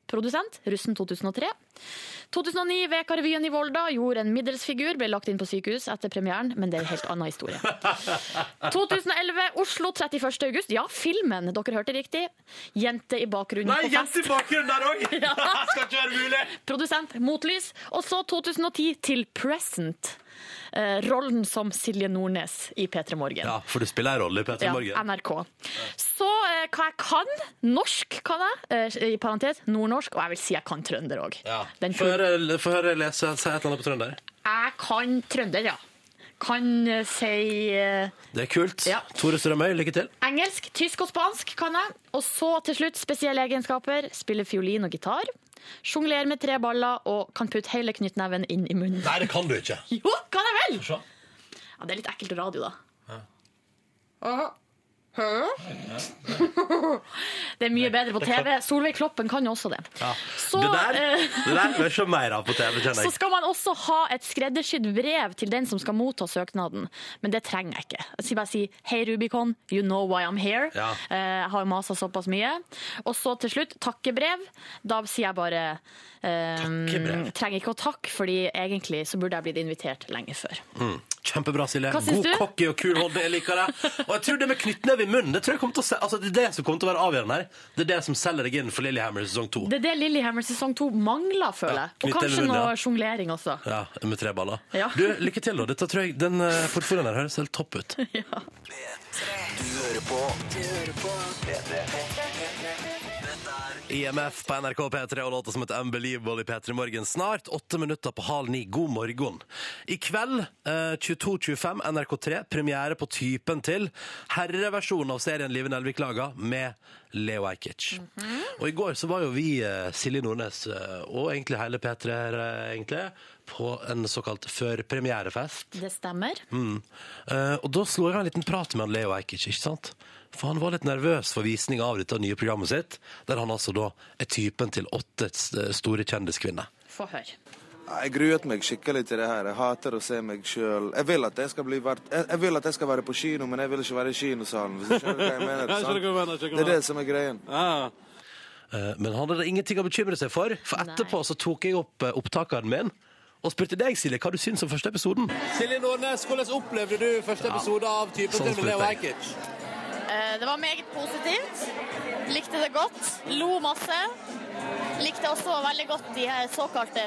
[SPEAKER 4] Produsent Russen 2003. 2009 Veka-revyen i Volda gjorde en middels figur, ble lagt inn på sykehus etter premieren, men det er en helt annen historie. 2011 Oslo 31. august. Ja, filmen, dere hørte riktig. Jente i bakgrunnen
[SPEAKER 2] Nei,
[SPEAKER 4] på fest.
[SPEAKER 2] jente i bakgrunnen der òg! Skal ikke være mulig!
[SPEAKER 4] Produsent Motlys. Og så 2010 til Present. Eh, rollen som Silje Nordnes i P3 Morgen.
[SPEAKER 2] Ja, for du spiller ei rolle i Petter
[SPEAKER 4] Ja,
[SPEAKER 2] Morgen.
[SPEAKER 4] NRK. Så eh, hva jeg kan Norsk kan jeg, eh, i parentes. Nordnorsk, og jeg vil si jeg kan trønder òg.
[SPEAKER 2] Ja.
[SPEAKER 4] Den
[SPEAKER 2] Få høre, få høre lese, si et eller annet på trønder.
[SPEAKER 4] Jeg kan trønder, ja. Kan eh, si eh,
[SPEAKER 2] Det er kult.
[SPEAKER 4] Ja.
[SPEAKER 2] Tore Strømøy, lykke til.
[SPEAKER 4] engelsk, tysk og spansk kan jeg. Og så til slutt spesielle egenskaper. Spiller fiolin og gitar. Sjonglerer med tre baller og kan putte hele knyttneven inn i munnen.
[SPEAKER 2] Nei, det kan du ikke.
[SPEAKER 4] Jo, kan jeg vel! Ja, det er litt ekkelt radio, da.
[SPEAKER 2] Ja.
[SPEAKER 4] Aha. Hæ? Det er mye bedre på TV. Solveig Kloppen kan jo også det.
[SPEAKER 2] Ja.
[SPEAKER 4] Så,
[SPEAKER 2] det der
[SPEAKER 4] eh,
[SPEAKER 2] det der vil jeg se mer av på TV, kjenner
[SPEAKER 4] Så
[SPEAKER 2] jeg.
[SPEAKER 4] skal man også ha et skreddersydd brev til den som skal motta søknaden, men det trenger jeg ikke. Jeg skal bare si 'Hei, Rubicon, you know why I'm here'.
[SPEAKER 2] Ja.
[SPEAKER 4] Eh, Jeg har jo masa såpass mye. Og så til slutt takkebrev. Da sier jeg bare eh,
[SPEAKER 2] Takkebrev.
[SPEAKER 4] Trenger ikke å takke, fordi egentlig så burde jeg blitt invitert lenge før.
[SPEAKER 2] Mm. Kjempebra, Silje.
[SPEAKER 4] Hva syns
[SPEAKER 2] God
[SPEAKER 4] du?
[SPEAKER 2] cocky og kul holdning. Jeg liker det. Og jeg tror det med knyttneve i munnen Det tror jeg kommer til å se, altså det er det som kommer til å være avgjørende her. Det er det som selger deg inn for Lillehammer i sesong to.
[SPEAKER 4] Det er det Lillehammer sesong to mangler, føler jeg.
[SPEAKER 2] Ja,
[SPEAKER 4] Og
[SPEAKER 2] knytt
[SPEAKER 4] kanskje
[SPEAKER 2] den i munnen, ja.
[SPEAKER 4] noe sjonglering også.
[SPEAKER 2] Ja, med tre baller.
[SPEAKER 4] Ja.
[SPEAKER 2] Du, lykke til, da. Dette tror jeg, Den eh, portfolioen her høres helt topp ut.
[SPEAKER 13] Du hører på Du hører på P3
[SPEAKER 2] IMF på NRK P3 og låta som et Unbelievable i P3 Morgen. Snart åtte minutter på halv ni. God morgen. I kveld, eh, 22.25, NRK3, premiere på typen til herreversjonen av serien Live Nelvik laga med Leo Ajkic. Og i går så var jo vi, eh, Silje Nordnes, eh, og egentlig hele P3, eh, egentlig, på en såkalt førpremierefest.
[SPEAKER 4] Det stemmer.
[SPEAKER 2] Mm. Eh, og da slo jeg av en liten prat med han Leo Ajkic, ikke sant? For han var litt nervøs for visning av dette nye programmet sitt, der han altså da er typen til åtte s- eh, store kjendiskvinner.
[SPEAKER 4] Få høre.
[SPEAKER 14] Jeg gruet meg skikkelig til det her. Jeg hater å se meg sjøl. Jeg vil at jeg skal bli vært... jeg, jeg vil at jeg skal være på kino, men jeg vil ikke være i kinosalen. Hvis du skjønner hva jeg mener.
[SPEAKER 2] Jeg skjønner hva du mener, jeg
[SPEAKER 14] sant?
[SPEAKER 2] skjønner
[SPEAKER 14] Det er
[SPEAKER 2] hva-
[SPEAKER 14] det som er greien.
[SPEAKER 2] Eh, men han hadde ingenting å bekymre seg for, for etterpå så tok jeg opp eh, opptakeren min og spurte deg, Silje, hva du syns om første episoden.
[SPEAKER 15] Silje Nordnes, hvordan opplevde du første episode av Typen
[SPEAKER 2] Sånn
[SPEAKER 15] til med Leo
[SPEAKER 2] spurte jeg.
[SPEAKER 15] Ajkic?
[SPEAKER 16] Eh, Det var meget positivt. Likte det godt. Lo masse. Likte også veldig godt de her såkalte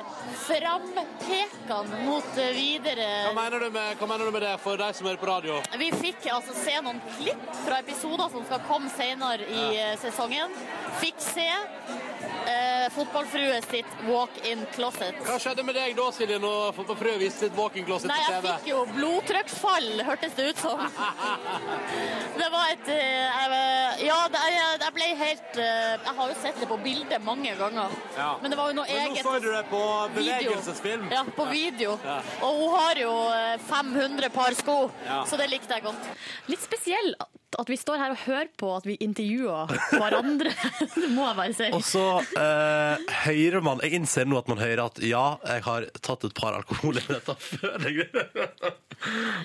[SPEAKER 16] frampekene mot eh, videre
[SPEAKER 15] Hva mener, du med, hva mener du med det for deg som hører på radio?
[SPEAKER 16] Vi fikk altså se noen klipp fra episoder som skal komme senere i eh, sesongen. Fikk se eh, fotballfrue sitt walk-in closet.
[SPEAKER 15] Hva skjedde med deg da, Silje, når fotballfrue viste sitt walking-closet
[SPEAKER 16] Nei,
[SPEAKER 15] på
[SPEAKER 16] jeg
[SPEAKER 15] TV?
[SPEAKER 16] fikk jo blodtrykksfall, hørtes det ut som. Det var et eh, jeg- Ja, det- jeg jeg ble helt eh, Jeg har jo sett det på bildet mange ganger.
[SPEAKER 15] Ja.
[SPEAKER 16] Men det var jo noe
[SPEAKER 15] Men
[SPEAKER 16] eget
[SPEAKER 15] nå får du det på
[SPEAKER 16] video.
[SPEAKER 15] bevegelsesfilm.
[SPEAKER 16] Ja, på video.
[SPEAKER 15] Ja.
[SPEAKER 16] Og hun har jo eh, 500 par sko,
[SPEAKER 15] Ja.
[SPEAKER 16] så det likte jeg godt.
[SPEAKER 4] Litt spesiell at- at vi står her og hører på at vi intervjuer hverandre. det må jeg bare si.
[SPEAKER 2] Og så eh, hører man Jeg innser nå at man hører at ja, jeg har tatt et par alkoholenheter før. jeg-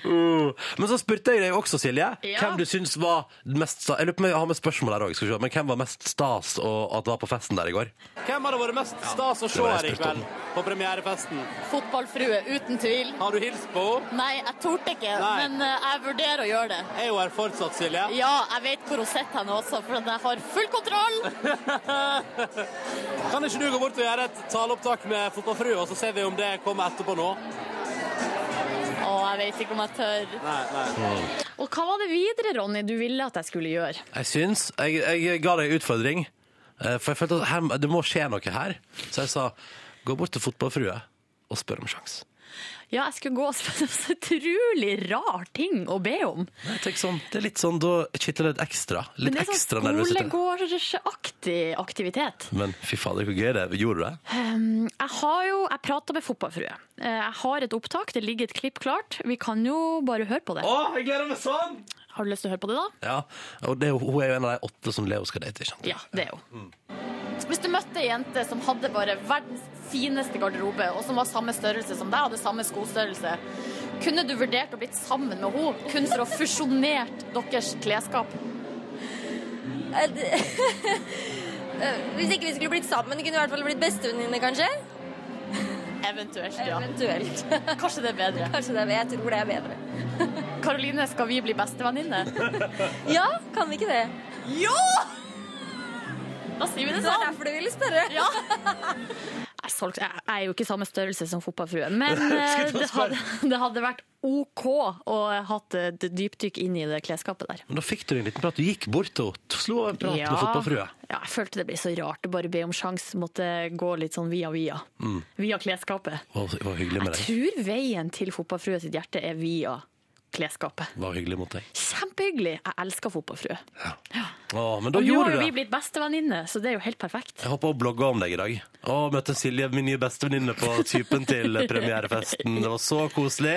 [SPEAKER 2] uh. Men så spurte jeg deg også, Silje,
[SPEAKER 17] Ja.
[SPEAKER 2] hvem du syns var mest stas Jeg lurer på om jeg har med spørsmål der òg, skal vi se. Men hvem var mest stas og at det var på festen der i går?
[SPEAKER 15] Hvem hadde vært mest stas å
[SPEAKER 2] det
[SPEAKER 15] se
[SPEAKER 2] var
[SPEAKER 15] her i
[SPEAKER 2] jeg spurt om.
[SPEAKER 15] kveld på premierefesten?
[SPEAKER 16] Fotballfrue, uten tvil.
[SPEAKER 15] Har du hilst på henne?
[SPEAKER 16] Nei, jeg torde ikke,
[SPEAKER 15] Nei.
[SPEAKER 16] men eh, jeg vurderer å gjøre det.
[SPEAKER 15] Er hun her fortsatt, Silje?
[SPEAKER 16] Ja, jeg vet hvor hun sitter henne også, for jeg har full kontroll.
[SPEAKER 15] Kan ikke du gå bort og gjøre et taleopptak med fotballfrue, og så ser vi om det kommer etterpå nå?
[SPEAKER 16] Å, jeg vet ikke om jeg tør.
[SPEAKER 15] Nei, nei.
[SPEAKER 4] Mm. Og hva var det videre, Ronny, du ville at jeg skulle gjøre?
[SPEAKER 2] Jeg syns Jeg, jeg ga deg en utfordring, eh, for jeg følte at her, det må skje noe her. Så jeg sa gå bort til fotballfrue og spør om sjans.
[SPEAKER 4] Ja, jeg skulle gå og spørre om så utrolig rar ting å be om.
[SPEAKER 2] Jeg tenker sånn, det er litt sånn, Da kitler det litt ekstra. Litt
[SPEAKER 4] Men det er
[SPEAKER 2] ekstra
[SPEAKER 4] sånn
[SPEAKER 2] nervøsitet.
[SPEAKER 4] skolegårdsaktig aktivitet.
[SPEAKER 2] Men fy fader, hvor gøy det er. Gjorde du det?
[SPEAKER 4] Um, jeg har jo, jeg prater med fotballfrue. Eh, Jeg har et opptak, det ligger et klipp klart. Vi kan jo bare høre på det.
[SPEAKER 15] jeg gleder meg sånn!
[SPEAKER 4] Har du lyst til å høre på det da?
[SPEAKER 2] Ja, og det, er jo- hun er jo en av de åtte som Leo skal date, ikke sant?
[SPEAKER 4] Ja, det er jo.
[SPEAKER 16] Mm. Hvis du møtte ei jente som hadde bare verdens fineste garderobe, og som var samme størrelse som deg, hadde samme skostørrelse, kunne du vurdert å blitt sammen med henne kun for å fusjonert deres klesskap?
[SPEAKER 18] Eh, det- Eh, Hvis ikke vi skulle blitt sammen, kunne vi i hvert fall blitt bestevenninner, kanskje?
[SPEAKER 16] Eventuelt, ja.
[SPEAKER 18] Eventuelt.
[SPEAKER 16] Kanskje det er bedre.
[SPEAKER 9] Altså,
[SPEAKER 18] Kanskje det er Jeg tror det er bedre.
[SPEAKER 4] Karoline, skal vi bli bestevenninne?
[SPEAKER 18] Ja, kan vi ikke det? Jo!
[SPEAKER 4] Da sier vi det
[SPEAKER 18] Det var
[SPEAKER 4] sånn.
[SPEAKER 18] derfor du ville spørre. Ja.
[SPEAKER 4] Jeg solg- jeg er jo ikke samme størrelse som fotballfrue, men eh,
[SPEAKER 18] Skulle til å
[SPEAKER 4] det hadde, det hadde vært OK å hatt et dypdykk inn i det klesskapet der.
[SPEAKER 2] Men da fikk du en liten prat. Du gikk bort og t- slo av en prat med fotballfrue.
[SPEAKER 4] ja, jeg følte det ble så rart å bare be om sjans, måtte gå litt sånn via via.
[SPEAKER 2] Mm.
[SPEAKER 4] Via klesskapet.
[SPEAKER 2] Var, var hyggelig med
[SPEAKER 4] Jeg
[SPEAKER 2] deg.
[SPEAKER 4] tror veien til fotballfrue sitt hjerte er via klesskapet.
[SPEAKER 2] Var hyggelig mot deg.
[SPEAKER 4] Kjempehyggelig! Jeg elsker fotballfrue.
[SPEAKER 2] Å, men da
[SPEAKER 4] Og nå har
[SPEAKER 2] gjorde
[SPEAKER 4] jo
[SPEAKER 2] du
[SPEAKER 4] vi
[SPEAKER 2] det.
[SPEAKER 4] blitt bestevenninner, så det er jo helt perfekt.
[SPEAKER 2] Jeg håper hun blogga om deg i dag. Å, møtte Silje, min nye bestevenninne, på typen til premierefesten. Det var så koselig.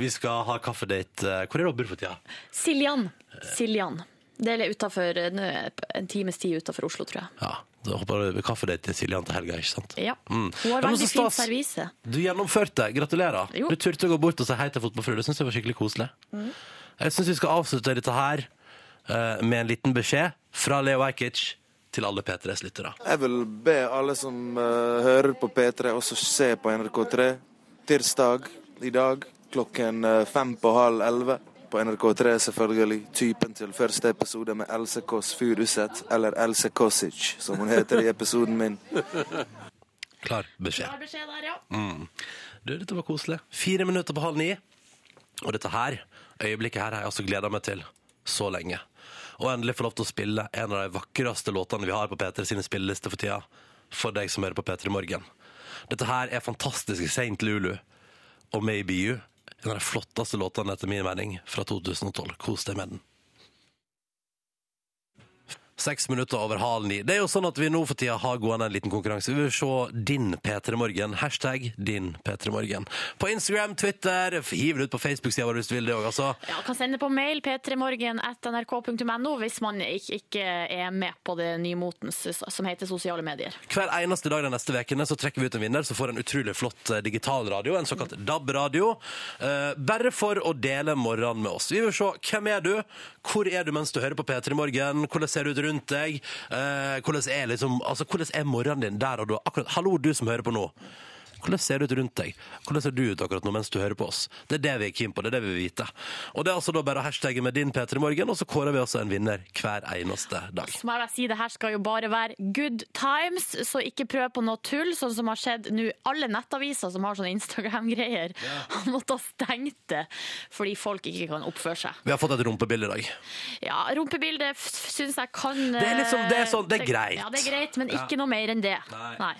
[SPEAKER 2] Vi skal ha kaffedate. Hvor er det hun bor for tida?
[SPEAKER 4] Siljan. Siljan. Det er utenfor, eh, nå er det en times tid utafor Oslo, tror jeg.
[SPEAKER 2] Ja, da håper jeg kaffedate til Siljan til helga, ikke sant?
[SPEAKER 4] Ja.
[SPEAKER 2] Mm.
[SPEAKER 4] Hun har
[SPEAKER 2] Ja, men
[SPEAKER 4] veldig
[SPEAKER 2] så
[SPEAKER 4] fint
[SPEAKER 2] stas.
[SPEAKER 4] servise.
[SPEAKER 2] Du gjennomførte. Gratulerer.
[SPEAKER 4] Jo.
[SPEAKER 2] Du turte å gå bort og si hei til fotballfrue. Det syns jeg var skikkelig koselig. Jeg syns vi skal avslutte dette her eh, med en liten beskjed fra Leo Ajkic til alle P3s lyttere.
[SPEAKER 14] Jeg vil be alle som eh, hører på P3, også se på NRK3 tirsdag i dag klokken eh, fem på halv elleve. På NRK3 selvfølgelig. Typen til første episode med Else Kåss Furuseth, eller Else Kåssic, som hun heter i episoden min.
[SPEAKER 2] Klar beskjed.
[SPEAKER 4] Klar beskjed der, ja.
[SPEAKER 2] Mm. Du, dette var koselig. Fire minutter på halv ni. Og dette her, øyeblikket her, har jeg altså gleda meg til så lenge. Og endelig få lov til å spille en av de vakreste låtene vi har på P3 sine spillelister for tida. For deg som hører på P3 Morgen. Dette her er fantastiske Saint Lulu og Maybe You. En av de flotteste låtene etter min mening fra 2012. Kos deg med den. Seks minutter over halv ni. Det er jo sånn at vi nå for tida har gående en liten konkurranse. Vi vil se din P3morgen. Hashtag din P3morgen. På Instagram, Twitter, hiv det ut på Facebook-sida vår hvis du vil det òg, altså.
[SPEAKER 4] Ja, kan sende på mail p3morgen.nrk.no hvis man ikke, ikke er med på det nymotens som heter sosiale medier.
[SPEAKER 2] Hver eneste dag de neste vekene så trekker vi ut en vinner som får en utrolig flott eh, digital radio, en såkalt DAB-radio, eh, bare for å dele morgenen med oss. Vi vil se hvem er du, hvor er du mens du hører på P3 Morgen, hvordan ser du ut rundt deg, eh, hvordan er, liksom, altså, hvordan er morgenen din der og da? Akkurat, hallo du som hører på nå. Hvordan ser det ut rundt deg? Hvordan ser du ut akkurat nå mens du hører på oss? Det er det vi er keen på, det er det vi vil vite. Og det er altså da bare hashtaggen med din P3 Morgen, og så kårer vi altså en vinner hver eneste dag.
[SPEAKER 4] Så må jeg bare si, det her skal jo bare være good times, så ikke prøv på noe tull, sånn som har skjedd nå. Alle nettaviser som har sånne Instagram-greier, har måttet ha stengt det fordi folk ikke kan oppføre seg.
[SPEAKER 2] Vi har ffått et rumpebilde i dag.
[SPEAKER 4] Ja, rumpebildet syns jeg kan
[SPEAKER 2] Det er liksom- det er sånn- det er greit.
[SPEAKER 4] Ja, det er greit, men ikke
[SPEAKER 2] Ja.
[SPEAKER 4] noe mer enn det.
[SPEAKER 2] Nei.
[SPEAKER 4] Nei.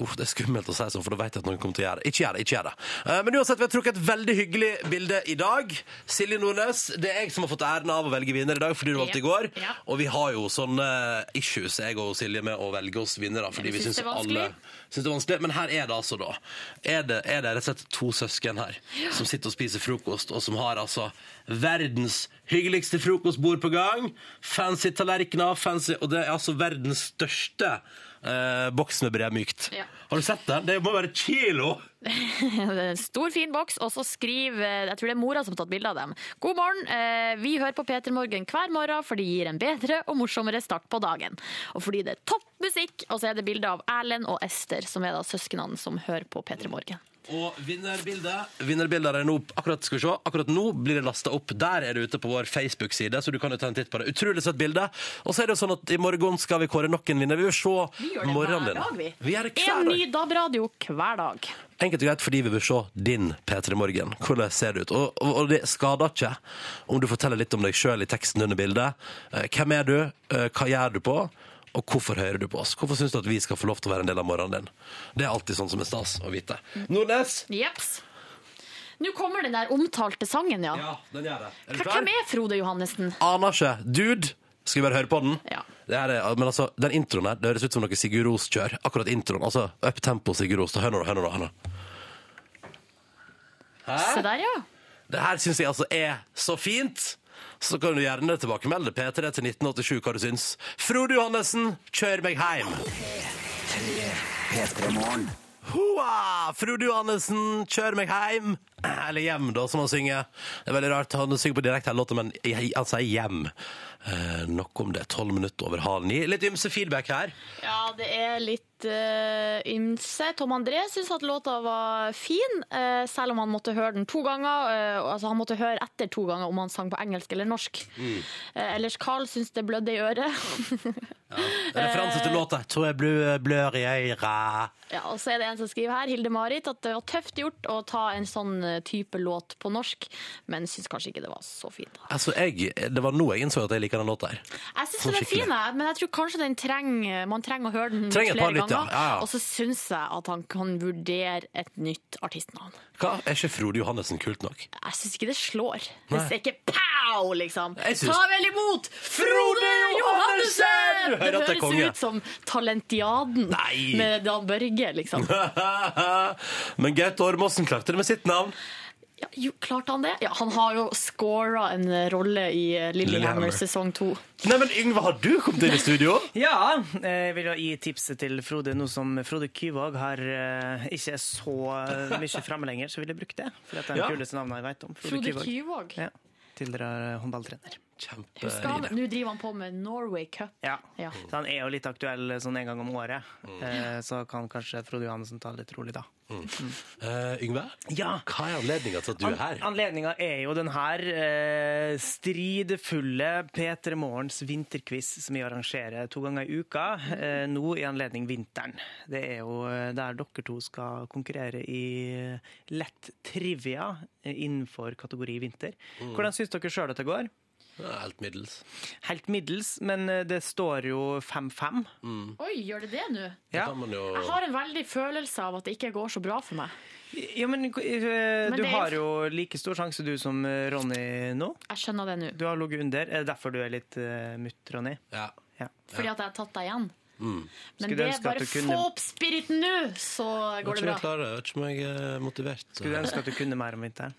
[SPEAKER 2] Uff, det er skummelt å si sånn, for da vet jeg at noen kommer til å gjøre det. Ikke gjør det, ikke gjør det. Eh, Men uansett, vi har trukket et veldig hyggelig bilde i dag. Silje Nordnes, det er jeg som har fått æren av å velge vinner i dag, fordi du valgte i går.
[SPEAKER 13] Ja.
[SPEAKER 2] Og vi har jo sånne issues, jeg og Silje, med å velge oss vinnere, fordi
[SPEAKER 13] Ja, vi
[SPEAKER 2] vi
[SPEAKER 13] synes
[SPEAKER 2] syns
[SPEAKER 13] det er vanskelig.
[SPEAKER 2] alle syns det er vanskelig. Men her er det altså, da. Er det, er det rett og slett to søsken her som sitter og spiser frokost, og som har altså verdens hyggeligste frokostbord på gang? Fancy tallerkener, fancy Og det er altså verdens største eh, boks med bremykt.
[SPEAKER 4] Ja.
[SPEAKER 2] Har du sett den? Det må være kilo!
[SPEAKER 4] Det er en stor, fin boks, og så skriver eh, Jeg tror det er mora som har tatt bilde av dem. God morgen. eh, Vi hører på Peter Morgen hver morgen, for det gir en bedre og morsommere start på dagen. Og fordi det er topp musikk, og så er det bilde av Erlend og Ester, som er da søsknene som hører på Peter Morgen.
[SPEAKER 2] Og vinnerbildet Vinnerbilder er nå akkurat, skal vi se, akkurat nå blir det lasta opp. Der er det ute på vår Facebook-side, så du kan jo ta en titt på det. Utrolig søtt bilde. Og så er det jo sånn at i morgen skal vi kåre nok en vinner. Vi vil se morgenen din. Vi gjør det hver dag.
[SPEAKER 4] En ny DAB-radio hver dag.
[SPEAKER 2] Enkelt og greit fordi vi vil se din P3 Morgen. Hvordan ser det ut? Og, og, og det skader ikke om du forteller litt om deg sjøl i teksten under bildet. Eh, Hvem er du? Eh, Hva gjør du på? Og hvorfor hører du på oss? Hvorfor syns du at vi skal få lov til å være en del av morgenen din? Det er alltid sånn som er stas å vite. Nordnes!
[SPEAKER 4] Jeps. Nå kommer den der omtalte sangen, ja.
[SPEAKER 2] Den gjør det. Er du klar?
[SPEAKER 4] Hvem er Frode Johannessen?
[SPEAKER 2] Aner ikke. Dude, skal vi bare høre på den? Det her er, men altså, den introen her, det høres ut som noe Sigurd Ros kjør. Akkurat introen. Altså, up tempo Sigurd Ros. Da, Hør nå, da, hør nå. da, Hør nå.
[SPEAKER 4] Se der, ja.
[SPEAKER 2] Det her syns jeg altså er så fint. Så kan du gjerne tilbakemelde P3 til 1987 hva du syns. Frode Johannessen, kjør meg heim! Hoa! Frode Johannessen, kjør meg heim! Eller hjem, da, som han synger. Det er veldig rart. Han synger på direkte hele låta, men jeg- han sier hjem. Eh, nok om det. Tolv minutter over halv ni. Litt ymse feedback her.
[SPEAKER 4] Ja, det er litt eh, ymse. Tom André syns at låta var fin, eh, selv om han måtte høre den to ganger. eh, og- altså, han måtte høre etter to ganger om han sang på engelsk eller norsk.
[SPEAKER 2] Mm.
[SPEAKER 4] Eh, ellers Carl syns det blødde i øret.
[SPEAKER 2] Referanse
[SPEAKER 4] Eh.
[SPEAKER 2] til låta 'Tror jeg blø- blør i øyra'.
[SPEAKER 4] ja, og så er det en som skriver her, Hilde-Marit, at det var tøft gjort å ta en sånn eh, type låt på norsk, men syns kanskje ikke det var så fint. da.
[SPEAKER 2] Altså, jeg, det var nå jeg innså at jeg liker den låta her.
[SPEAKER 4] Jeg syns
[SPEAKER 2] Sånn
[SPEAKER 4] den er
[SPEAKER 2] skikkelig.
[SPEAKER 4] fin, jeg, men jeg tror kanskje den trenger, man trenger å høre den
[SPEAKER 2] Trenger et
[SPEAKER 4] flere
[SPEAKER 2] par lytt, ja.
[SPEAKER 4] ganger.
[SPEAKER 2] Ja, ja.
[SPEAKER 4] Og så syns jeg at han kan vurdere et nytt artistnavn.
[SPEAKER 2] Hva? Er ikke Frode Johannessen kult nok?
[SPEAKER 4] Jeg syns ikke det slår.
[SPEAKER 2] Nei.
[SPEAKER 4] Det er ikke pow, liksom.
[SPEAKER 2] Jeg syns-
[SPEAKER 4] Ta vel imot Frode
[SPEAKER 13] Frode
[SPEAKER 4] Johannessen!
[SPEAKER 13] Johannessen!
[SPEAKER 4] Det
[SPEAKER 2] Hører at det er
[SPEAKER 4] høres
[SPEAKER 2] konge.
[SPEAKER 4] ut som Talentiaden
[SPEAKER 2] Nei.
[SPEAKER 4] med Dan Børge, liksom.
[SPEAKER 2] Men Gaute Ormåsen klarte det med sitt navn.
[SPEAKER 4] Ja, jo, klarte han det? Ja, han har jo scora en eh, rolle i eh,
[SPEAKER 2] Lillehammer.
[SPEAKER 4] Lillehammer sesong to.
[SPEAKER 2] Nei, men Yngve, har du kommet inn i studio?
[SPEAKER 3] Ja, jeg vil jo gi tipset til Frode, nå som Frode Kyvåg har eh, ikke så eh, mye framme lenger, så vil jeg bruke det. For dette er det
[SPEAKER 4] Ja.
[SPEAKER 3] kuleste navnet jeg vet om.
[SPEAKER 4] Frode Kyvåg.
[SPEAKER 3] Ja, Tidligere håndballtrener.
[SPEAKER 4] Husker han, Nå driver han på med Norway Cup.
[SPEAKER 3] Ja.
[SPEAKER 4] Ja.
[SPEAKER 3] Så han er jo litt aktuell sånn en gang om året, eh, så kan kanskje Frode Johannessen ta det litt rolig da.
[SPEAKER 2] Eh, Yngve, hva er anledninga til at du er her?
[SPEAKER 3] Anledninga er jo den her eh, stridefulle P3 Morgens vinterquiz som vi arrangerer to ganger i uka, eh, nå i anledning vinteren. Det er jo eh, der dere to skal konkurrere i eh, lett trivia eh, innenfor kategori vinter.
[SPEAKER 2] Mm.
[SPEAKER 3] Hvordan syns dere sjøl at det går?
[SPEAKER 2] Det er Helt middels.
[SPEAKER 3] Helt middels, men eh, det står jo 5-5.
[SPEAKER 2] Mm.
[SPEAKER 4] Oi, gjør det det nå?
[SPEAKER 3] Ja.
[SPEAKER 4] Jeg har en veldig følelse av at det ikke går så bra for meg.
[SPEAKER 3] Ja, men, eh,
[SPEAKER 4] Men
[SPEAKER 3] du
[SPEAKER 4] det er jo-
[SPEAKER 3] har jo like stor sjanse du som eh, Ronny nå.
[SPEAKER 4] Jeg skjønner det nå.
[SPEAKER 3] Du har ligget under. Er det derfor du er litt uh, mutt, Ronny?
[SPEAKER 2] Ja.
[SPEAKER 4] Fordi at jeg har tatt deg igjen.
[SPEAKER 2] Mm.
[SPEAKER 4] Men det er bare få opp spiriten nå, så
[SPEAKER 2] Jeg vet
[SPEAKER 4] går det
[SPEAKER 2] ikke om jeg
[SPEAKER 4] bra.
[SPEAKER 2] klarer det. Jeg vet ikke om jeg er motivert.
[SPEAKER 3] Skulle du ønske at du kunne mer om vinteren?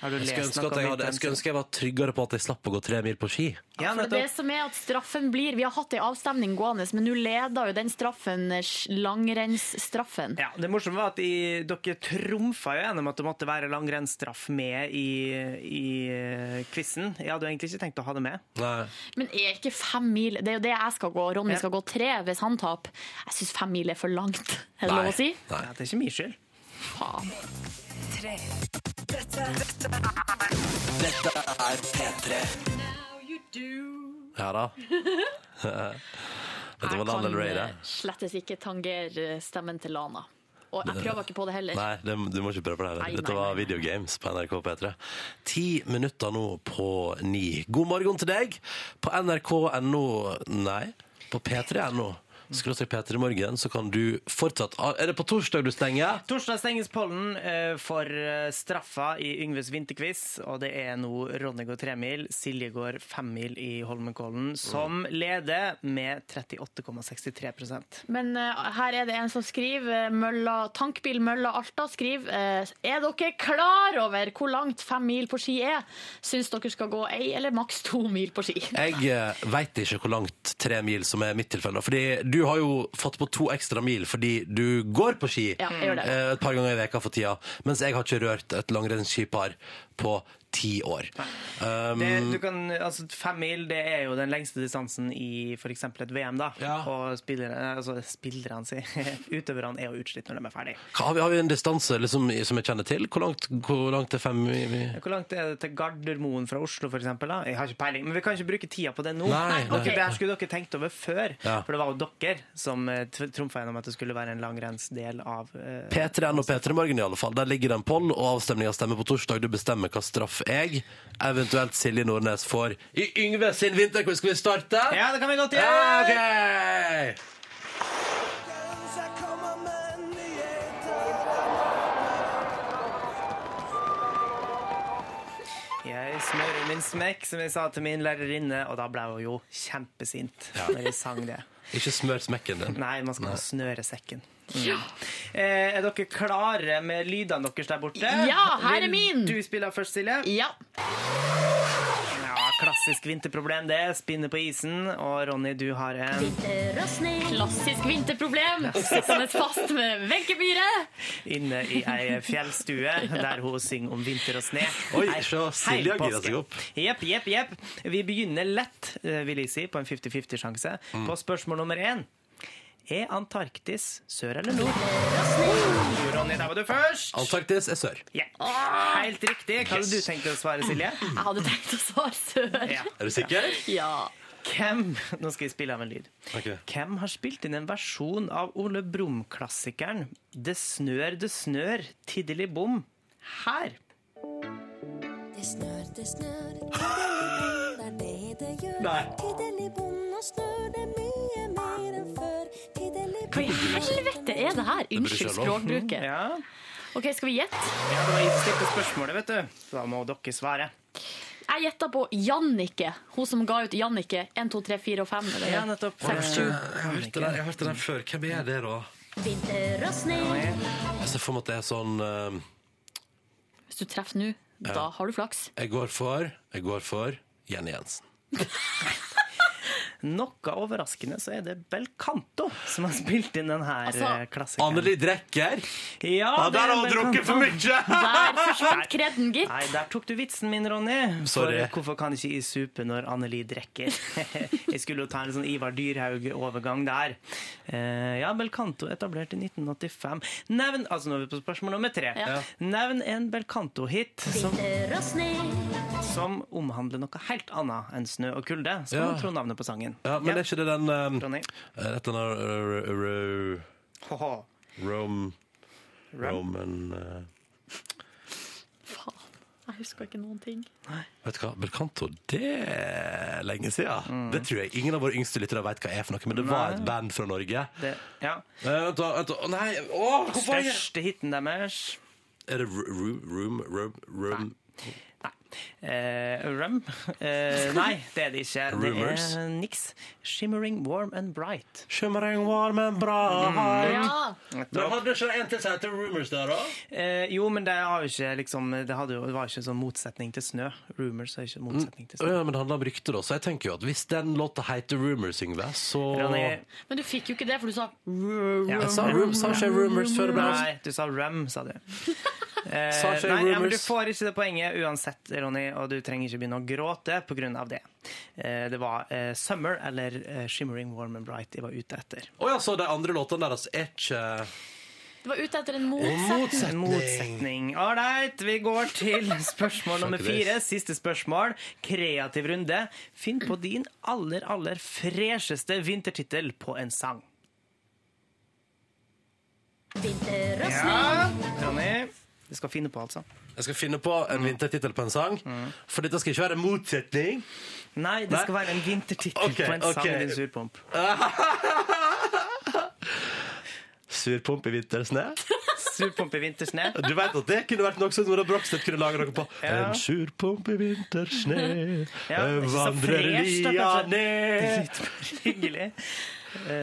[SPEAKER 3] Har du
[SPEAKER 2] Jeg skulle
[SPEAKER 3] lest
[SPEAKER 2] ønske
[SPEAKER 3] noe
[SPEAKER 2] at jeg,
[SPEAKER 3] om
[SPEAKER 2] hadde, jeg, skulle
[SPEAKER 3] vinteren?
[SPEAKER 2] ønske jeg var tryggere på at jeg slapp å gå tre mil på ski.
[SPEAKER 4] For det som er at straffen blir Vi har hatt ei avstemning gående, men nå leder jo den straffen eh, langrennsstraffen.
[SPEAKER 3] Ja, det morsomme var at i, dere trumfa jo gjennom at det måtte være langrennsstraff med i, i eh, quizen. Jeg hadde jo egentlig ikke tenkt å ha det med.
[SPEAKER 4] Men er ikke fem mil Det er jo det jeg skal gå. Ronny skal gå tre hvis han taper. Jeg syns fem mil er for langt. Er det lov å si?
[SPEAKER 3] Ja, det er ikke min skyld.
[SPEAKER 4] Faen.
[SPEAKER 13] Tre. Dette, dette er Dette er P3.
[SPEAKER 2] Ja da. Dette var Lana Del Rey, det.
[SPEAKER 4] eh, slettes ikke tangere stemmen til Lana. Og jeg
[SPEAKER 2] Det-
[SPEAKER 4] prøver ikke på det heller.
[SPEAKER 2] Nei, det, du må ikke prøve på det
[SPEAKER 4] Nei,
[SPEAKER 2] heller. Dette
[SPEAKER 4] nei,
[SPEAKER 2] var Video Games på NRK P3. Ti minutter nå på ni. God morgen til deg på nrk.no Nei, på p3.no. Skråstrek P3 i morgen, så kan du fortsatt Er det på torsdag du stenger?
[SPEAKER 3] Torsdag stenges pollen eh, for eh, straffa i Yngves vinterquiz. Og det er nå Ronny går tremil, Silje går femmil i Holmenkollen, som leder med 38,63
[SPEAKER 4] Men eh, her er det en som skriver eh, Mølla, Tankbil Mølla Alta skriver eh, Er dere klar over hvor langt fem mil på ski er? Syns dere skal gå ei eller maks to mil på ski?
[SPEAKER 2] Jeg eh, vet ikke hvor langt tre mil som er mitt tilfelle. Fordi du har jo fått på to ekstra mil fordi du går på ski
[SPEAKER 4] Ja, jeg gjør det.
[SPEAKER 2] eh, et par ganger i veka for tida. Mens jeg har ikke rørt et langrennsskipar på ti år. Um,
[SPEAKER 3] Det, du kan, altså, fem mil det er jo den lengste distansen i f.eks. et VM. da Og spillere, altså, spillerne si Utøverne er jo utslitt når de er ferdig.
[SPEAKER 2] hva har, vi, har vi en distanse liksom, i- som jeg kjenner til? Hvor langt, hvor langt er fem mil?
[SPEAKER 3] Hvor langt er det til Gardermoen fra Oslo, for eksempel, da? Jeg har ikke peiling, men vi kan ikke bruke tida på det nå.
[SPEAKER 2] Nei, nei.
[SPEAKER 3] Ok, Det her skulle dere tenkt over før,
[SPEAKER 2] Ja.
[SPEAKER 3] for det var jo dere som eh, tr- trumfa gjennom at det skulle være en langrennsdel av eh,
[SPEAKER 2] P3N og P3 Morgen i alle fall. Der ligger det en poll, og avstemninga stemmer på torsdag. Du bestemmer hva straff jeg, eventuelt Silje Nordnes, får i Yngve sin vinterquiz. Skal vi starte?
[SPEAKER 3] Ja, det kan vi godt gjøre.
[SPEAKER 2] Ja, ok.
[SPEAKER 3] Jeg smører min smekk, som jeg sa til min lærerinne, og da ble hun jo kjempesint
[SPEAKER 2] Ja.
[SPEAKER 3] når jeg sang det.
[SPEAKER 2] Ikke smør smekken din.
[SPEAKER 3] Nei, man skal snøre sekken. Eh, er dere klare med lydene deres der borte?
[SPEAKER 4] Ja, her er min.
[SPEAKER 3] Vil du spille først, Silje?
[SPEAKER 4] Ja.
[SPEAKER 3] Ja, Klassisk vinterproblem, det. Spinne på isen. Og Ronny, du har en
[SPEAKER 4] Klassisk vinterproblem som et fast med Wenche-Myhre.
[SPEAKER 3] inne i ei fjellstue der hun synger om vinter og sne.
[SPEAKER 2] Oi,
[SPEAKER 3] Ei
[SPEAKER 2] så Silje har
[SPEAKER 3] heil
[SPEAKER 2] gira seg
[SPEAKER 3] påske.
[SPEAKER 2] opp.
[SPEAKER 3] Jepp, jepp, jepp. Vi begynner lett, eh, vil jeg si, på en 50-50-sjanse.
[SPEAKER 2] Mm.
[SPEAKER 3] På spørsmål nummer én. Er Antarktis sør eller nord? Jo, Ronny, der var du først.
[SPEAKER 2] Antarktis er sør.
[SPEAKER 3] Ja. Helt riktig. Hva hadde du tenkt å svare, Silje?
[SPEAKER 4] Jeg hadde tenkt å svare sør.
[SPEAKER 3] Ja.
[SPEAKER 2] Er du sikker?
[SPEAKER 4] Ja.
[SPEAKER 3] Hvem Nå skal jeg spille av en lyd. Hvem har spilt inn en versjon av Ole Brumm-klassikeren 'Det snør, det snør, tiddeli bom' her?
[SPEAKER 13] Det snør, det snør, tiddeli-bom, det er det det gjør.
[SPEAKER 3] Nei.
[SPEAKER 13] Tiddeli-bom, nå snør det mye mer enn før. Tiddeli-bom.
[SPEAKER 4] Hva i helvete er det her?
[SPEAKER 3] burde
[SPEAKER 4] Unnskyld
[SPEAKER 3] ikke være lov.
[SPEAKER 4] språkbruket.
[SPEAKER 3] Ja.
[SPEAKER 4] OK, skal vi gjette?
[SPEAKER 3] Ja, det var jeg som stilte spørsmålet, vet du. Så da må dere svare.
[SPEAKER 4] Jeg gjetta på Jannicke. Hun som ga ut Jannicke 1, 2, 3, 4 og 5. Eller?
[SPEAKER 3] Ja, nettopp.
[SPEAKER 4] Seks, sju.
[SPEAKER 2] Jeg har hørt den, jeg har hørt den her før. Hvem er det, da?
[SPEAKER 4] Vinter og sne.
[SPEAKER 2] Jeg ser for meg at det er sånn eh,
[SPEAKER 4] Hvis du treffer nå, da
[SPEAKER 2] Ja.
[SPEAKER 4] har du flaks.
[SPEAKER 2] Jeg går for Jeg går for Jenny Jensen.
[SPEAKER 3] Noe overraskende så er det Belcanto som har spilt inn denne
[SPEAKER 2] Altså,
[SPEAKER 3] eh, klassikeren.
[SPEAKER 2] Anneli Drekker?
[SPEAKER 3] Ja,
[SPEAKER 2] Ja,
[SPEAKER 3] det
[SPEAKER 2] der
[SPEAKER 3] er
[SPEAKER 2] har hun drukket for
[SPEAKER 3] Belcanto.
[SPEAKER 2] mye!
[SPEAKER 4] Der forsvant kreden, gitt.
[SPEAKER 3] Nei, der tok du vitsen min, Ronny. For
[SPEAKER 2] Sorry.
[SPEAKER 3] hvorfor kan ikke jeg supe når Anneli drikker? jeg skulle jo ta en sånn Ivar Dyrhaug-overgang der. Eh, ja, Belcanto etablert i 1985. Nevn Altså, nå er vi på spørsmål nummer tre.
[SPEAKER 13] Ja.
[SPEAKER 3] Nevn en Belcanto-hit som, som omhandler noe helt annet enn snø og kulde, som
[SPEAKER 2] Ja.
[SPEAKER 3] man tror navnet på sangen.
[SPEAKER 2] Ja, men er ikke det den um,
[SPEAKER 3] Ronny.
[SPEAKER 2] Dette er uh, ro-
[SPEAKER 3] Ho-ho.
[SPEAKER 2] Rom... Roman eh,
[SPEAKER 4] Faen. Jeg husker ikke noen ting.
[SPEAKER 2] Vet du hva, Belcanto, det er lenge siden.
[SPEAKER 3] Mm.
[SPEAKER 2] Det tror jeg ingen av våre yngste lyttere vet hva er for noe, men det var et band fra Norge.
[SPEAKER 3] Det, ja.
[SPEAKER 2] Eh, vent, da. vent da. Å, Nei, åh, hvorfor
[SPEAKER 3] Største hiten deres
[SPEAKER 2] Er det ro- ro- Room Room Room
[SPEAKER 3] Eh, rum? Eh, nei, det er det ikke. Det
[SPEAKER 2] Rumors.
[SPEAKER 3] er niks. Shimmering warm and bright.
[SPEAKER 2] Shimmering warm and bright.
[SPEAKER 3] Ja.
[SPEAKER 2] Da hadde ikke en til seg til Rumors der, da?
[SPEAKER 3] Eh, jo, men det, har jo ikke, liksom, det, hadde jo, det var ikke sånn motsetning til snø. Rumors er ikke motsetning til snø.
[SPEAKER 2] Ja, men det handler om rykter, da. Så jeg tenker jo at hvis den låta heter Rumors, Yngve, så
[SPEAKER 3] Ronny.
[SPEAKER 19] Men du fikk jo ikke det, for du sa
[SPEAKER 3] Ja.
[SPEAKER 2] Mm. Jeg sa rum- sa ikke rumors før det ble-
[SPEAKER 3] Nei, du sa rum, sa du. Eh,
[SPEAKER 2] Sa ikke
[SPEAKER 3] nei, ja, men du
[SPEAKER 2] rumors.
[SPEAKER 3] får ikke det poenget uansett, Ronny, og du trenger ikke begynne å gråte pga. det. Eh, det var eh, 'Summer' eller eh, 'Shimmering Warm and Bright' de var ute etter.
[SPEAKER 2] Å ja, så de andre låtene deres er ikke
[SPEAKER 19] Det var ute etter en
[SPEAKER 3] En
[SPEAKER 19] motsetning.
[SPEAKER 3] Motsetning. Ålreit, vi går til spørsmål nummer fire. Siste spørsmål. Kreativ runde. Finn på din aller, aller fresheste vintertittel på en sang.
[SPEAKER 6] Vinter og
[SPEAKER 3] Ja, Ronny. Du skal finne på, altså.
[SPEAKER 2] Jeg skal finne på en
[SPEAKER 3] Mm.
[SPEAKER 2] vintertittel på en sang, for dette skal ikke være en motsetning.
[SPEAKER 3] Nei, det skal være en vintertittel
[SPEAKER 2] Ok,
[SPEAKER 3] på en sang,
[SPEAKER 2] ok.
[SPEAKER 3] din surpomp.
[SPEAKER 2] Surpomp i vintersne.
[SPEAKER 3] Surpomp i vintersne.
[SPEAKER 2] Du vet at det kunne vært noe som Nora Brogstad kunne lage noe på.
[SPEAKER 3] Ja.
[SPEAKER 2] En surpomp i vintersne,
[SPEAKER 3] Ja,
[SPEAKER 2] jeg
[SPEAKER 3] ikke så
[SPEAKER 2] vandrer
[SPEAKER 3] fresh, da,
[SPEAKER 2] lia
[SPEAKER 3] kanskje.
[SPEAKER 2] ned.
[SPEAKER 3] Hyggelig.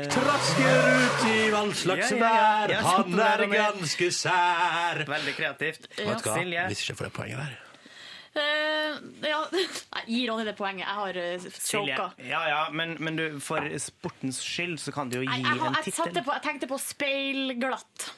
[SPEAKER 2] Trasker ut i all slags
[SPEAKER 3] Ja, ja, ja.
[SPEAKER 2] vær,
[SPEAKER 3] Ja,
[SPEAKER 2] han
[SPEAKER 3] kjempebra,
[SPEAKER 2] er
[SPEAKER 3] Ronny.
[SPEAKER 2] ganske sær.
[SPEAKER 3] Veldig kreativt.
[SPEAKER 2] Vet du hva?
[SPEAKER 3] Silje.
[SPEAKER 2] Hvis ikke jeg får det poenget der.
[SPEAKER 19] Eh, ja. Nei, gi Ronny det poenget. Jeg har eh,
[SPEAKER 3] Silje.
[SPEAKER 19] choka.
[SPEAKER 3] Ja, ja, men, men du, for sportens skyld så kan du jo gi
[SPEAKER 19] Nei, jeg, har-
[SPEAKER 3] en
[SPEAKER 19] jeg,
[SPEAKER 3] tittel.
[SPEAKER 19] satte på, jeg tenkte på speilglatt.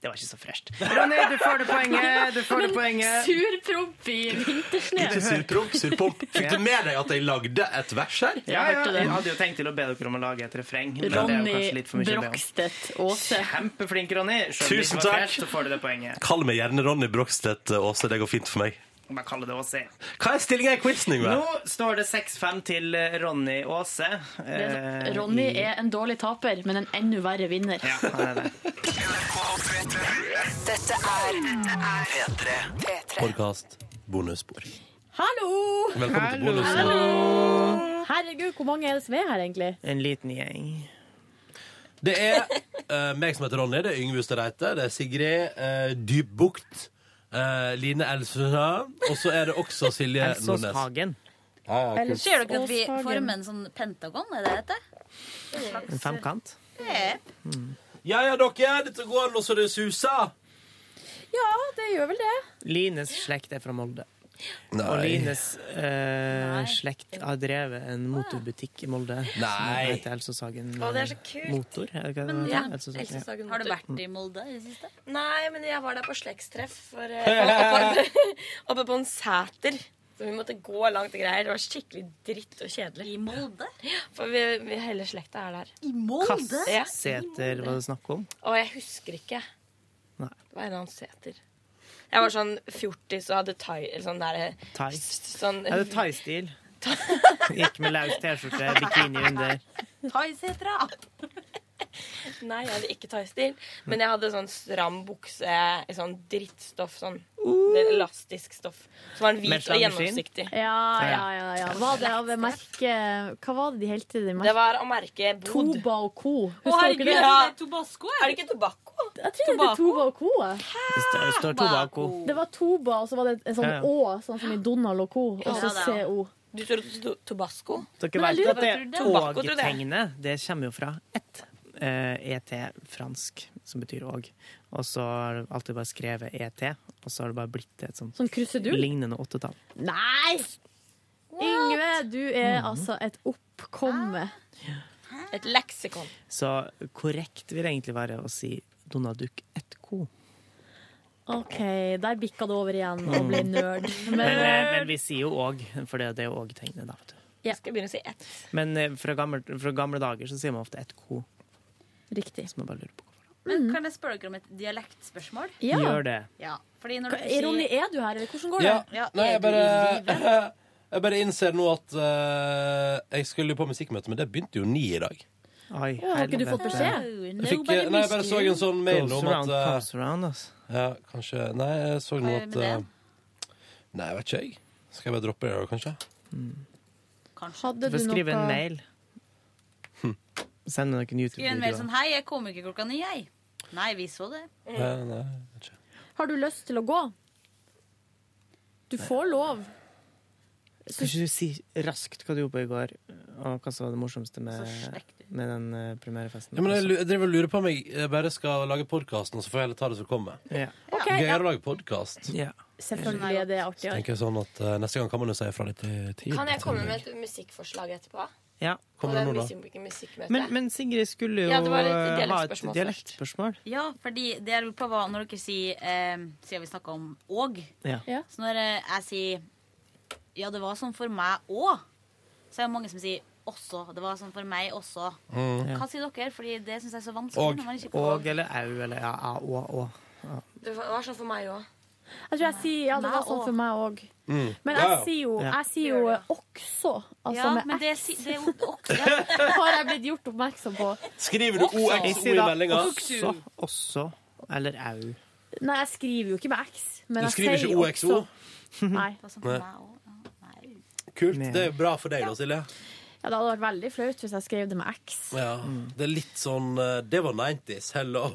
[SPEAKER 3] Det var ikke så fresht. Ronny, du får det poenget. Du får det poenget.
[SPEAKER 19] Surpromp i vintersne.
[SPEAKER 2] Ikke surpromp, surpomp. Fikk du med deg at jeg lagde et vers her?
[SPEAKER 3] Ja, ja, jeg hadde jo tenkt til å be dere om å lage et refreng. men det er jo kanskje
[SPEAKER 19] Ronny
[SPEAKER 3] litt for mye å be om.
[SPEAKER 19] Brokstedt Aase.
[SPEAKER 3] Kjempeflink, Ronny. Selv om det ikke
[SPEAKER 2] Tusen
[SPEAKER 3] var
[SPEAKER 2] takk.
[SPEAKER 3] fresht, Så får du det poenget.
[SPEAKER 2] Kall meg gjerne Ronny Brogstedt Aase, det går fint for meg.
[SPEAKER 3] Bare kalle det Åse.
[SPEAKER 2] Hva er stillinga i quizen, Yngve?
[SPEAKER 3] Nå står det 6-5 til Ronny Aase. Eh,
[SPEAKER 19] Ronny
[SPEAKER 3] i-
[SPEAKER 19] er en dårlig taper, men en enda verre vinner.
[SPEAKER 3] Ja, han er det.
[SPEAKER 6] Dette er P3.
[SPEAKER 2] Podkast bonusspor.
[SPEAKER 4] Hallo!
[SPEAKER 2] Velkommen til Hallo. bonusen.
[SPEAKER 4] Herregud, hvor mange er det som er her, egentlig?
[SPEAKER 3] En liten gjeng.
[SPEAKER 2] Det er eh, meg som heter Ronny, det er Yngve Ustad Reite, det er Sigrid uh, Dybbukt, eh, Line Elsøha, og så er det også Silje
[SPEAKER 3] Elsås
[SPEAKER 2] Eh, Nordnes.
[SPEAKER 3] Hagen.
[SPEAKER 2] Ja, ja, kult.
[SPEAKER 20] Ser dere at vi
[SPEAKER 9] Åshagen.
[SPEAKER 20] former en sånn pentagon, er det det
[SPEAKER 3] En
[SPEAKER 20] heter?
[SPEAKER 3] femkant.
[SPEAKER 20] Jepp.
[SPEAKER 2] ja, ja, dere, dette går nå så det suser.
[SPEAKER 4] Ja, det gjør vel det.
[SPEAKER 3] Lines slekt er fra Molde. Og
[SPEAKER 2] Nei.
[SPEAKER 3] Lines eh, slekt har drevet en motorbutikk i Molde.
[SPEAKER 2] Nei.
[SPEAKER 3] Som heter Elsås Hagen
[SPEAKER 9] Å, det er så kult.
[SPEAKER 3] Motor. er det hva det
[SPEAKER 9] Men
[SPEAKER 3] heter?
[SPEAKER 9] ja,
[SPEAKER 3] Elsås Hagen,
[SPEAKER 9] Else Sagen
[SPEAKER 20] Har du
[SPEAKER 9] Motor.
[SPEAKER 20] vært i Molde i det siste?
[SPEAKER 9] Nei, men jeg var der på slektstreff for, eh, oppe, oppe på en sæter. Så vi måtte gå langt og greier. Det var skikkelig dritt og kjedelig. I Molde? Ja, for vi, vi, hele slekta er der. I Ja.
[SPEAKER 3] Kasseter, hva det snakker om.
[SPEAKER 9] Og jeg husker ikke.
[SPEAKER 3] Nei.
[SPEAKER 9] Det var en eller annen seter. Jeg var sånn fjortis og hadde thai eller sånn der,
[SPEAKER 3] Thai.
[SPEAKER 9] sånn,
[SPEAKER 3] Er det thai-stil? Gikk med laus T-skjorte, bikini under.
[SPEAKER 9] Thaisetra! Nei, jeg hadde ikke thaistil. Men jeg hadde sånn stram bukse i sånn drittstoff. Sånn det er elastisk stoff. Som var en hvit og gjennomsiktig.
[SPEAKER 4] Ja, ja, ja. ja. Hva, det av merke, hva var det de helte det merket?
[SPEAKER 9] Det var å merke bod.
[SPEAKER 4] Toba og co.
[SPEAKER 9] Å, herregud,
[SPEAKER 4] dere det?
[SPEAKER 9] ja. Er det ikke tobakko?
[SPEAKER 4] Jeg tror det heter Toba og co. jeg.
[SPEAKER 3] Det står- det står tobakko.
[SPEAKER 4] Det var Toba, og så var det en sånn
[SPEAKER 3] Ja, ja.
[SPEAKER 4] Å, sånn som i Donald og co. Og så
[SPEAKER 9] Ja, det er
[SPEAKER 4] CO.
[SPEAKER 9] Du tror det sto tobasco?
[SPEAKER 3] Dere vet jo at det og-tegnet det kommer jo fra ett. eh, ET fransk, som betyr òg. Og så har du alltid bare skrevet ET, og så har det bare blitt et sånt
[SPEAKER 4] Sånn krusedull?
[SPEAKER 3] lignende åttetall.
[SPEAKER 4] Nei! Yngve, du
[SPEAKER 3] Mhm.
[SPEAKER 4] er altså et oppkomme.
[SPEAKER 9] Et leksikon.
[SPEAKER 3] Så korrekt vil det egentlig være å si Donaduk ett ko.
[SPEAKER 4] OK, der bikka det over igjen og ble nerd.
[SPEAKER 3] Mm. Men, eh, men
[SPEAKER 4] Men,
[SPEAKER 3] vi sier jo òg, for det det er jo òg-tegnet, da. Vet du.
[SPEAKER 4] ja.
[SPEAKER 9] Skal jeg begynne å si ett?
[SPEAKER 3] Men eh, fra gamle, fra gamle dager så sier man ofte ett ko.
[SPEAKER 4] Riktig.
[SPEAKER 3] Så man bare lurer på.
[SPEAKER 20] Men kan jeg spørre dere om et dialektspørsmål?
[SPEAKER 3] Ja. Gjør det.
[SPEAKER 20] Ja, fordi når
[SPEAKER 4] Hva-
[SPEAKER 20] dere
[SPEAKER 4] er
[SPEAKER 20] sier...
[SPEAKER 4] Ronny, er du her, eller hvordan går det?
[SPEAKER 2] Ja. Nei, jeg bare, jeg bare innser nå at eh, jeg skulle jo på musikkmøte, men det begynte jo ni i dag.
[SPEAKER 3] Oi,
[SPEAKER 4] Å, har ikke du fått beskjed?
[SPEAKER 2] Jeg fikk, eh, nei, jeg bare så en sånn mail om at eh, Ja, kanskje Nei, jeg så nå
[SPEAKER 20] Hva gjør
[SPEAKER 2] at
[SPEAKER 20] vi med
[SPEAKER 2] eh, Nei, jeg vet ikke, jeg. Skal jeg bare droppe det, da, kanskje?
[SPEAKER 4] Hadde
[SPEAKER 3] Du får skrive en mail.
[SPEAKER 2] Hm.
[SPEAKER 3] Send noen
[SPEAKER 20] Skriv en mail
[SPEAKER 3] YouTube-videoer.
[SPEAKER 20] sånn Hei, jeg kom ikke klokka ni, jeg.
[SPEAKER 2] Eh,
[SPEAKER 20] Nei, vi så det.
[SPEAKER 2] Nei, nei.
[SPEAKER 4] Har du lyst til å gå? Du får lov.
[SPEAKER 3] Skal ikke du si raskt hva du gjorde på i går, og hva som var det morsomste med, med den eh, premierefesten?
[SPEAKER 2] Ja, men jeg, lu- jeg driver og lurer på om jeg eh, bare skal lage podkasten, og så får jeg heller ta det som kommer.
[SPEAKER 3] Ja.
[SPEAKER 4] Ok,
[SPEAKER 2] Gøyere
[SPEAKER 4] ja.
[SPEAKER 2] å lage podkast.
[SPEAKER 4] Selvfølgelig er det artigere.
[SPEAKER 2] Tenker jeg sånn at eh, Neste gang kan man jo si fra litt i tid.
[SPEAKER 9] Kan jeg komme med et musikkforslag etterpå?
[SPEAKER 3] Ja.
[SPEAKER 2] Kommer det
[SPEAKER 9] Og er
[SPEAKER 2] nå, da?
[SPEAKER 9] musikk- musikkmøte.
[SPEAKER 3] Men, men Sigrid skulle jo
[SPEAKER 9] Ja, det var litt
[SPEAKER 3] eh, ha et
[SPEAKER 9] dialektspørsmål
[SPEAKER 3] dialektspørsmål.
[SPEAKER 20] Ja, fordi det jeg lurer på var når dere sier eh, Siden vi snakka om og.
[SPEAKER 3] Ja. Ja.
[SPEAKER 20] Så når eh, jeg sier Ja, det var sånn for meg òg, så er det mange som sier også. Det var sånn for meg også.
[SPEAKER 3] Mm. Ja.
[SPEAKER 20] Hva sier dere? Fordi det syns jeg er så vanskelig.
[SPEAKER 3] Og,
[SPEAKER 20] når man ikke får-
[SPEAKER 3] og eller au eller ja, ja, å, å. Ja.
[SPEAKER 9] Det var var sånn for meg òg.
[SPEAKER 4] Jeg tror jeg sier ja, det
[SPEAKER 9] Meg
[SPEAKER 4] var sånn
[SPEAKER 9] også.
[SPEAKER 4] for meg òg.
[SPEAKER 9] Mm.
[SPEAKER 4] Men jeg
[SPEAKER 9] Ja.
[SPEAKER 4] sier jo,
[SPEAKER 3] Ja.
[SPEAKER 4] jeg sier jo eh, også, altså
[SPEAKER 20] Ja, men
[SPEAKER 4] med
[SPEAKER 20] det,
[SPEAKER 4] X.
[SPEAKER 20] si- det er jo også.
[SPEAKER 4] Har jeg blitt gjort oppmerksom på.
[SPEAKER 2] Skriver du
[SPEAKER 4] Også.
[SPEAKER 2] OXO
[SPEAKER 3] Jeg
[SPEAKER 2] i
[SPEAKER 3] sier da
[SPEAKER 2] meldinga?
[SPEAKER 3] også, også eller au.
[SPEAKER 4] Nei, jeg skriver jo ikke med X, men
[SPEAKER 2] Du
[SPEAKER 4] jeg
[SPEAKER 2] skriver
[SPEAKER 4] sier
[SPEAKER 2] ikke OXO?
[SPEAKER 4] også. Nei.
[SPEAKER 20] sånn
[SPEAKER 2] Nei. Kult. Det er bra for deg, da, Silje.
[SPEAKER 4] Ja, det hadde vært veldig flaut hvis jeg skrev det med X.
[SPEAKER 2] Ja.
[SPEAKER 3] Mm.
[SPEAKER 2] Det er litt sånn eh, Det var 90s. Hello.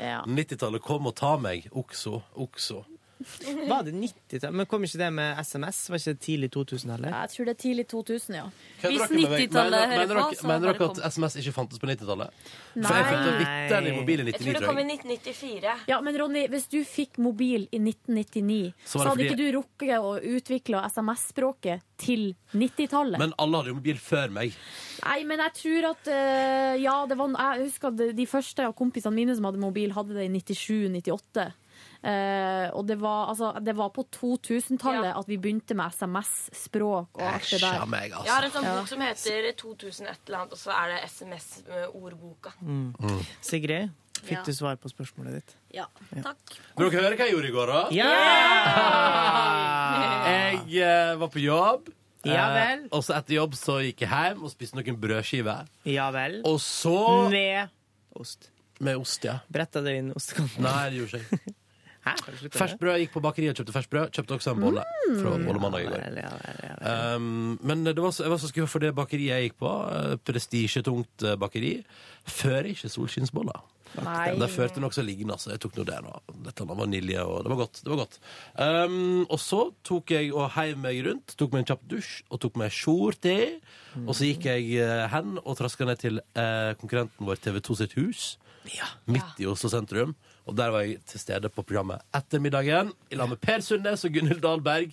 [SPEAKER 4] Ja.
[SPEAKER 2] 90-tallet kom og ta meg. Okso. Okso.
[SPEAKER 3] Var det 90-tallet? Men kom ikke det med SMS? Var ikke det tidlig 2000 heller?
[SPEAKER 4] Jeg tror det er tidlig 2000, ja.
[SPEAKER 2] Hva dere med meg? Mener- mener dere- Mener dere at SMS ikke fantes på 90-tallet? For jeg fikk da vitterlig mobil i 99, tror jeg.
[SPEAKER 4] 1994. Ja, men Ronny, hvis du fikk mobil i 1999,
[SPEAKER 2] Så
[SPEAKER 4] så,
[SPEAKER 2] var det
[SPEAKER 4] hadde
[SPEAKER 2] fordi-
[SPEAKER 4] ikke du rukket å utvikle SMS-språket til 90-tallet.
[SPEAKER 2] Men alle hadde jo mobil før meg.
[SPEAKER 4] Nei, men jeg tror at eh, Ja, det var, jeg husker at de- de første av kompisene mine som hadde mobil, hadde det i 97-98. og det var, altså, det var på 2000-tallet at vi begynte med SMS-språk og alt det der.
[SPEAKER 2] Æsja meg, altså.
[SPEAKER 9] Jeg har en sånn
[SPEAKER 4] Ja.
[SPEAKER 9] bok som heter 2000 et eller annet, og så er det eh, SMS-ordboka.
[SPEAKER 3] Mm. Sigrid, fikk
[SPEAKER 9] Ja.
[SPEAKER 3] du svar på spørsmålet ditt?
[SPEAKER 20] Ja. Takk.
[SPEAKER 2] Vil dere høre hva jeg gjorde i går, da?
[SPEAKER 3] Ja!
[SPEAKER 2] Jeg eh, var på jobb.
[SPEAKER 3] Ja vel.
[SPEAKER 2] Eh, og så etter jobb så gikk jeg hjem og spiste noen brødskiver.
[SPEAKER 3] Ja vel.
[SPEAKER 2] Og så
[SPEAKER 3] Med ost.
[SPEAKER 2] Med ost, ja.
[SPEAKER 3] Bretta dere inn ostekanten?
[SPEAKER 2] Nei, det gjorde ikke jeg.
[SPEAKER 3] Hæ? Har du sluttet med det?
[SPEAKER 2] Ferskt brød. Jeg gikk på bakeriet og kjøpte ferskt brød. Kjøpte også en bolle
[SPEAKER 3] Mm.
[SPEAKER 2] fra Bollemandag i går. Um, men det var så, jeg var så skuffa for det bakeriet jeg gikk på, eh, prestisjetungt eh, bakeri, fører ikke solskinnsboller.
[SPEAKER 4] Nei.
[SPEAKER 2] Det førte nokså liggende, altså. Jeg tok nå det, da. Dette var vanilje, og det var godt. Det var godt. Um, og så tok jeg og heiv meg rundt, tok meg en kjapp dusj og tok meg skjorte. Og så gikk jeg eh, hen og traska ned til eh, konkurrenten vår TV2 sitt hus, midt i Oslo sentrum. Og der var jeg til stede på programmet Ettermiddagen i lag med Per Sundnes og Gunhild Dahlberg.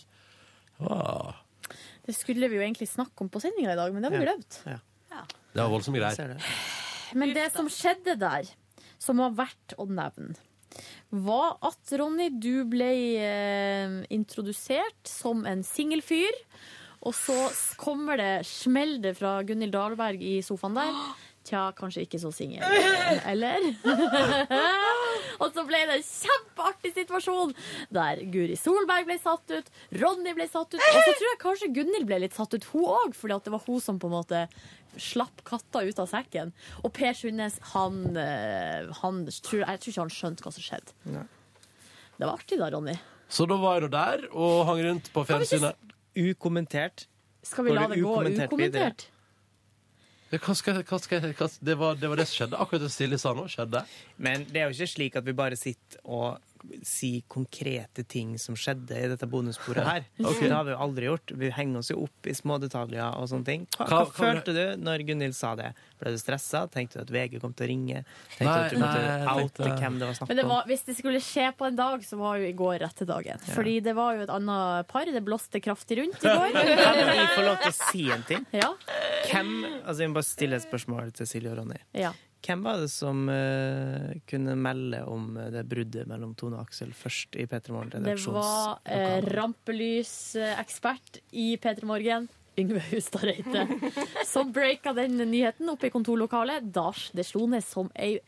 [SPEAKER 2] Ah,
[SPEAKER 4] Det skulle vi jo egentlig snakke om på sendinga i dag, men det har vi
[SPEAKER 2] Ja.
[SPEAKER 4] glemt.
[SPEAKER 2] det var voldsomme greier.
[SPEAKER 4] Men det som skjedde der, som var verdt å nevne, var at Ronny, du ble eh, introdusert som en singel fyr. Og så s- kommer det smell det fra Gunhild Dahlberg i sofaen der. Tja, kanskje ikke så singel, eh, eller? og så ble det en kjempeartig situasjon der Guri Solberg ble satt ut, Ronny ble satt ut, og så tror jeg kanskje Gunhild ble litt satt ut, hun òg, fordi at det var hun som på en måte slapp katta ut av sekken. Og Per Sundnes, han, eh, han tror, Jeg tror ikke han skjønte hva som skjedde. Det var artig da, Ronny.
[SPEAKER 2] Så da var jeg nå der og hang rundt på
[SPEAKER 4] vi ikke-
[SPEAKER 2] fjernsynet.
[SPEAKER 3] Ukommentert.
[SPEAKER 4] Skal vi
[SPEAKER 3] Går
[SPEAKER 4] la
[SPEAKER 3] det
[SPEAKER 4] det gå
[SPEAKER 3] ukommentert videre?
[SPEAKER 4] ukommentert?
[SPEAKER 2] Ja, hva skal, hva skal, hva, det, var, det var det som skjedde. Akkurat det Silje sa nå, skjedde.
[SPEAKER 3] Men det er jo ikke slik at vi bare sitter og sier konkrete ting som skjedde i dette bonussporet her.
[SPEAKER 2] Ok.
[SPEAKER 3] Det har vi jo aldri gjort. Vi henger oss jo opp i små detaljer og sånne ting. Hva, hva,
[SPEAKER 2] Hva- hva-
[SPEAKER 3] følte du når Gunhild sa det? Ble du stressa? Tenkte du at VG kom til å ringe? Tenkte du
[SPEAKER 2] Nei,
[SPEAKER 3] at du kom til
[SPEAKER 2] nei,
[SPEAKER 3] å
[SPEAKER 2] jeg
[SPEAKER 3] oute
[SPEAKER 2] tenkte-
[SPEAKER 3] hvem det var
[SPEAKER 4] Men
[SPEAKER 3] snakk
[SPEAKER 4] det
[SPEAKER 3] om?
[SPEAKER 4] var, hvis det skulle skje på en dag, så var jo i går rette dagen. Fordi det var jo et annet par. Det blåste kraftig rundt i går.
[SPEAKER 3] Kan vi få lov til å si en ting?
[SPEAKER 4] Ja.
[SPEAKER 3] Hvem, altså Jeg må bare stille et spørsmål til Silje og Ronny.
[SPEAKER 4] Ja.
[SPEAKER 3] Hvem var det som eh, kunne melde om eh, det bruddet mellom Tone og Aksel først i P3
[SPEAKER 4] Det var eh,
[SPEAKER 3] Morgen-redaksjons...
[SPEAKER 4] rampelysekspert i P3 Morgen. Yngve Hustad Reite. Som breaka den nyheten oppe i kontorlokalet. Da s- det slo ned som ei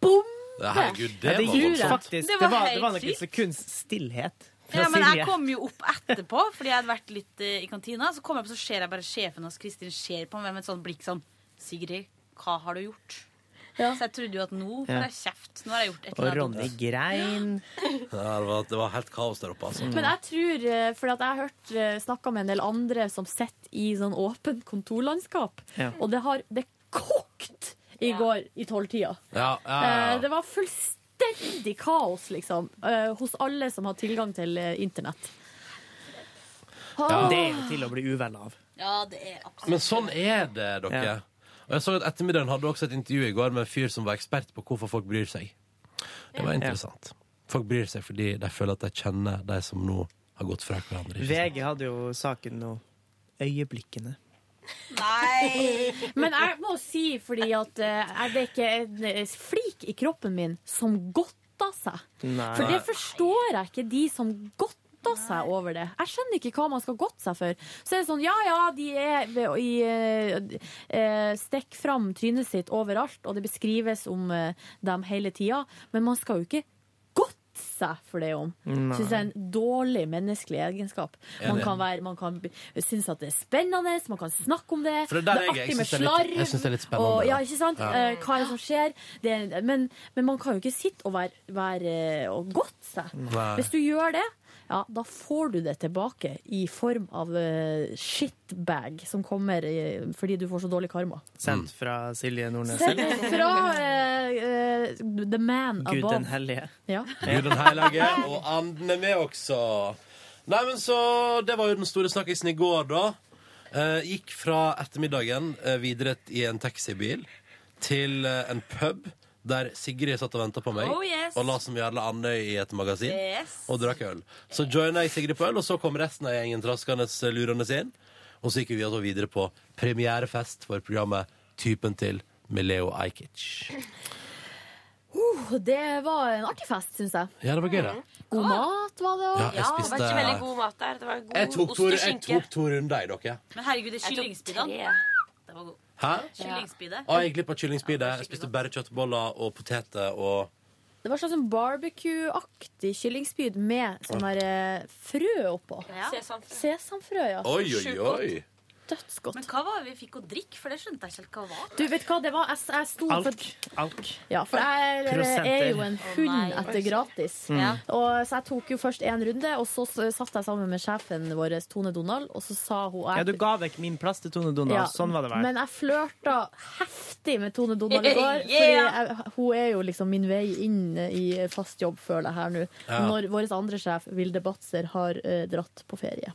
[SPEAKER 4] bombe!
[SPEAKER 2] Herregud, det
[SPEAKER 3] ja, det
[SPEAKER 2] var
[SPEAKER 3] gjorde
[SPEAKER 2] voldsomt.
[SPEAKER 3] faktisk. Det var, det var, noen sekunds stillhet fra
[SPEAKER 20] Ja, men jeg
[SPEAKER 3] Silje.
[SPEAKER 20] kom jo opp etterpå, fordi jeg hadde vært litt eh, i kantina. Så kom jeg opp, så ser jeg bare sjefen hans Kristin ser på meg med et sånt blikk sånn Sigrid, hva har du gjort? Så jeg trodde jo at nå får
[SPEAKER 2] Ja.
[SPEAKER 20] jeg kjeft. Nå har jeg gjort et
[SPEAKER 2] Og
[SPEAKER 20] eller annet.
[SPEAKER 2] Ronny
[SPEAKER 3] grein.
[SPEAKER 2] Ja, det, var, det var helt kaos der oppe, altså.
[SPEAKER 4] Men jeg tror, eh, for at jeg har hørt eh, snakka med en del andre som sitter i sånn åpent kontorlandskap,
[SPEAKER 2] Ja.
[SPEAKER 4] og det har det kokt i går i tolvtida.
[SPEAKER 2] Ja, ja,
[SPEAKER 4] Eh,
[SPEAKER 2] ja.
[SPEAKER 4] Det var fullstendig fullstendig kaos, liksom, eh, hos alle som har tilgang til eh, internett.
[SPEAKER 3] Ja, Det er jo til å bli uvel av.
[SPEAKER 20] Ja, det er absolutt
[SPEAKER 2] Men sånn er det, dere. Og jeg så at Ettermiddagen hadde også et intervju i går med en fyr som var ekspert på hvorfor folk bryr seg. Det var interessant. Folk bryr seg fordi de føler at de kjenner de som nå har gått fra hverandre. ikke sant?
[SPEAKER 3] VG hadde jo saken nå. Øyeblikkene.
[SPEAKER 4] Men jeg må si, fordi at eh, er det ikke en eh, flik i kroppen min som godta seg?
[SPEAKER 3] Nei.
[SPEAKER 4] For det forstår jeg ikke, de som godta seg over det. Jeg skjønner ikke hva man skal godte seg for. Så er det sånn, ja ja, de er ved, å- i, eh, eh, stikk fram trynet sitt overalt, og det beskrives om eh, dem hele tida, men man skal jo ikke godte seg for det om.
[SPEAKER 21] Nei.
[SPEAKER 4] Syns jeg er en dårlig menneskelig egenskap. Man
[SPEAKER 2] Enig.
[SPEAKER 4] kan, være, man kan b- synes at det er spennende, man kan snakke om det.
[SPEAKER 2] For det er der
[SPEAKER 4] det er
[SPEAKER 2] jeg- jeg
[SPEAKER 4] artig med
[SPEAKER 2] synes det er litt-
[SPEAKER 4] slarv.
[SPEAKER 2] jeg synes det er litt spennende,
[SPEAKER 4] Og, ja,
[SPEAKER 2] da.
[SPEAKER 4] ikke sant?
[SPEAKER 2] Ja.
[SPEAKER 4] Eh, hva er det som skjer? Det, er- men, men man kan jo ikke sitte og være, være eh, og godt seg.
[SPEAKER 2] Nei.
[SPEAKER 4] Hvis du gjør det, ja, da får du det tilbake i form av eh, shitbag som kommer eh, fordi du får så dårlig karma.
[SPEAKER 3] Sendt fra Silje Nordnes.
[SPEAKER 4] Selv fra eh, eh, the man
[SPEAKER 3] Gud
[SPEAKER 4] above.
[SPEAKER 3] den hellige.
[SPEAKER 4] Ja.
[SPEAKER 2] Gud den hellige, og anden er med også. Nei, men så Det var jo den store snakkisen i går, da. Eh, gikk fra ettermiddagen eh, videre i en taxibil til eh, en pub der Sigrid satt og venta på meg
[SPEAKER 20] Oh, yes.
[SPEAKER 2] og la som vi alle andre i et magasin
[SPEAKER 20] Yes.
[SPEAKER 2] og drakk øl. Så joina jeg Sigrid på øl, og så kom resten av gjengen traskende eh, lurende inn. Og så gikk vi altså videre på premierefest for programmet Typen til med Leo Ajkic.
[SPEAKER 4] Uh, det var en artig fest, syns jeg.
[SPEAKER 2] Ja, det var gøy, det.
[SPEAKER 4] God mat var det òg.
[SPEAKER 2] Ja, jeg Ja, det
[SPEAKER 9] Det var ikke veldig god mat der. Det var god
[SPEAKER 2] Jeg tok
[SPEAKER 9] ost
[SPEAKER 2] to,
[SPEAKER 9] og
[SPEAKER 2] jeg
[SPEAKER 9] skinke.
[SPEAKER 2] tok to runder i dere.
[SPEAKER 20] Men herregud, det er
[SPEAKER 9] Jeg tok
[SPEAKER 20] kyllingspydda. Det var god.
[SPEAKER 2] Hæ?
[SPEAKER 20] Kyllingspydde.
[SPEAKER 2] Å, jeg gikk litt på kyllingspide. Jeg spiste bare kjøttboller og poteter og
[SPEAKER 4] Det var sånn som barbecue-aktig kyllingspyd med sånn der eh, frø oppå.
[SPEAKER 20] Sesamfrø.
[SPEAKER 4] Sesamfrø, ja.
[SPEAKER 2] Oi, oi, oi!
[SPEAKER 4] Dødsgodt.
[SPEAKER 20] Men hva var det vi fikk å drikke? For det skjønte jeg ikke helt hva var.
[SPEAKER 4] Du, vet hva det var? Jeg, jeg sto for
[SPEAKER 3] Alk.
[SPEAKER 4] Ja, for jeg eh,
[SPEAKER 3] Prosenter.
[SPEAKER 4] er jo en hund
[SPEAKER 20] nei.
[SPEAKER 4] etter gratis.
[SPEAKER 3] Mm. Ja.
[SPEAKER 4] Og, så jeg tok jo først én runde, og så s- satt jeg sammen med sjefen vår, Tone Donald, og så sa hun
[SPEAKER 3] Ja, du ga vekk min plass til Tone Donald.
[SPEAKER 4] Ja,
[SPEAKER 3] Sånn var det vel.
[SPEAKER 4] Men jeg flørta heftig med Tone Donald i går.
[SPEAKER 20] Yeah!
[SPEAKER 4] Fordi jeg, hun er jo liksom min vei inn i fast jobb, føler jeg her nå.
[SPEAKER 20] Ja.
[SPEAKER 4] Når vår andre sjef, Vilde Batzer, har eh, dratt på ferie.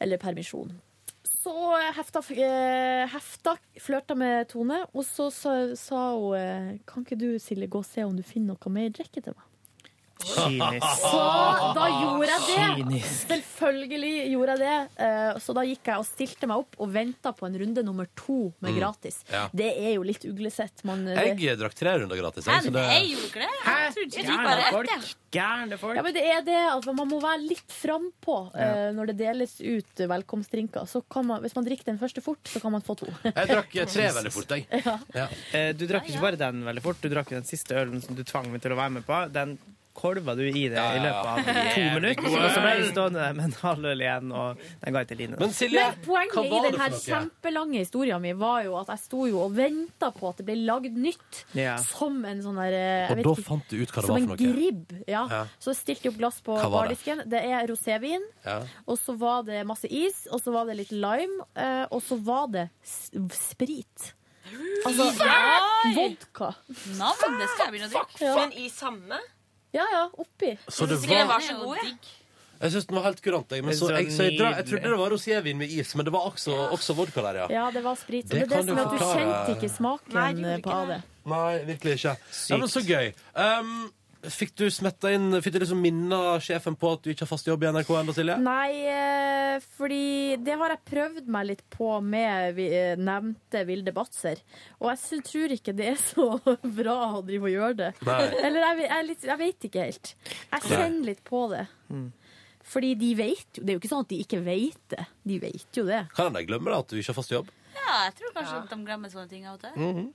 [SPEAKER 4] Eller permisjon. Så hefta, eh, hefta flørta med Tone, og så sa, sa hun eh, Kan ikke du, Silje, gå og se om du finner noe mer drikke til meg? Så da gjorde jeg det.
[SPEAKER 3] Kynisk.
[SPEAKER 4] Selvfølgelig gjorde jeg det. Eh, Så da gikk jeg og stilte meg opp og venta på en runde nummer to med
[SPEAKER 2] Mm.
[SPEAKER 4] gratis.
[SPEAKER 2] Ja.
[SPEAKER 4] Det er jo litt uglesett. Man, eh, det,
[SPEAKER 2] Jeg eh, drakk tre runder gratis. Jeg, så det...
[SPEAKER 4] gjorde det.
[SPEAKER 20] Jeg trodde- jeg trodde bare ett, jeg.
[SPEAKER 3] Gærne folk.
[SPEAKER 4] Ja, men det er det at Man må være litt frampå eh, når det deles ut velkomstdrinker. Så kan man, hvis man drikker den første fort, så kan man få to.
[SPEAKER 2] jeg drakk eh, tre veldig fort, jeg. Ja.
[SPEAKER 3] Eh, Du drakk ikke bare den veldig fort, du drakk jo den siste ølen som du tvang meg til å være med på. Den kolva du i deg i løpet av to
[SPEAKER 2] Jævlig
[SPEAKER 3] minutter.
[SPEAKER 2] god
[SPEAKER 3] Og så ble
[SPEAKER 2] øl.
[SPEAKER 3] jeg stående der med en halv øl igjen, og den ga jeg til Line. da.
[SPEAKER 4] Men poenget i den her kjempelange historien min var jo at jeg sto jo og venta på at det ble lagd nytt.
[SPEAKER 2] Ja.
[SPEAKER 4] Som en sånn der eh, jeg
[SPEAKER 2] Og
[SPEAKER 4] vet
[SPEAKER 2] da
[SPEAKER 4] ikke-
[SPEAKER 2] fant du ut hva det
[SPEAKER 4] som
[SPEAKER 2] var
[SPEAKER 4] en
[SPEAKER 2] for noe.
[SPEAKER 4] gribb. Ja.
[SPEAKER 2] Ja.
[SPEAKER 4] Så stilte jeg opp glass på
[SPEAKER 2] Hva var det?
[SPEAKER 4] bardisken. Det er rosévin,
[SPEAKER 2] Ja.
[SPEAKER 4] og så var det masse is, og så var det litt lime, eh, og så var det s- sprit. Altså
[SPEAKER 9] Nei!
[SPEAKER 4] vodka.
[SPEAKER 9] Navn, det skal jeg begynne å drikke.
[SPEAKER 4] Ja.
[SPEAKER 9] Men i samme?
[SPEAKER 4] Ja, ja, oppi.
[SPEAKER 2] Så det
[SPEAKER 9] Ikke den
[SPEAKER 2] var-
[SPEAKER 9] var så god, jeg.
[SPEAKER 2] Jeg syns den var helt kurant. Jeg, men
[SPEAKER 3] Det
[SPEAKER 2] så,
[SPEAKER 3] er så
[SPEAKER 2] jeg, så jeg, dra, jeg
[SPEAKER 3] nydelig.
[SPEAKER 2] trodde det var rosévin med is, men det var også, også vodka der, ja.
[SPEAKER 4] Ja, det var
[SPEAKER 2] Det
[SPEAKER 4] sprit. Det, det,
[SPEAKER 2] kan
[SPEAKER 4] det som
[SPEAKER 2] du
[SPEAKER 4] er at du
[SPEAKER 2] forklare.
[SPEAKER 4] kjente ikke smaken
[SPEAKER 2] Nei, jeg gjorde
[SPEAKER 4] eh, på av det.
[SPEAKER 2] Nei, virkelig ikke. Ja, men så gøy. Um, fikk du smetta inn Fikk du liksom minna sjefen på at du ikke har fast jobb i NRK ennå, Silje?
[SPEAKER 4] Nei, eh, fordi det har jeg prøvd meg litt på med vi, eh, nevnte Vilde Batzer. Og jeg sy- tror ikke det er så bra å drive og gjøre det.
[SPEAKER 21] Nei.
[SPEAKER 4] Eller jeg, ve- jeg, er litt, jeg vet ikke helt. Jeg
[SPEAKER 21] Nei.
[SPEAKER 4] kjenner litt på det.
[SPEAKER 3] Mm.
[SPEAKER 4] Fordi de vet jo Det er jo ikke sånn at de ikke vet det. De vet jo det.
[SPEAKER 2] Kan hende jeg glemmer at du ikke har fast jobb.
[SPEAKER 20] Ja, jeg tror kanskje at de glemmer sånne ting av og til.
[SPEAKER 2] Mhm.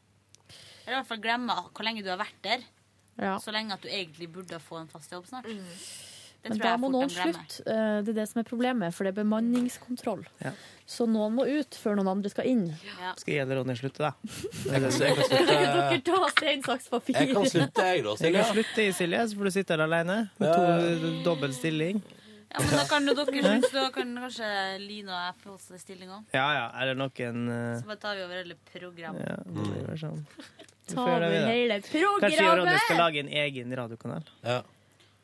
[SPEAKER 20] Eller i hvert fall glemmer hvor lenge du har vært der.
[SPEAKER 4] Ja.
[SPEAKER 20] Så lenge at du egentlig burde få en fast jobb snart.
[SPEAKER 4] Men
[SPEAKER 20] Det tror
[SPEAKER 4] da
[SPEAKER 20] jeg
[SPEAKER 4] må
[SPEAKER 20] fort
[SPEAKER 4] noen
[SPEAKER 20] de glemmer.
[SPEAKER 4] slutte. Eh, Det er det som er problemet, for det er bemanningskontroll. Så noen må ut før noen andre skal inn.
[SPEAKER 3] Skal jeg eller Ronny slutte, da?
[SPEAKER 2] Jeg kan- jeg kan
[SPEAKER 4] Dere tar stein, saks, papir.
[SPEAKER 2] jeg, da,
[SPEAKER 3] Jeg kan slutte, i, Silje, så får du sitte her alene. Med to dobbel stilling.
[SPEAKER 20] Ja, men da kan jo dere slutte, da kan kanskje Line og jeg få oss en stilling òg.
[SPEAKER 3] Ja ja, er det noen eh,
[SPEAKER 2] Mm.
[SPEAKER 20] Så bare tar vi over hele programmet.
[SPEAKER 3] ja, det blir vel sånn. Vi får
[SPEAKER 4] Ta
[SPEAKER 3] gjøre
[SPEAKER 4] over
[SPEAKER 3] det, da.
[SPEAKER 4] hele
[SPEAKER 3] Kanskje jeg og Ronny skal
[SPEAKER 4] programmet!
[SPEAKER 3] lage en egen radiokanal?
[SPEAKER 2] Ja.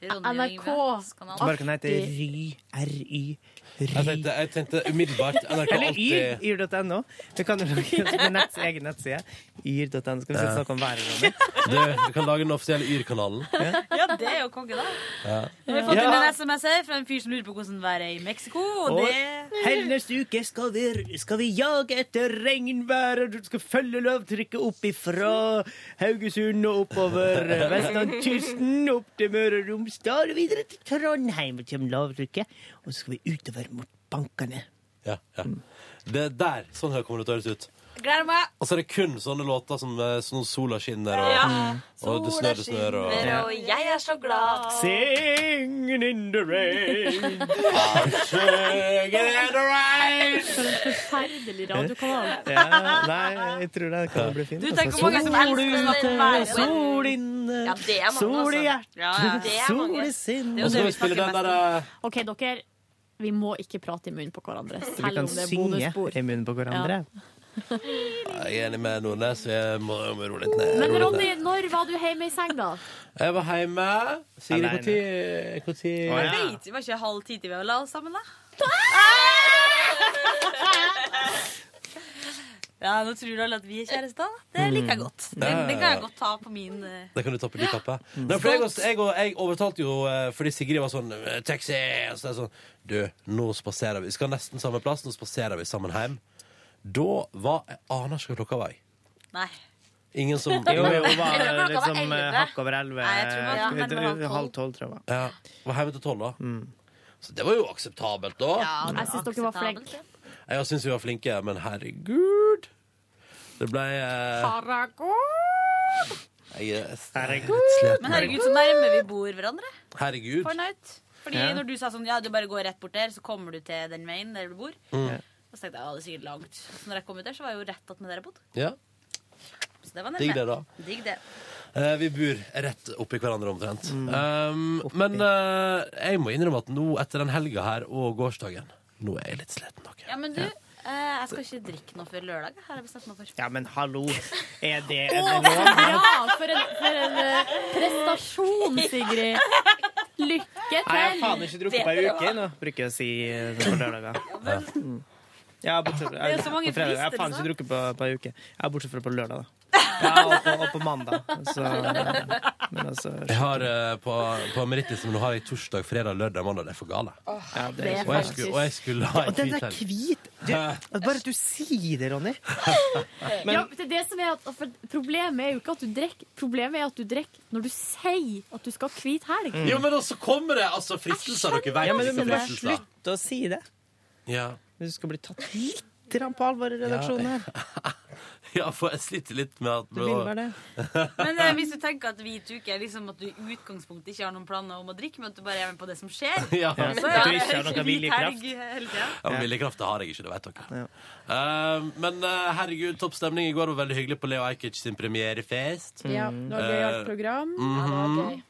[SPEAKER 4] NRK.
[SPEAKER 3] Som bare kan hete
[SPEAKER 4] Alltid.
[SPEAKER 3] Ry. RY.
[SPEAKER 2] Jeg tenkte, jeg tenkte umiddelbart NRK
[SPEAKER 3] Eller Yr.
[SPEAKER 2] alltid
[SPEAKER 3] Yr.no. Det kan du lage en nett, egen nettside. Yr.no. Skal vi sitte og snakke om været? Ronny?
[SPEAKER 2] Du, du kan lage den offisielle Yr-kanalen.
[SPEAKER 20] Ja, det er jo konge, da.
[SPEAKER 2] Ja.
[SPEAKER 20] Nå har vi fått
[SPEAKER 3] Ja.
[SPEAKER 20] inn en SMS her fra en fyr som lurer på hvordan været er i Mexico. Og
[SPEAKER 3] Og hele
[SPEAKER 20] det
[SPEAKER 3] neste uke skal vi, skal vi jage etter regnværet. Du skal følge løvtrykket opp ifra Haugesund og oppover eh, vestlandskysten, opp til Møre og Romsdal og videre til Trondheim. Og kommer lavtrykket, og så skal vi utover mot bankene.
[SPEAKER 2] Ja, ja. Det er der sånn her kommer det til å høres ut.
[SPEAKER 20] Gleder meg.
[SPEAKER 2] Og så er det kun sånne låter som eh, sånn Sola skinner og,
[SPEAKER 20] Ja.
[SPEAKER 2] og Det snør, det snør og
[SPEAKER 9] Og jeg er så glad.
[SPEAKER 3] Singing in the rain.
[SPEAKER 4] Forferdelig
[SPEAKER 3] Eh?
[SPEAKER 4] radiokanal.
[SPEAKER 3] Ja, nei, jeg tror det kan bli fint.
[SPEAKER 4] Du, tenk
[SPEAKER 3] altså.
[SPEAKER 4] hvor mange som
[SPEAKER 3] Sol
[SPEAKER 4] elsker den
[SPEAKER 3] ute,
[SPEAKER 4] verden.
[SPEAKER 3] Sol inne,
[SPEAKER 4] Ja, det er mange,
[SPEAKER 3] sol i
[SPEAKER 4] altså. Ja, ja,
[SPEAKER 3] hjertet,
[SPEAKER 4] det er
[SPEAKER 3] sol
[SPEAKER 4] mange.
[SPEAKER 3] i sinnet.
[SPEAKER 4] Det er jo det Og så skal vi vi spille snakker den mest om.
[SPEAKER 2] der,
[SPEAKER 4] OK, dere. Vi må ikke prate i munnen på hverandre,
[SPEAKER 3] Vi
[SPEAKER 4] selv
[SPEAKER 3] kan
[SPEAKER 4] om det er
[SPEAKER 3] synge
[SPEAKER 4] bonusspor.
[SPEAKER 3] i munnen på hverandre.
[SPEAKER 2] eh, Jeg er enig med Nordnes. Jeg må, jeg må roe litt ned.
[SPEAKER 4] Men
[SPEAKER 2] roe litt
[SPEAKER 4] Ronny,
[SPEAKER 2] ned.
[SPEAKER 4] når var du hjemme i seng, da?
[SPEAKER 2] Jeg var hjemme. Sigrid,
[SPEAKER 3] Alene.
[SPEAKER 2] når
[SPEAKER 20] Jeg vet, det var ikke halv ti til vi la oss sammen, da? Ja, Nå tror alle at vi er kjærester. da. Det
[SPEAKER 2] Mm.
[SPEAKER 20] liker jeg godt. Den, den kan jeg godt ta på min eh,
[SPEAKER 2] Det kan du ta på din kappe. Nei, for jeg, jeg, jeg overtalte jo eh, fordi Sigrid var sånn eh, 'Taxi!' Og så er jeg sånn 'Du, nå spaserer vi. Vi skal nesten samme plass. Nå spaserer vi sammen hjem.' Da var Jeg aner ikke hva klokka var. jeg.
[SPEAKER 20] Nei.
[SPEAKER 2] Ingen som
[SPEAKER 3] Jo, jo, det var
[SPEAKER 20] Jeg tror klokka var
[SPEAKER 3] liksom eh,
[SPEAKER 20] elleve.
[SPEAKER 3] hakk over elleve.
[SPEAKER 20] Nei, jeg tror det
[SPEAKER 3] eh,
[SPEAKER 20] var nærmere halv tolv.
[SPEAKER 3] Halv tolv, tror jeg. det var.
[SPEAKER 2] Ja, var hjemme til tolv, da. Så det var jo akseptabelt, da.
[SPEAKER 4] Jeg syns dere var flinke.
[SPEAKER 2] Jeg syns vi var flinke, men herregud Det ble eh, jeg, Herregud.
[SPEAKER 20] Men herregud, så nærme vi bor hverandre.
[SPEAKER 2] Herregud.
[SPEAKER 20] Fornøyd. Fordi
[SPEAKER 2] Ja.
[SPEAKER 20] når du sa sånn, ja, du bare går rett bort der, så kommer du til den veien der du bor.
[SPEAKER 2] Mm.
[SPEAKER 20] Så tenkte jeg, ja, det er sikkert langt. Så når jeg kom ut der, så var jeg jo rett at med der jeg bodde.
[SPEAKER 2] Ja.
[SPEAKER 20] Så det var
[SPEAKER 2] Digg det, da.
[SPEAKER 20] Digg det.
[SPEAKER 2] Eh, vi bor rett oppi hverandre omtrent. Um, men eh, jeg må innrømme at nå etter den helga her og gårsdagen Nå er jeg litt sliten. nok.
[SPEAKER 20] Ja, men du, eh, jeg skal ikke drikke noe før lørdag. Her har jeg bestemt meg for.
[SPEAKER 3] Ja, men hallo! Er det er det
[SPEAKER 20] Å, så
[SPEAKER 3] lov?
[SPEAKER 4] Ja, for en, for en eh, prestasjon, Sigrid. Lykke til.
[SPEAKER 3] Nei, jeg har faen ikke drukket på ei uke nå, bruker jeg å si eh, på lørdager.
[SPEAKER 2] Ja.
[SPEAKER 3] Mm. Ja, bortsett fra
[SPEAKER 20] Det er så mange
[SPEAKER 3] på fredag. Jeg har
[SPEAKER 20] frister,
[SPEAKER 3] faen ikke
[SPEAKER 20] liksom.
[SPEAKER 3] drukket på, på ei uke. Ja, bortsett fra på lørdag, da. Ja, og på, og på mandag. Så, men altså
[SPEAKER 2] Jeg har eh, på, på merittlisten nå har jeg torsdag, fredag, lørdag, mandag. Det er for gale.
[SPEAKER 3] ja, det
[SPEAKER 2] er og, jeg skulle, og jeg skulle ha
[SPEAKER 3] Og
[SPEAKER 2] en
[SPEAKER 3] den
[SPEAKER 2] hvit
[SPEAKER 3] er
[SPEAKER 2] helg.
[SPEAKER 3] hvit! Du, bare at du sier det, Ronny. Men-
[SPEAKER 4] ja, det er det som er at, for problemet er jo ikke at du drikker, problemet er at du drikker når du sier at du skal ha hvit helg.
[SPEAKER 2] Jo, men også kommer det altså fristelser. Dere vet
[SPEAKER 3] Ja, men du må
[SPEAKER 2] disse
[SPEAKER 3] bare
[SPEAKER 2] fristelser.
[SPEAKER 3] slutte å si det.
[SPEAKER 2] Ja.
[SPEAKER 3] Du skal bli tatt litt grann på alvor i redaksjonen her.
[SPEAKER 2] ja, for jeg sliter litt med at
[SPEAKER 3] Det vil være det.
[SPEAKER 20] Men eh, hvis du tenker at hvit uke er liksom at du i utgangspunktet ikke har noen planer om å drikke, men at du bare er med på det som skjer,
[SPEAKER 2] Ja.
[SPEAKER 20] så
[SPEAKER 2] At du
[SPEAKER 20] er det
[SPEAKER 2] ikke har noen
[SPEAKER 20] hvit
[SPEAKER 2] viljekraft.
[SPEAKER 20] helg hele tiden.
[SPEAKER 2] Ja, men Viljekrafta har jeg ikke, det vet dere. Eh, men eh, herregud, topp stemning. I går var veldig hyggelig på Leo Ajkic sin premierefest.
[SPEAKER 4] Ja, det var gøyalt program.
[SPEAKER 2] Ja, det var gøy.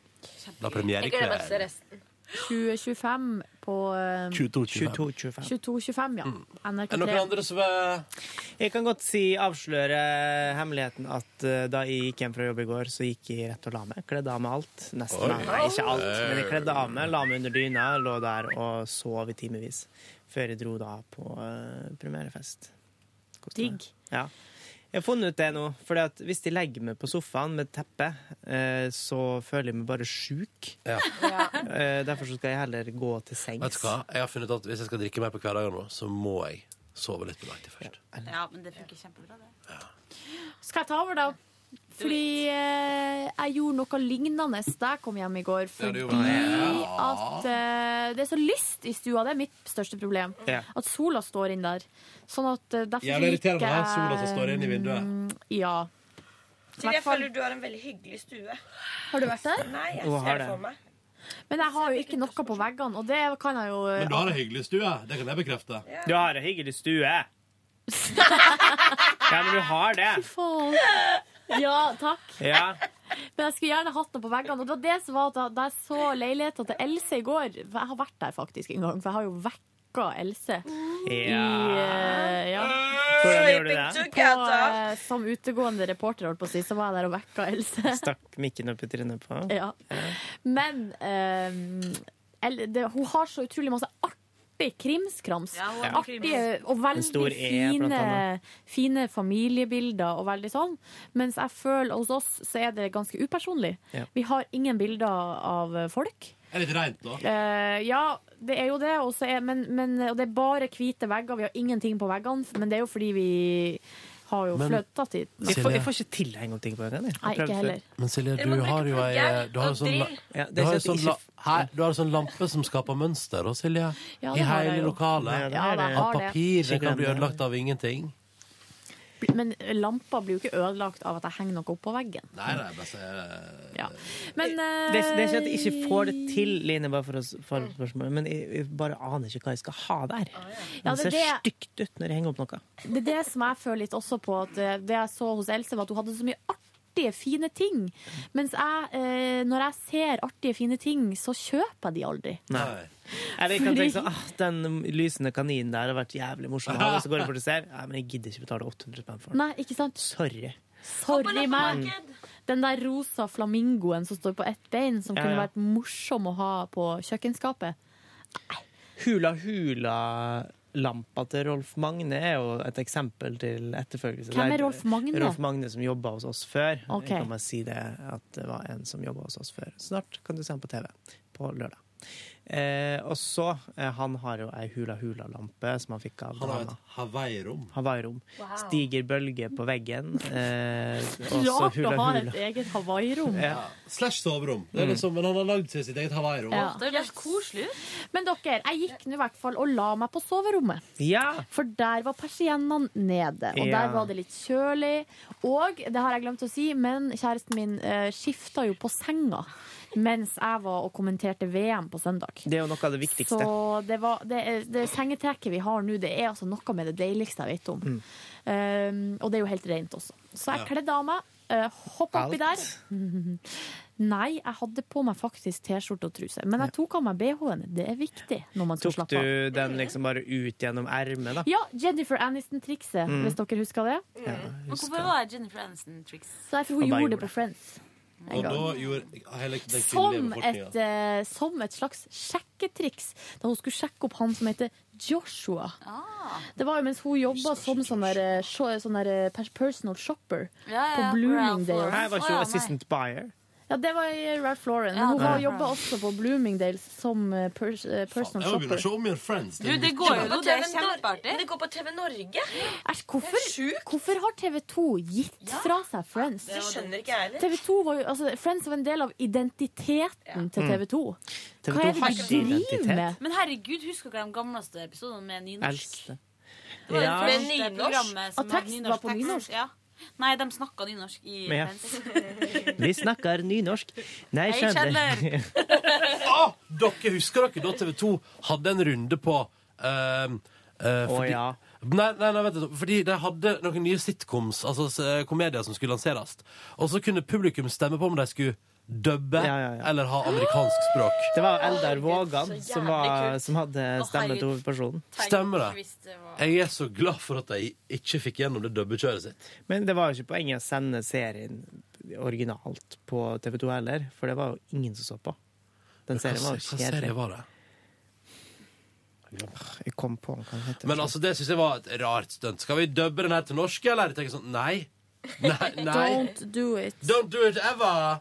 [SPEAKER 2] La premiere i
[SPEAKER 4] Jeg gleder meg til
[SPEAKER 2] kveld.
[SPEAKER 4] resten. 2025 på eh,
[SPEAKER 3] 22-25.
[SPEAKER 4] 22-25, ja. NRK 3.
[SPEAKER 2] som er
[SPEAKER 3] Jeg kan godt si, avsløre hemmeligheten at eh, da jeg gikk hjem fra jobb i går, så gikk jeg rett og la meg. Kledde av meg alt. Nesten.
[SPEAKER 2] Oi.
[SPEAKER 3] Nei, ikke alt, men jeg kledde av meg, la meg under dyna, lå der og sov i timevis. Før jeg dro da på eh, premierefest. Koste meg.
[SPEAKER 4] Digg.
[SPEAKER 3] Ja. Jeg har funnet ut det nå, for hvis de legger meg på sofaen med teppe, eh, så føler jeg meg bare sjuk. Eh, Derfor så skal jeg heller gå til sengs.
[SPEAKER 2] Vet du hva? Jeg har funnet ut at Hvis jeg skal drikke mer på hverdagen nå, så må jeg sove litt på dagtid først.
[SPEAKER 20] Ja, men det funker kjempebra, det.
[SPEAKER 4] Skal jeg ta over, da? Fordi eh, jeg gjorde noe lignende da jeg kom hjem i går.
[SPEAKER 2] Ja, du
[SPEAKER 4] Fordi
[SPEAKER 2] gjorde det.
[SPEAKER 4] at eh, det er så lyst i stua. Det er mitt største problem.
[SPEAKER 2] Ja.
[SPEAKER 4] At sola står inn der. Sånn at eh, derfor
[SPEAKER 2] Jævlig irriterende,
[SPEAKER 4] liker
[SPEAKER 2] da, sola som
[SPEAKER 4] jeg-
[SPEAKER 2] står inn i vinduet.
[SPEAKER 4] Mm, Ja.
[SPEAKER 9] Sigrid, jeg føler du har en veldig hyggelig stue.
[SPEAKER 4] Har du vært der?
[SPEAKER 9] Nei, jeg
[SPEAKER 2] Hun har
[SPEAKER 9] ser det
[SPEAKER 2] det.
[SPEAKER 9] for meg.
[SPEAKER 4] Men jeg har jo ikke noe på veggene, og det kan jeg jo eh,
[SPEAKER 2] Men du har ei hyggelig stue. Det kan jeg bekrefte.
[SPEAKER 3] Du har ei hyggelig stue. ja, men du har det.
[SPEAKER 4] Faen. Ja, takk.
[SPEAKER 3] Ja.
[SPEAKER 4] Men jeg skulle gjerne hatt noe på veggene. Og det var det som var da, da jeg så leiligheta til Else i går for Jeg har vært der faktisk en gang, for jeg har jo vekka Else. I,
[SPEAKER 3] Ja.
[SPEAKER 4] eh, ja.
[SPEAKER 3] Hvordan gjorde du det?
[SPEAKER 4] På, eh, som utegående reporter, holdt på å si, så var jeg der og vekka Else.
[SPEAKER 3] Stakk mikken opp i trynet på
[SPEAKER 4] Ja. Men eh, eller, det, hun har så utrolig masse artig krimskrams.
[SPEAKER 20] Ja, hun har
[SPEAKER 4] Artige
[SPEAKER 20] krimskrams.
[SPEAKER 4] og
[SPEAKER 20] En
[SPEAKER 4] veldig
[SPEAKER 20] stor E, blant
[SPEAKER 4] fine,
[SPEAKER 20] annet.
[SPEAKER 4] fine familiebilder og veldig sånn. Mens jeg føler hos oss så er det ganske upersonlig.
[SPEAKER 2] Ja.
[SPEAKER 4] Vi har ingen bilder av folk.
[SPEAKER 2] Er det litt reint, da?
[SPEAKER 4] Eh, ja, det er jo det. og så er, men, men, og det er bare hvite vegger. Vi har ingenting på veggene, men det er jo fordi vi har jo
[SPEAKER 2] Men-
[SPEAKER 4] flytta dit.
[SPEAKER 2] Jeg får- jeg får
[SPEAKER 3] ikke tilhenge ting på veggene.
[SPEAKER 4] Nei, ikke heller.
[SPEAKER 2] Men Silje,
[SPEAKER 4] Dere
[SPEAKER 2] du
[SPEAKER 4] må bruke
[SPEAKER 2] har jo ei
[SPEAKER 4] plugger
[SPEAKER 2] Du har jo
[SPEAKER 4] og
[SPEAKER 2] sånn, la-
[SPEAKER 4] drill.
[SPEAKER 3] Ja, det
[SPEAKER 2] du har
[SPEAKER 3] er
[SPEAKER 2] jo
[SPEAKER 3] sånn
[SPEAKER 2] sånn,
[SPEAKER 3] at jeg
[SPEAKER 2] la,
[SPEAKER 3] ikke-
[SPEAKER 2] her, du har jo sånn lampe som skaper mønster, da, Silje.
[SPEAKER 4] Ja,
[SPEAKER 2] I
[SPEAKER 4] det har jeg
[SPEAKER 2] hele
[SPEAKER 4] jo. Ja,
[SPEAKER 2] lokalet.
[SPEAKER 4] det har jeg.
[SPEAKER 2] Av papir.
[SPEAKER 3] Ikke
[SPEAKER 2] Den kan bli
[SPEAKER 3] glem det.
[SPEAKER 2] ødelagt av ingenting.
[SPEAKER 4] Men lampa blir jo ikke ødelagt av at jeg henger noe oppå veggen.
[SPEAKER 2] Nei, nei, bare sånn, eh, se
[SPEAKER 4] Ja. Men
[SPEAKER 3] Det, er- det er ikke at jeg ikke får det til, Line, bare for å s- for spørsmålet, men jeg, jeg bare aner ikke hva jeg skal ha der.
[SPEAKER 4] Ja,
[SPEAKER 3] Det
[SPEAKER 4] det er
[SPEAKER 3] ser
[SPEAKER 4] det-
[SPEAKER 3] stygt ut når jeg henger opp noe.
[SPEAKER 4] eh, Det er det som jeg føler litt også på. At eh, det jeg så hos Else, var at hun hadde så mye artige, fine ting. Mens jeg, eh, når jeg ser artige, fine ting, så kjøper jeg de aldri.
[SPEAKER 3] Nei. Eller jeg kan
[SPEAKER 4] Fordi-
[SPEAKER 3] tenke sånn, ah, den lysende kaninen der har vært jævlig morsom. Og så går jeg bort og ser, ja, men jeg gidder ikke betale 800 spenn for den.
[SPEAKER 4] Nei, ikke sant?
[SPEAKER 3] Sorry.
[SPEAKER 4] Sorry meg. Den der rosa flamingoen som står på ett bein, som
[SPEAKER 3] Ja,
[SPEAKER 4] kunne
[SPEAKER 3] ja.
[SPEAKER 4] vært morsom å ha på kjøkkenskapet.
[SPEAKER 3] Hula Hula Lampa til Rolf Magne er jo et eksempel til etterfølgelse.
[SPEAKER 4] Hvem er
[SPEAKER 3] Det
[SPEAKER 4] Rolf Magne?
[SPEAKER 3] Rolf Magne som jobba hos oss før.
[SPEAKER 4] Ok.
[SPEAKER 3] Jeg kan bare si det at det var en som jobba hos oss før. Snart kan du se han på TV på lørdag. Eh, og så, eh, han har jo ei Hula Hula-lampe som han fikk av
[SPEAKER 2] Han har sånn
[SPEAKER 3] dama.
[SPEAKER 2] et Hawaii-rom.
[SPEAKER 3] Hawaii-rom.
[SPEAKER 4] Wow.
[SPEAKER 3] Stiger bølge på veggen. Eh, også
[SPEAKER 4] Rart å
[SPEAKER 3] Hula
[SPEAKER 4] ha
[SPEAKER 3] Hula.
[SPEAKER 4] et eget Hawaii-rom.
[SPEAKER 3] Ja.
[SPEAKER 2] Slash soverom. Det er liksom, men han har lagd seg sitt eget Hawaii-rom.
[SPEAKER 4] Ja.
[SPEAKER 20] Det er koselig.
[SPEAKER 4] Men dere, jeg gikk nå i hvert fall og la meg på soverommet.
[SPEAKER 3] Ja.
[SPEAKER 4] For der var persiennene nede, og
[SPEAKER 20] Ja.
[SPEAKER 4] der var det litt kjølig. Og det har jeg glemt å si, men kjæresten min eh, skifta jo på senga mens jeg var og kommenterte VM på søndag.
[SPEAKER 3] Det er jo noe av det viktigste.
[SPEAKER 4] Så det, var, det, er- det sengetrekket vi har nå, det er altså noe med det deiligste jeg vet om. Um, og det er jo helt rent også. Så jeg
[SPEAKER 20] Ja.
[SPEAKER 4] kledde av meg, uh, hoppa oppi der.
[SPEAKER 20] Alt?
[SPEAKER 4] Nei, jeg hadde på meg faktisk T-skjorte og truse. Men jeg tok av meg BH-en. Det er viktig når man skal
[SPEAKER 3] Tok
[SPEAKER 4] slappe av.
[SPEAKER 3] du den liksom bare ut gjennom ermet, da?
[SPEAKER 4] Ja, Jennifer Aniston-trikset,
[SPEAKER 3] Mm.
[SPEAKER 4] hvis dere husker det.
[SPEAKER 3] Ja, husker
[SPEAKER 20] Hvorfor var det Jennifer Aniston-triks?
[SPEAKER 4] Så derfor hun
[SPEAKER 2] Og da
[SPEAKER 4] gjorde
[SPEAKER 2] gjorde
[SPEAKER 4] det på Friends. en
[SPEAKER 2] Og
[SPEAKER 4] gang.
[SPEAKER 2] da gjorde hele den kvinnelige
[SPEAKER 4] Som et,
[SPEAKER 2] befolkninga
[SPEAKER 4] eh, som et slags sjekketriks, da hun skulle sjekke opp han som heter Joshua.
[SPEAKER 20] Ah.
[SPEAKER 4] Det var jo mens hun jobba som sånn der, eh, sho- sånn der eh, pers- personal shopper
[SPEAKER 20] Ja, ja,
[SPEAKER 4] på Blooming
[SPEAKER 20] Ralph
[SPEAKER 4] Dales.
[SPEAKER 20] Lauren.
[SPEAKER 3] Nei, var ikke hun assistant buyer?
[SPEAKER 4] Ja, det var i eh, Ralph Lauren.
[SPEAKER 20] Ja,
[SPEAKER 4] Men hun
[SPEAKER 20] det var
[SPEAKER 4] ja,
[SPEAKER 20] Ralph
[SPEAKER 4] jobba også på Bloomingdales som eh, pers eh, personal
[SPEAKER 2] Jeg må begynne å se
[SPEAKER 4] shopper.
[SPEAKER 2] om igjen Friends.
[SPEAKER 4] Du, det går jo
[SPEAKER 2] viktig.
[SPEAKER 4] nå.
[SPEAKER 9] Det er
[SPEAKER 4] Det er
[SPEAKER 9] kjempeartig. Det går på TV Norge.
[SPEAKER 4] Æsj, hvorfor, hvorfor har TV2 gitt fra seg Friends?
[SPEAKER 9] Det skjønner ikke jeg heller.
[SPEAKER 4] TV2 var jo, altså, Friends var en del av identiteten til
[SPEAKER 3] Mm.
[SPEAKER 4] TV2.
[SPEAKER 3] TV2
[SPEAKER 4] Hva er
[SPEAKER 3] har
[SPEAKER 4] det
[SPEAKER 3] ikke
[SPEAKER 4] de
[SPEAKER 3] identitet.
[SPEAKER 4] driver med?
[SPEAKER 20] Men herregud, husker dere de gamleste episodene med nynorsk?
[SPEAKER 3] Eldste.
[SPEAKER 20] Det var
[SPEAKER 3] Ja.
[SPEAKER 20] det første
[SPEAKER 9] Med nynorsk?
[SPEAKER 20] programmet som
[SPEAKER 9] Og
[SPEAKER 20] hadde
[SPEAKER 9] teksten var på
[SPEAKER 20] tekst.
[SPEAKER 9] nynorsk?
[SPEAKER 20] Ja. Nei, de snakka nynorsk i
[SPEAKER 3] Men ja.
[SPEAKER 20] Friends.
[SPEAKER 3] Vi snakker nynorsk. Nei,
[SPEAKER 20] Nei,
[SPEAKER 3] kjenner.
[SPEAKER 2] Ah, dere husker dere da TV 2 hadde en runde på ehm, eh, fordi,
[SPEAKER 3] ja.
[SPEAKER 2] Nei, nei, nei, vent litt. Fordi de hadde noen nye sitcoms, altså s- komedier, som skulle lanseres. Og så kunne publikum stemme på om de skulle dubbe eller ha amerikansk språk.
[SPEAKER 3] Det var Eldar Vågan som, var, som hadde stemme til hovedpersonen.
[SPEAKER 2] Stemmer det. Jeg er så glad for at de ikke fikk gjennom det dubbekjøret sitt.
[SPEAKER 3] Men det var jo ikke poenget å sende serien originalt på TV2 heller, for det var jo ingen som så på. Den
[SPEAKER 2] Men hva
[SPEAKER 3] serien var
[SPEAKER 2] Altså, se- hva
[SPEAKER 3] jo
[SPEAKER 2] serie
[SPEAKER 3] kjedelig.
[SPEAKER 2] var det?
[SPEAKER 3] Jeg kom på hva den heter.
[SPEAKER 2] Men altså, det syns jeg var et rart stunt. Skal vi dubbe den her til norsk, eller? Jeg tenker sånn, nei. Nei, nei.
[SPEAKER 4] Don't do it.
[SPEAKER 2] Don't do it ever!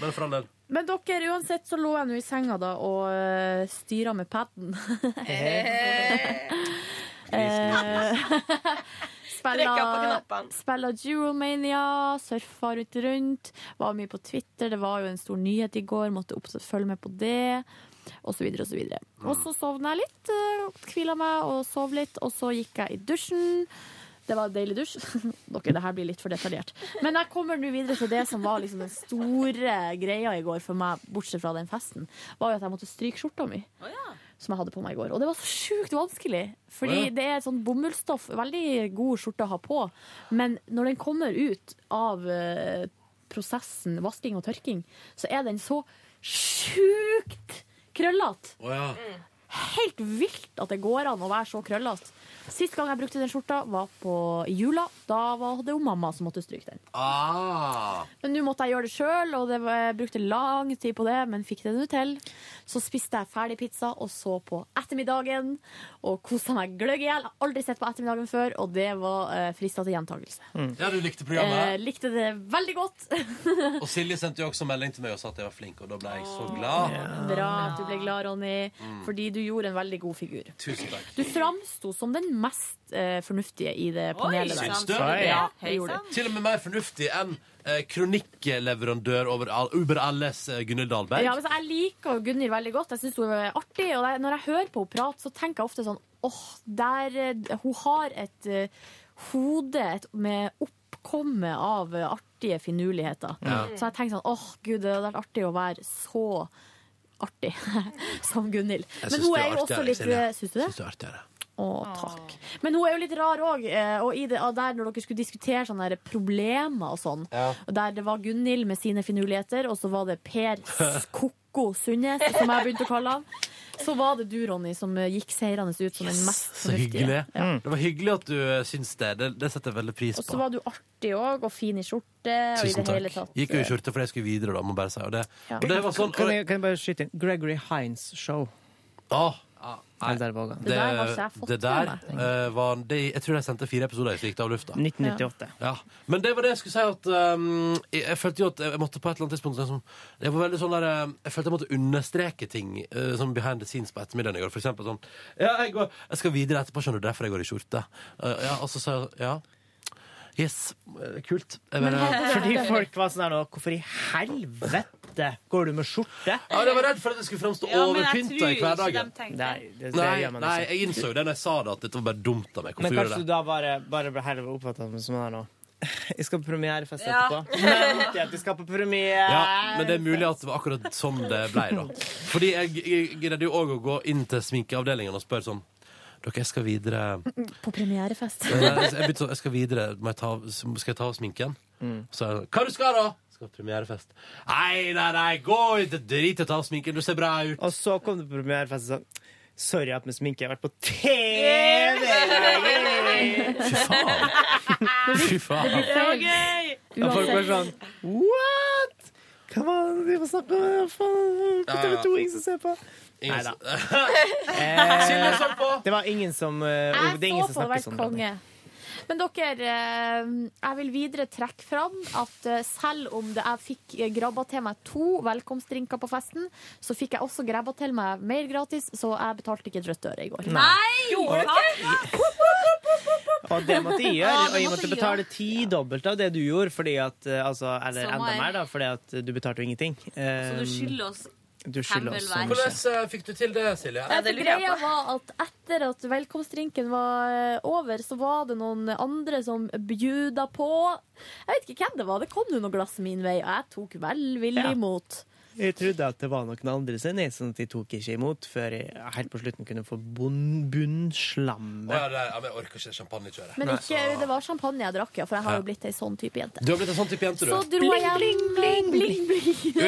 [SPEAKER 2] Men for all del.
[SPEAKER 4] Men dere, uansett så lå jeg nå i senga da og uh, styra med Eh, paden.
[SPEAKER 9] Trekk opp på knappene.
[SPEAKER 4] Spilla Juromania, surfa rundt rundt. Var mye på Twitter, det var jo en stor nyhet i går, måtte opp, følge med på det. Og så videre og så videre.
[SPEAKER 9] Mm.
[SPEAKER 4] Og så sovna jeg litt, eh, hvila meg og sov litt, og så gikk jeg i dusjen. Det var en deilig dusj. Dere, det her blir litt for detaljert. Men jeg kommer nå videre til det som var liksom den store greia i går for meg, bortsett fra den festen, var jo at jeg måtte stryke skjorta mi. Som jeg hadde på meg i går. Og det var så sjukt vanskelig. Fordi
[SPEAKER 20] Å ja.
[SPEAKER 4] det er et sånt bomullsstoff. Veldig god skjorte å ha på. Men når den kommer ut av eh, prosessen vasking og tørking, så er den så sjukt krøllete.
[SPEAKER 2] Å ja. Mm.
[SPEAKER 4] Helt vilt at det går an å være så krøllete. Sist gang jeg brukte den skjorta, var på i jula. Da var det jo mamma som måtte stryke den.
[SPEAKER 2] Ah.
[SPEAKER 4] Men nå måtte jeg gjøre det sjøl, og det var, jeg brukte lang tid på det, men fikk det nå til. Så spiste jeg ferdig pizza og så på Ettermiddagen og kosa meg gløgg i hjel. Jeg har Aldri sett på Ettermiddagen før, og det var eh, frista til gjentakelse.
[SPEAKER 2] Ja, du likte
[SPEAKER 4] Eh,
[SPEAKER 2] programmet.
[SPEAKER 4] likte det veldig godt. Eh.
[SPEAKER 2] Og Silje sendte jo også melding til meg og sa at jeg var flink, og da ble jeg så glad.
[SPEAKER 4] Bra at du ble glad, Ronny,
[SPEAKER 2] Mm.
[SPEAKER 4] fordi du gjorde en veldig god figur.
[SPEAKER 2] Tusen takk.
[SPEAKER 4] Du framsto som den mest eh, fornuftige i det panelet der.
[SPEAKER 2] Syns du?
[SPEAKER 4] Ja, det gjorde du.
[SPEAKER 2] Til og med mer fornuftig enn eh, kronikkleverandør over all, Uber alles eh, Gunhild Dahlberg.
[SPEAKER 4] Ja, altså, jeg liker jo Gunnhild veldig godt. Jeg syns hun er artig. Og det- når jeg hører på henne prate, så tenker jeg ofte sånn åh, der eh, Hun har et eh, hode et, med oppkomme av eh, artige finurligheter.
[SPEAKER 9] Ja.
[SPEAKER 4] Så jeg tenker sånn åh, gud, det hadde vært artig å være så artig som Gunnhild.
[SPEAKER 2] Jeg syns
[SPEAKER 4] Men hun
[SPEAKER 2] du
[SPEAKER 4] er jo
[SPEAKER 2] artigere,
[SPEAKER 4] også litt
[SPEAKER 2] Silje.
[SPEAKER 4] Syns du det?
[SPEAKER 2] Syns du er artigere.
[SPEAKER 4] Å, takk. Men hun er jo litt rar òg. Og i det, og der når dere skulle diskutere sånne der problemer og sånn,
[SPEAKER 2] Ja.
[SPEAKER 4] og der det var Gunhild med sine finurligheter, og så var det Per Skokko Sundnes, som jeg begynte å kalle han, så var det du, Ronny, som eh, gikk seirende ut som den mest
[SPEAKER 2] Så hyggelig.
[SPEAKER 4] fornuftige. Ja.
[SPEAKER 2] Det var hyggelig at du eh, syns det. Det, det setter jeg veldig pris
[SPEAKER 4] Og så
[SPEAKER 2] på.
[SPEAKER 4] var du artig òg, og fin i skjorte. Og i
[SPEAKER 2] Tusen
[SPEAKER 4] det
[SPEAKER 2] takk.
[SPEAKER 4] hele tatt.
[SPEAKER 2] Gikk jo i skjorte fordi jeg skulle videre, da. Må bare si. Og det,
[SPEAKER 4] Ja.
[SPEAKER 2] og det var sånn.
[SPEAKER 3] kan, jeg, kan jeg bare skyte inn Gregory Hines show?
[SPEAKER 2] Åh,
[SPEAKER 3] Nei, der var han.
[SPEAKER 2] Det, det der eh, var det, Jeg tror jeg sendte fire episoder jeg fikk det av lufta.
[SPEAKER 3] 1998.
[SPEAKER 2] Ja. Men det var det jeg skulle si at um, jeg, jeg følte jo at jeg måtte på et eller annet tidspunkt liksom, Jeg var veldig sånn der um, Jeg følte jeg måtte understreke ting uh, som behind the scenes på ettermiddagen i går. For eksempel sånn Ja, jeg, går, jeg skal videre etterpå, skjønner du, derfor jeg går i skjorte. Uh, ja, og så sa jeg ja. Yes, eh, kult. Jeg bare-
[SPEAKER 3] Fordi folk var sånn her nå Hvorfor i helvete går du med skjorte?
[SPEAKER 2] Ja, jeg var redd for at det skulle framstå
[SPEAKER 3] Ja, men jeg
[SPEAKER 2] overpynta
[SPEAKER 3] tror
[SPEAKER 2] i
[SPEAKER 3] ikke
[SPEAKER 2] hverdagen.
[SPEAKER 3] de tenkte. Nei, det- det
[SPEAKER 2] nei,
[SPEAKER 3] gjør man
[SPEAKER 2] nei,
[SPEAKER 3] ikke.
[SPEAKER 2] jeg innså jo det når jeg sa det, at dette var bare dumt av meg.
[SPEAKER 3] Men
[SPEAKER 2] Hvorfor gjorde
[SPEAKER 3] kanskje
[SPEAKER 2] jeg
[SPEAKER 3] du
[SPEAKER 2] det?
[SPEAKER 3] da bare, bare ble heller oppfattet som sånn her nå Jeg skal på premierefest
[SPEAKER 2] Ja.
[SPEAKER 3] etterpå. Nevnte jeg at vi skal på premiere.
[SPEAKER 2] Ja, men det er mulig at det var akkurat sånn det ble, da. Fordi jeg, jeg greide jo òg å gå inn til sminkeavdelingen og spørre sånn Dere, jeg skal videre
[SPEAKER 4] På premierefest.
[SPEAKER 2] Eh, Jeg begynte sånn, jeg skal videre. Må jeg ta, av- skal jeg ta av sminken? Så er jeg sånn, Hva du skal da? Skal ha premierefest. Nei, nei, nei, gå ut! Drit i å ta av sminken, du ser bra ut.
[SPEAKER 3] Og så kom du på premierefest og sånn Sorry at med sminke jeg har vært på TV!
[SPEAKER 9] Fy
[SPEAKER 2] Fy faen.
[SPEAKER 9] Det var
[SPEAKER 3] gøy! Og folk var sånn What? Hva var det de snakka om? Hva faen? På
[SPEAKER 2] Ja,
[SPEAKER 3] TV
[SPEAKER 2] ja.
[SPEAKER 3] 2, ingen som ser på? Nei da.
[SPEAKER 2] Silje så på!
[SPEAKER 3] Det var ingen som eh,
[SPEAKER 4] Jeg
[SPEAKER 3] Det er ingen
[SPEAKER 4] så
[SPEAKER 3] som
[SPEAKER 4] på det
[SPEAKER 3] snakker
[SPEAKER 4] vært
[SPEAKER 3] sånn. da.
[SPEAKER 4] konge. Men dere, eh, jeg vil videre trekke fram at eh, selv om det jeg fikk eh, grabba til meg to velkomstdrinker på festen, så fikk jeg også grabba til meg mer gratis, så jeg betalte ikke et rødt øre i går.
[SPEAKER 3] Gjorde Og det måtte jeg gjøre. og
[SPEAKER 4] Ja, det
[SPEAKER 3] jeg
[SPEAKER 4] måtte
[SPEAKER 3] måtte
[SPEAKER 4] jeg
[SPEAKER 3] betale tidobbelt av det du gjorde, fordi at, eh, altså, eller
[SPEAKER 20] Samme
[SPEAKER 3] enda
[SPEAKER 20] her.
[SPEAKER 3] mer, da, fordi at du betalte jo ingenting. Eh,
[SPEAKER 20] Så du skylder oss
[SPEAKER 3] Du skylder oss sånn. så
[SPEAKER 20] Fem vel hver.
[SPEAKER 3] mye.
[SPEAKER 2] Hvordan eh, fikk du til det, Silje?
[SPEAKER 4] Nei, for greia var at etter at velkomstdrinken var eh, over, så var det noen andre som bjuda på. Jeg vet ikke hvem det var. Det kom jo noen glass min vei, og jeg tok velvillig
[SPEAKER 3] Ja.
[SPEAKER 4] imot.
[SPEAKER 3] Jeg trodde at det var noen andre sine, sånn at de tok ikke imot før jeg helt på slutten kunne få bunn, bunnslammet.
[SPEAKER 2] Å, ja, det, ja, men jeg orker ikke det champagnekjøret.
[SPEAKER 4] Men ikke, det var champagne jeg drakk, ja, for jeg har
[SPEAKER 2] Ja.
[SPEAKER 4] jo blitt ei sånn type jente.
[SPEAKER 2] Du har blitt en sånn type jente, du.
[SPEAKER 4] Så dro jeg hjem. Bling, bling, bling.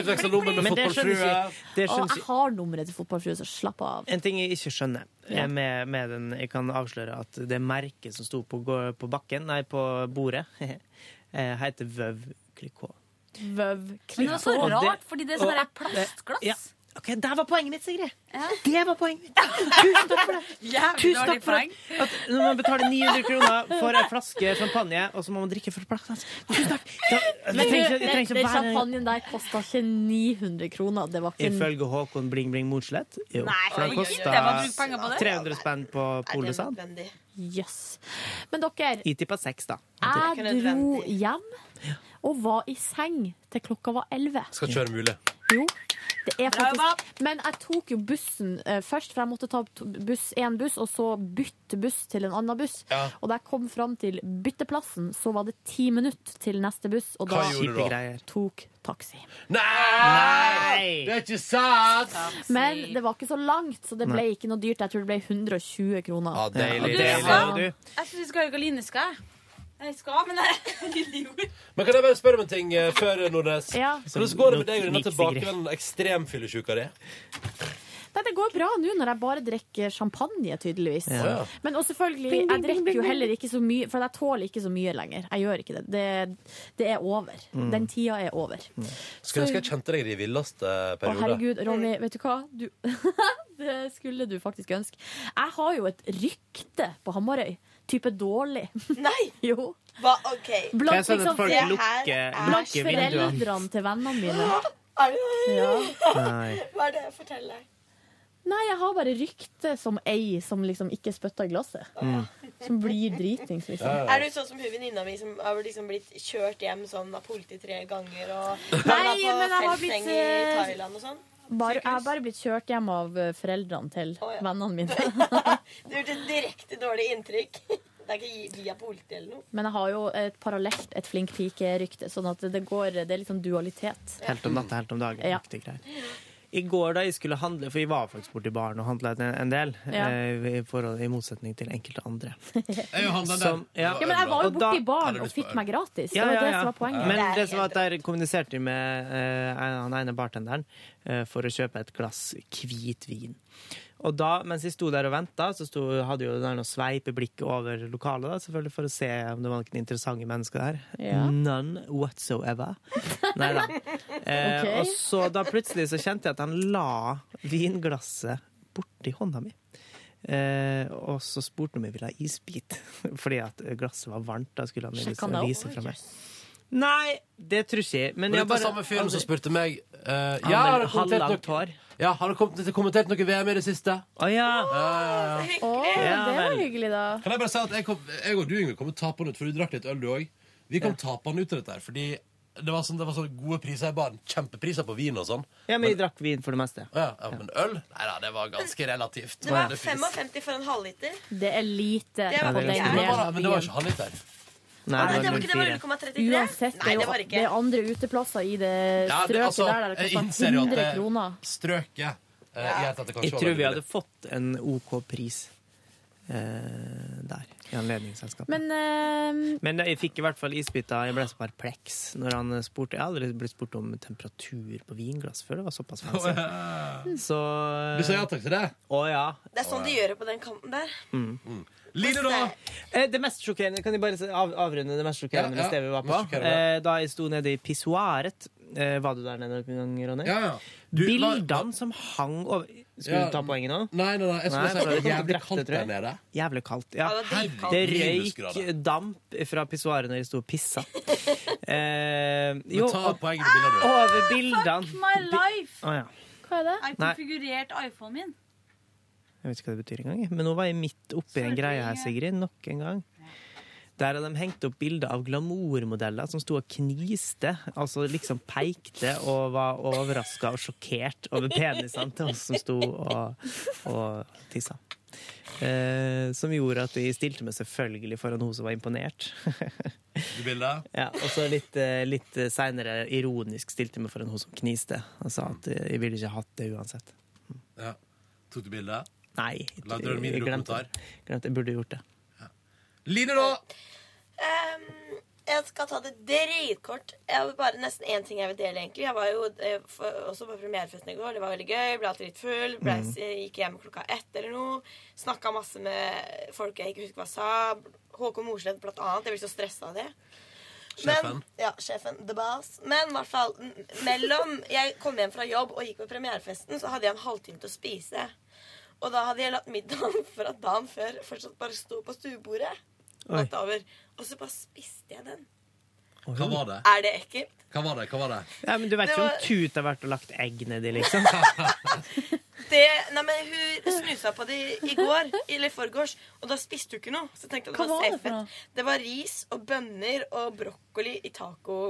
[SPEAKER 2] Utveksla nummer med
[SPEAKER 3] Men det skjønner
[SPEAKER 2] fotballfrue.
[SPEAKER 3] ikke- det
[SPEAKER 4] Og
[SPEAKER 3] skjønner
[SPEAKER 20] ah.
[SPEAKER 4] jeg
[SPEAKER 3] ikke-
[SPEAKER 4] har nummeret til fotballfrue, så slapp av.
[SPEAKER 3] En ting jeg ikke skjønner
[SPEAKER 4] Ja.
[SPEAKER 3] eh, med, med den Jeg kan avsløre at det merket som sto på, gå- på bakken, nei, på bordet, eh, heter Veuve Clicquot.
[SPEAKER 4] Vøv,
[SPEAKER 20] Men
[SPEAKER 4] altså,
[SPEAKER 20] det var så
[SPEAKER 3] Og det-
[SPEAKER 20] rart, fordi det er sånn
[SPEAKER 3] og-
[SPEAKER 20] der plastglass.
[SPEAKER 3] Ja. Ok, Der var poenget mitt, Sigrid! Det var poenget mitt!
[SPEAKER 20] Jævlig
[SPEAKER 3] Tusen
[SPEAKER 20] dårlig
[SPEAKER 3] takk for
[SPEAKER 20] poeng.
[SPEAKER 3] at, at når man betaler 900 kroner for en flaske champagne, og så må man drikke for plakten Tusen takk! Da,
[SPEAKER 4] Men
[SPEAKER 3] jeg
[SPEAKER 4] du,
[SPEAKER 3] trenger ikke, jeg
[SPEAKER 4] den,
[SPEAKER 3] trenger
[SPEAKER 4] den
[SPEAKER 3] ikke være
[SPEAKER 4] champagnen der kosta ikke 900 kroner. Det var ikke
[SPEAKER 3] Ifølge Håkon Bling Bling Motslett. Jo.
[SPEAKER 4] Nei,
[SPEAKER 3] for
[SPEAKER 4] oi,
[SPEAKER 3] det kosta
[SPEAKER 4] det var brukt penger på det.
[SPEAKER 3] 300 spenn på Polet, sa han.
[SPEAKER 4] Jøss. Men dere,
[SPEAKER 3] Jeg tippa seks, da.
[SPEAKER 4] jeg dro hjem og var i seng til klokka var 11.
[SPEAKER 2] Skal ikke være mulig.
[SPEAKER 4] Jo, det er faktisk Men jeg tok jo bussen eh, først, for jeg måtte ta to- buss, en buss, og så bytte buss til en annen buss.
[SPEAKER 2] Ja.
[SPEAKER 4] Og da jeg kom fram til bytteplassen, så var det ti minutter til neste buss, og
[SPEAKER 2] Hva
[SPEAKER 4] da
[SPEAKER 2] gjorde du da?
[SPEAKER 4] tok taxi.
[SPEAKER 2] Nei! Det er ikke sant!
[SPEAKER 4] Men det var ikke så langt, så det ble
[SPEAKER 3] Nei.
[SPEAKER 4] ikke noe dyrt. Jeg tror det ble 120 kroner.
[SPEAKER 2] Ja, deilig,
[SPEAKER 3] Ja,
[SPEAKER 2] deilig.
[SPEAKER 4] Sånn,
[SPEAKER 3] sa du.
[SPEAKER 20] Jeg syns vi skal ha Karoline skal. jeg? Jeg skal, men jeg
[SPEAKER 2] Men kan jeg bare spørre om en ting eh, før, Nordnes?
[SPEAKER 4] Ja.
[SPEAKER 2] Hvordan går det med deg og denne
[SPEAKER 3] Miksigre.
[SPEAKER 2] tilbakevendende ekstremfyllesjuka di?
[SPEAKER 4] Nei, det går bra nå når jeg bare drikker champagne, tydeligvis.
[SPEAKER 22] Ja.
[SPEAKER 4] Men og selvfølgelig,
[SPEAKER 22] Bing, bing,
[SPEAKER 4] jeg drikker
[SPEAKER 22] bing,
[SPEAKER 4] jo
[SPEAKER 22] bing,
[SPEAKER 4] heller ikke så mye, for jeg tåler ikke så mye lenger. Jeg gjør ikke det. Det, det er over.
[SPEAKER 2] Mm.
[SPEAKER 4] Den tida er over.
[SPEAKER 2] Skulle ønske jeg kjente deg i de villeste eh,
[SPEAKER 4] Å,
[SPEAKER 2] perioder.
[SPEAKER 4] herregud, Ronny, vet du hva? Du, det skulle du faktisk ønske. Jeg har jo et rykte på Hamarøy. Type dårlig.
[SPEAKER 9] Nei!
[SPEAKER 4] jo.
[SPEAKER 9] Hva? OK.
[SPEAKER 4] Blant,
[SPEAKER 3] sånn at
[SPEAKER 4] liksom,
[SPEAKER 3] folk
[SPEAKER 4] det her
[SPEAKER 3] lukker-
[SPEAKER 4] er- blant
[SPEAKER 3] lukker vinduene.
[SPEAKER 4] foreldrene til vennene mine.
[SPEAKER 9] Er det
[SPEAKER 4] Ja.
[SPEAKER 3] Nei.
[SPEAKER 9] Hva er det? Fortell deg.
[SPEAKER 4] Nei, jeg har bare rykte som ei som liksom ikke spytter i glasset.
[SPEAKER 3] Mm.
[SPEAKER 4] Som blir dritings, liksom.
[SPEAKER 9] Er du sånn som hun venninna mi som har liksom blitt kjørt hjem sånn av politiet tre ganger og
[SPEAKER 4] Nei,
[SPEAKER 9] havna på
[SPEAKER 4] men jeg har blitt,
[SPEAKER 9] feltseng i
[SPEAKER 4] eh,
[SPEAKER 9] Thailand og sånn?
[SPEAKER 4] Bare, jeg har bare blitt kjørt hjem av eh, foreldrene til vennene mine.
[SPEAKER 9] Du gjorde et direkte dårlig inntrykk. Det er ikke via politiet eller noe.
[SPEAKER 4] Men jeg har jo et parallelt et flink pike-rykte, sånn at det går, det er litt sånn dualitet.
[SPEAKER 3] Helt om natta, helt om dagen.
[SPEAKER 4] Ja.
[SPEAKER 3] Viktige greier. I går da jeg skulle handle, for jeg var faktisk borti baren og handla en en del,
[SPEAKER 4] Ja.
[SPEAKER 3] eh, i, forhold, i motsetning til enkelte andre.
[SPEAKER 4] handlet
[SPEAKER 2] der.
[SPEAKER 3] Som-
[SPEAKER 4] Ja, men jeg var jo
[SPEAKER 3] Og da-
[SPEAKER 4] borti baren og fikk meg gratis. Det
[SPEAKER 3] Ja,
[SPEAKER 4] var
[SPEAKER 3] ja,
[SPEAKER 4] det
[SPEAKER 3] ja.
[SPEAKER 4] som var poenget.
[SPEAKER 3] Men det som var at der kommuniserte jeg med eh, han ene bartenderen eh, for å kjøpe et glass hvitvin. Og da, mens jeg sto der og venta, så sto, hadde jo den å sveipe blikket over lokalet, da, selvfølgelig for å se om det var noen interessante mennesker der.
[SPEAKER 6] Ja.
[SPEAKER 3] None whatsoever. Nei da. Eh,
[SPEAKER 6] Ok.
[SPEAKER 3] Og så da plutselig så kjente jeg at han la vinglasset borti hånda mi. Eh, og så spurte han om jeg ville ha isbit, fordi at glasset var varmt. Da skulle han
[SPEAKER 2] Sjekk
[SPEAKER 3] vise,
[SPEAKER 2] han det opp?
[SPEAKER 3] vise fra meg. Nei, det tror ikke jeg. Men
[SPEAKER 2] Men
[SPEAKER 3] jeg
[SPEAKER 2] dette
[SPEAKER 3] bare-
[SPEAKER 2] samme fyren som spurte meg eh,
[SPEAKER 3] Han
[SPEAKER 2] ja, har
[SPEAKER 3] med
[SPEAKER 2] du kommentert
[SPEAKER 3] halvlangt
[SPEAKER 2] noe-
[SPEAKER 3] hår.
[SPEAKER 2] ja, har du kom- kommentert noe VM i det siste?
[SPEAKER 3] Å ja.
[SPEAKER 2] ja, ja.
[SPEAKER 4] Å,
[SPEAKER 2] Ja,
[SPEAKER 4] det var
[SPEAKER 2] vel.
[SPEAKER 4] hyggelig, da.
[SPEAKER 2] Kan jeg bare si at jeg, kom, jeg og du, Yngve, kom tapende ut, for du drakk litt øl, du òg. Vi kom tapende ut av dette her, fordi det var, sånn, det var sånn gode priser i baren. Kjempepriser på vin og sånn.
[SPEAKER 3] Ja, men jeg drakk vin for det meste.
[SPEAKER 2] Ja, ja, men øl? Nei da, det var ganske relativt.
[SPEAKER 9] Det var
[SPEAKER 2] Det fins.
[SPEAKER 9] 55 for en halvliter.
[SPEAKER 4] Det er lite
[SPEAKER 9] Det var
[SPEAKER 4] på
[SPEAKER 9] ikke
[SPEAKER 4] den
[SPEAKER 9] jeg.
[SPEAKER 2] Men det var,
[SPEAKER 4] delen.
[SPEAKER 2] men det var ikke halvliter.
[SPEAKER 9] Nei, det var ikke det var 0,33.
[SPEAKER 4] Uansett, det
[SPEAKER 9] Nei, det
[SPEAKER 4] er jo
[SPEAKER 9] var
[SPEAKER 4] det
[SPEAKER 9] ikke.
[SPEAKER 4] er andre uteplasser i det
[SPEAKER 2] Ja, det-
[SPEAKER 4] strøket
[SPEAKER 2] altså,
[SPEAKER 4] der der det
[SPEAKER 2] jeg
[SPEAKER 4] koster
[SPEAKER 2] innser jo at
[SPEAKER 4] 100
[SPEAKER 2] det-
[SPEAKER 4] kroner.
[SPEAKER 2] Strøket. eh, gjør at det kanskje
[SPEAKER 3] Jeg
[SPEAKER 2] var
[SPEAKER 3] tror vi
[SPEAKER 2] veldig
[SPEAKER 3] hadde fått en OK pris eh, der, i anledningsselskapet. Men,
[SPEAKER 4] Men eh,
[SPEAKER 3] jeg fikk i hvert fall isbiter. Jeg ble så perpleks når han eh, spurte. Jeg har aldri blitt spurt om temperatur på vinglass før. Det var såpass fancy. Så
[SPEAKER 2] Du sa ja takk til det?
[SPEAKER 3] Å ja.
[SPEAKER 9] Det er sånn de gjør det på den kanten der.
[SPEAKER 2] Line, da?
[SPEAKER 3] Eh, Det mest sjokkerende Kan jeg bare se- av, avrunde det mest sjokkerende
[SPEAKER 2] Ja, ja.
[SPEAKER 3] stedet vi var
[SPEAKER 2] Mest
[SPEAKER 3] på?
[SPEAKER 2] sjokkerende.
[SPEAKER 3] Eh, Da jeg sto nede i pissoaret. Eh, Var du der nede noen gang, Ronny?
[SPEAKER 2] Ja, ja.
[SPEAKER 3] Bildene som hang over Skulle
[SPEAKER 2] Ja.
[SPEAKER 3] du ta poenget nå?
[SPEAKER 2] Nei, nei, nei, jeg skulle si
[SPEAKER 3] for
[SPEAKER 2] at det
[SPEAKER 3] du
[SPEAKER 2] var
[SPEAKER 3] kom til
[SPEAKER 2] jævlig
[SPEAKER 3] å drakte,
[SPEAKER 2] kaldt
[SPEAKER 3] tror jeg.
[SPEAKER 2] der nede.
[SPEAKER 3] Jævlig kaldt. Ja.
[SPEAKER 2] Ja, det er dritkaldt.
[SPEAKER 3] det
[SPEAKER 2] Minusgrader.
[SPEAKER 3] røyk damp fra pissoaret når jeg sto og pissa. Eh, jo,
[SPEAKER 2] ta
[SPEAKER 3] og-
[SPEAKER 2] poenget med bildene, du.
[SPEAKER 3] Over bildene
[SPEAKER 20] My life!
[SPEAKER 3] Å ja.
[SPEAKER 4] Hva er det?
[SPEAKER 20] Jeg
[SPEAKER 3] Nei.
[SPEAKER 20] konfigurert iPhonen min.
[SPEAKER 3] Jeg vet ikke hva det betyr engang. jeg. Men nå var jeg midt oppi en greie her, Sigrid. Nok en gang. Der hadde de hengt opp bilder av glamourmodeller som sto og kniste. Altså liksom peikte og var overraska og sjokkert over penisene til oss som sto og, og tissa. Eh, som gjorde at jeg stilte meg selvfølgelig foran hun som var imponert.
[SPEAKER 2] Du bildet?
[SPEAKER 3] Ja, og så litt, eh, litt seinere ironisk stilte jeg meg foran hun som kniste, og sa at eh, jeg ville ikke hatt det uansett.
[SPEAKER 2] Ja. Tok du bilde?
[SPEAKER 3] Nei.
[SPEAKER 2] Lagde du en
[SPEAKER 3] jeg
[SPEAKER 2] minidokumentar?
[SPEAKER 3] glemte, glemte, jeg burde gjort det.
[SPEAKER 2] Line, da?
[SPEAKER 9] Ehm, jeg skal ta det dritkort. Jeg har bare nesten én ting jeg vil dele, egentlig. Jeg var jo eh, for- også på premierefesten i går. Det var veldig gøy. Ble alltid litt full. Ble,
[SPEAKER 6] Mm.
[SPEAKER 9] Gikk hjem klokka ett eller noe. Snakka masse med folk jeg ikke husker hva sa. Håkon Mosleth, blant annet. Jeg blir så stressa av det. Men,
[SPEAKER 6] Sjefen.
[SPEAKER 9] ja, sjefen. The boss. Men i hvert fall m- mellom jeg kom hjem fra jobb og gikk på premierefesten, så hadde jeg en halvtime til å spise. Og da hadde jeg latt middagen fra dagen før fortsatt bare stå på stuebordet.
[SPEAKER 2] Oi.
[SPEAKER 9] Natt over. Og så bare spiste jeg den.
[SPEAKER 2] Hva var det?
[SPEAKER 9] Er det ekkelt?
[SPEAKER 2] Hva var det? Hva var det?
[SPEAKER 3] Ja, men Du vet
[SPEAKER 9] Det
[SPEAKER 3] ikke
[SPEAKER 9] var-
[SPEAKER 3] om Tut har vært og lagt egg nedi, liksom?
[SPEAKER 9] Det, nei, men Hun snusa på det i går, eller forgårs, og da spiste hun ikke noe. Så jeg tenkte jeg
[SPEAKER 4] Hva
[SPEAKER 9] det var
[SPEAKER 4] var det
[SPEAKER 9] safe.
[SPEAKER 4] for
[SPEAKER 9] Det, var ris og bønner og brokkoli i taco.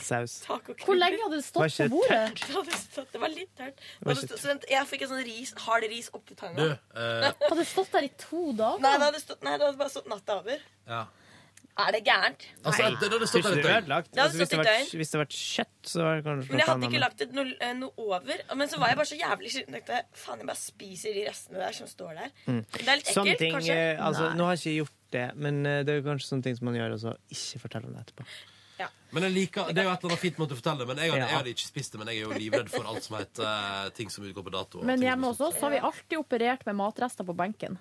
[SPEAKER 3] Saus.
[SPEAKER 9] taco
[SPEAKER 4] Hvor lenge hadde det
[SPEAKER 3] Var
[SPEAKER 4] stått
[SPEAKER 3] ikke
[SPEAKER 4] på bordet?
[SPEAKER 9] Det hadde stått- det var litt tørt.
[SPEAKER 3] var
[SPEAKER 9] Det hadde
[SPEAKER 3] ikke
[SPEAKER 9] stått- så vent, Jeg fikk en sånn ris, hard ris oppi tanga.
[SPEAKER 2] Du, eh,
[SPEAKER 4] Hadde det stått der i to dager?
[SPEAKER 9] Nei, det hadde, stått, nei, det hadde bare stått natta over.
[SPEAKER 2] Ja.
[SPEAKER 9] Er det gærent?
[SPEAKER 2] Altså,
[SPEAKER 3] Nei.
[SPEAKER 2] det- det hadde stått
[SPEAKER 3] Tror
[SPEAKER 2] der
[SPEAKER 3] ikke
[SPEAKER 2] et
[SPEAKER 3] det er
[SPEAKER 2] døgn.
[SPEAKER 3] ødelagt.
[SPEAKER 9] Det hadde
[SPEAKER 3] Altså, hvis, det
[SPEAKER 9] stått et
[SPEAKER 3] vært,
[SPEAKER 9] døgn.
[SPEAKER 3] hvis det hadde vært kjøtt, så var det kanskje
[SPEAKER 9] Men jeg
[SPEAKER 3] noe
[SPEAKER 9] hadde
[SPEAKER 3] annet,
[SPEAKER 9] ikke lagt det noe, eh, noe over. Men så var jeg bare så jævlig sliten. tenkte jeg, Faen, jeg bare spiser de restene der som står der.
[SPEAKER 3] Mm.
[SPEAKER 9] Det er litt
[SPEAKER 3] Sånne
[SPEAKER 9] ekkelt,
[SPEAKER 3] ting, altså,
[SPEAKER 9] kanskje.
[SPEAKER 3] eh, altså, Nå har jeg ikke gjort det, men eh, det er jo kanskje sånne ting som man gjør, og så ikke fortell om det etterpå.
[SPEAKER 2] Men jeg liker, Det er jo et eller annet fint måte å fortelle det, men jeg hadde,
[SPEAKER 3] Ja.
[SPEAKER 2] jeg hadde ikke spist det. Men jeg er jo livredd for alt som heter eh, ting som utgår på dato.
[SPEAKER 4] Men hjemme hos oss har vi alltid operert med matrester på benken.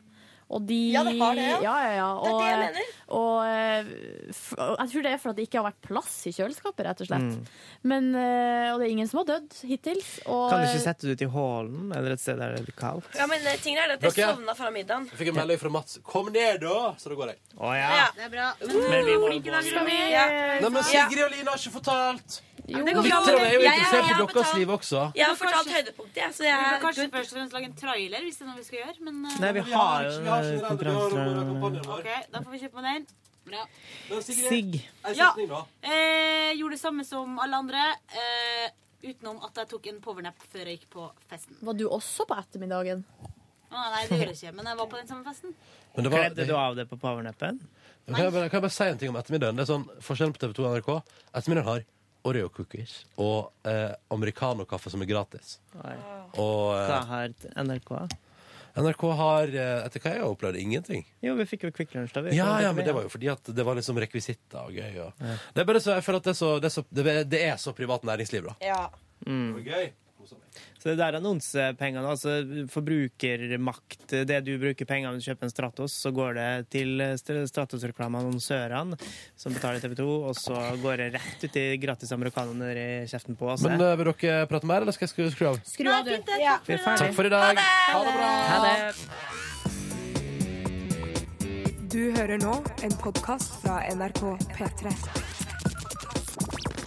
[SPEAKER 4] Og de,
[SPEAKER 9] Ja, det har det, ja.
[SPEAKER 4] Ja, ja, ja.
[SPEAKER 9] Det er
[SPEAKER 4] Og,
[SPEAKER 9] det jeg mener.
[SPEAKER 4] Og, eh, f- og jeg tror det er for at det ikke har vært plass i kjøleskapet, rett og slett.
[SPEAKER 3] Mm.
[SPEAKER 4] Men, eh, og det er ingen som har dødd hittil. eh, Og,
[SPEAKER 3] Kan du ikke sette det ut i hallen eller et sted der det er kaldt?
[SPEAKER 9] Ja, men eh, tingen er det at jeg
[SPEAKER 3] Dere?
[SPEAKER 9] sovna fra middagen.
[SPEAKER 2] Jeg fikk en melding fra Mats. 'Kom ned, da!' Så da går jeg.
[SPEAKER 3] Å
[SPEAKER 9] Ja.
[SPEAKER 20] Det er bra.
[SPEAKER 2] Men vi må jo
[SPEAKER 9] Skal
[SPEAKER 2] bare-
[SPEAKER 9] vi-
[SPEAKER 2] Ja.
[SPEAKER 9] Ja.
[SPEAKER 2] Nei, men Sigrid og Line har ikke fortalt!
[SPEAKER 20] Jo. Det går bra.
[SPEAKER 2] Lytterne er jo
[SPEAKER 20] Jeg-
[SPEAKER 2] interessert i
[SPEAKER 20] jeg har
[SPEAKER 2] deres
[SPEAKER 20] betalt-
[SPEAKER 2] liv også.
[SPEAKER 9] Jeg har fortalt høydepunktet, jeg. Så
[SPEAKER 20] Vi kan
[SPEAKER 9] jeg
[SPEAKER 20] kanskje først og fremst lage en trailer, hvis det er noe vi skal gjøre. Men, eh,
[SPEAKER 3] Nei, vi har jo eh, konkurranser.
[SPEAKER 20] Ok, Da får vi kjøpe med den. Bra.
[SPEAKER 3] Sigg.
[SPEAKER 20] Ja. Eh, gjorde det samme som alle andre, eh, utenom at jeg tok en powernap før jeg gikk på festen.
[SPEAKER 4] Var du også på ettermiddagen?
[SPEAKER 20] Å, nei, det gjorde jeg ikke, men jeg var på den samme festen.
[SPEAKER 2] Men det var-
[SPEAKER 3] Kledde du av deg på
[SPEAKER 2] Kan
[SPEAKER 3] powernappen?
[SPEAKER 2] jeg, bare, kan jeg bare si en ting om ettermiddagen? Det er sånn, Forskjellen på TV2 og NRK Ettermiddagen har Oreo cookies og eh, americano-kaffe som er gratis. Og
[SPEAKER 3] Hva
[SPEAKER 2] eh,
[SPEAKER 3] har NRK?
[SPEAKER 2] NRK har eh, Etter hva jeg har opplevd, ingenting.
[SPEAKER 3] Jo, vi fikk jo Kvikk Lunsj da. vi.
[SPEAKER 2] Ja, ja, men det var jo fordi at det var liksom rekvisitter og gøy. Og. Det er bare så, jeg føler at det er så, det er så, det er, det er så privat næringsliv, da.
[SPEAKER 9] Ja.
[SPEAKER 3] Mm.
[SPEAKER 2] Gøy.
[SPEAKER 3] Så det der annonsepengene, altså forbrukermakt, det du bruker penger når du kjøper en Stratos, så går det til St- Stratos-reklameannonsørene som betaler TV 2, og så går det rett ut i gratis americano nedi kjeften på oss.
[SPEAKER 2] Men eh, vil dere prate mer, eller skal jeg skru, skru av?
[SPEAKER 4] Skru av, du.
[SPEAKER 3] Vi er ferdig.
[SPEAKER 2] Takk for i dag. Ha det bra.
[SPEAKER 1] Ha det. Du hører nå en podkast fra NRK P3.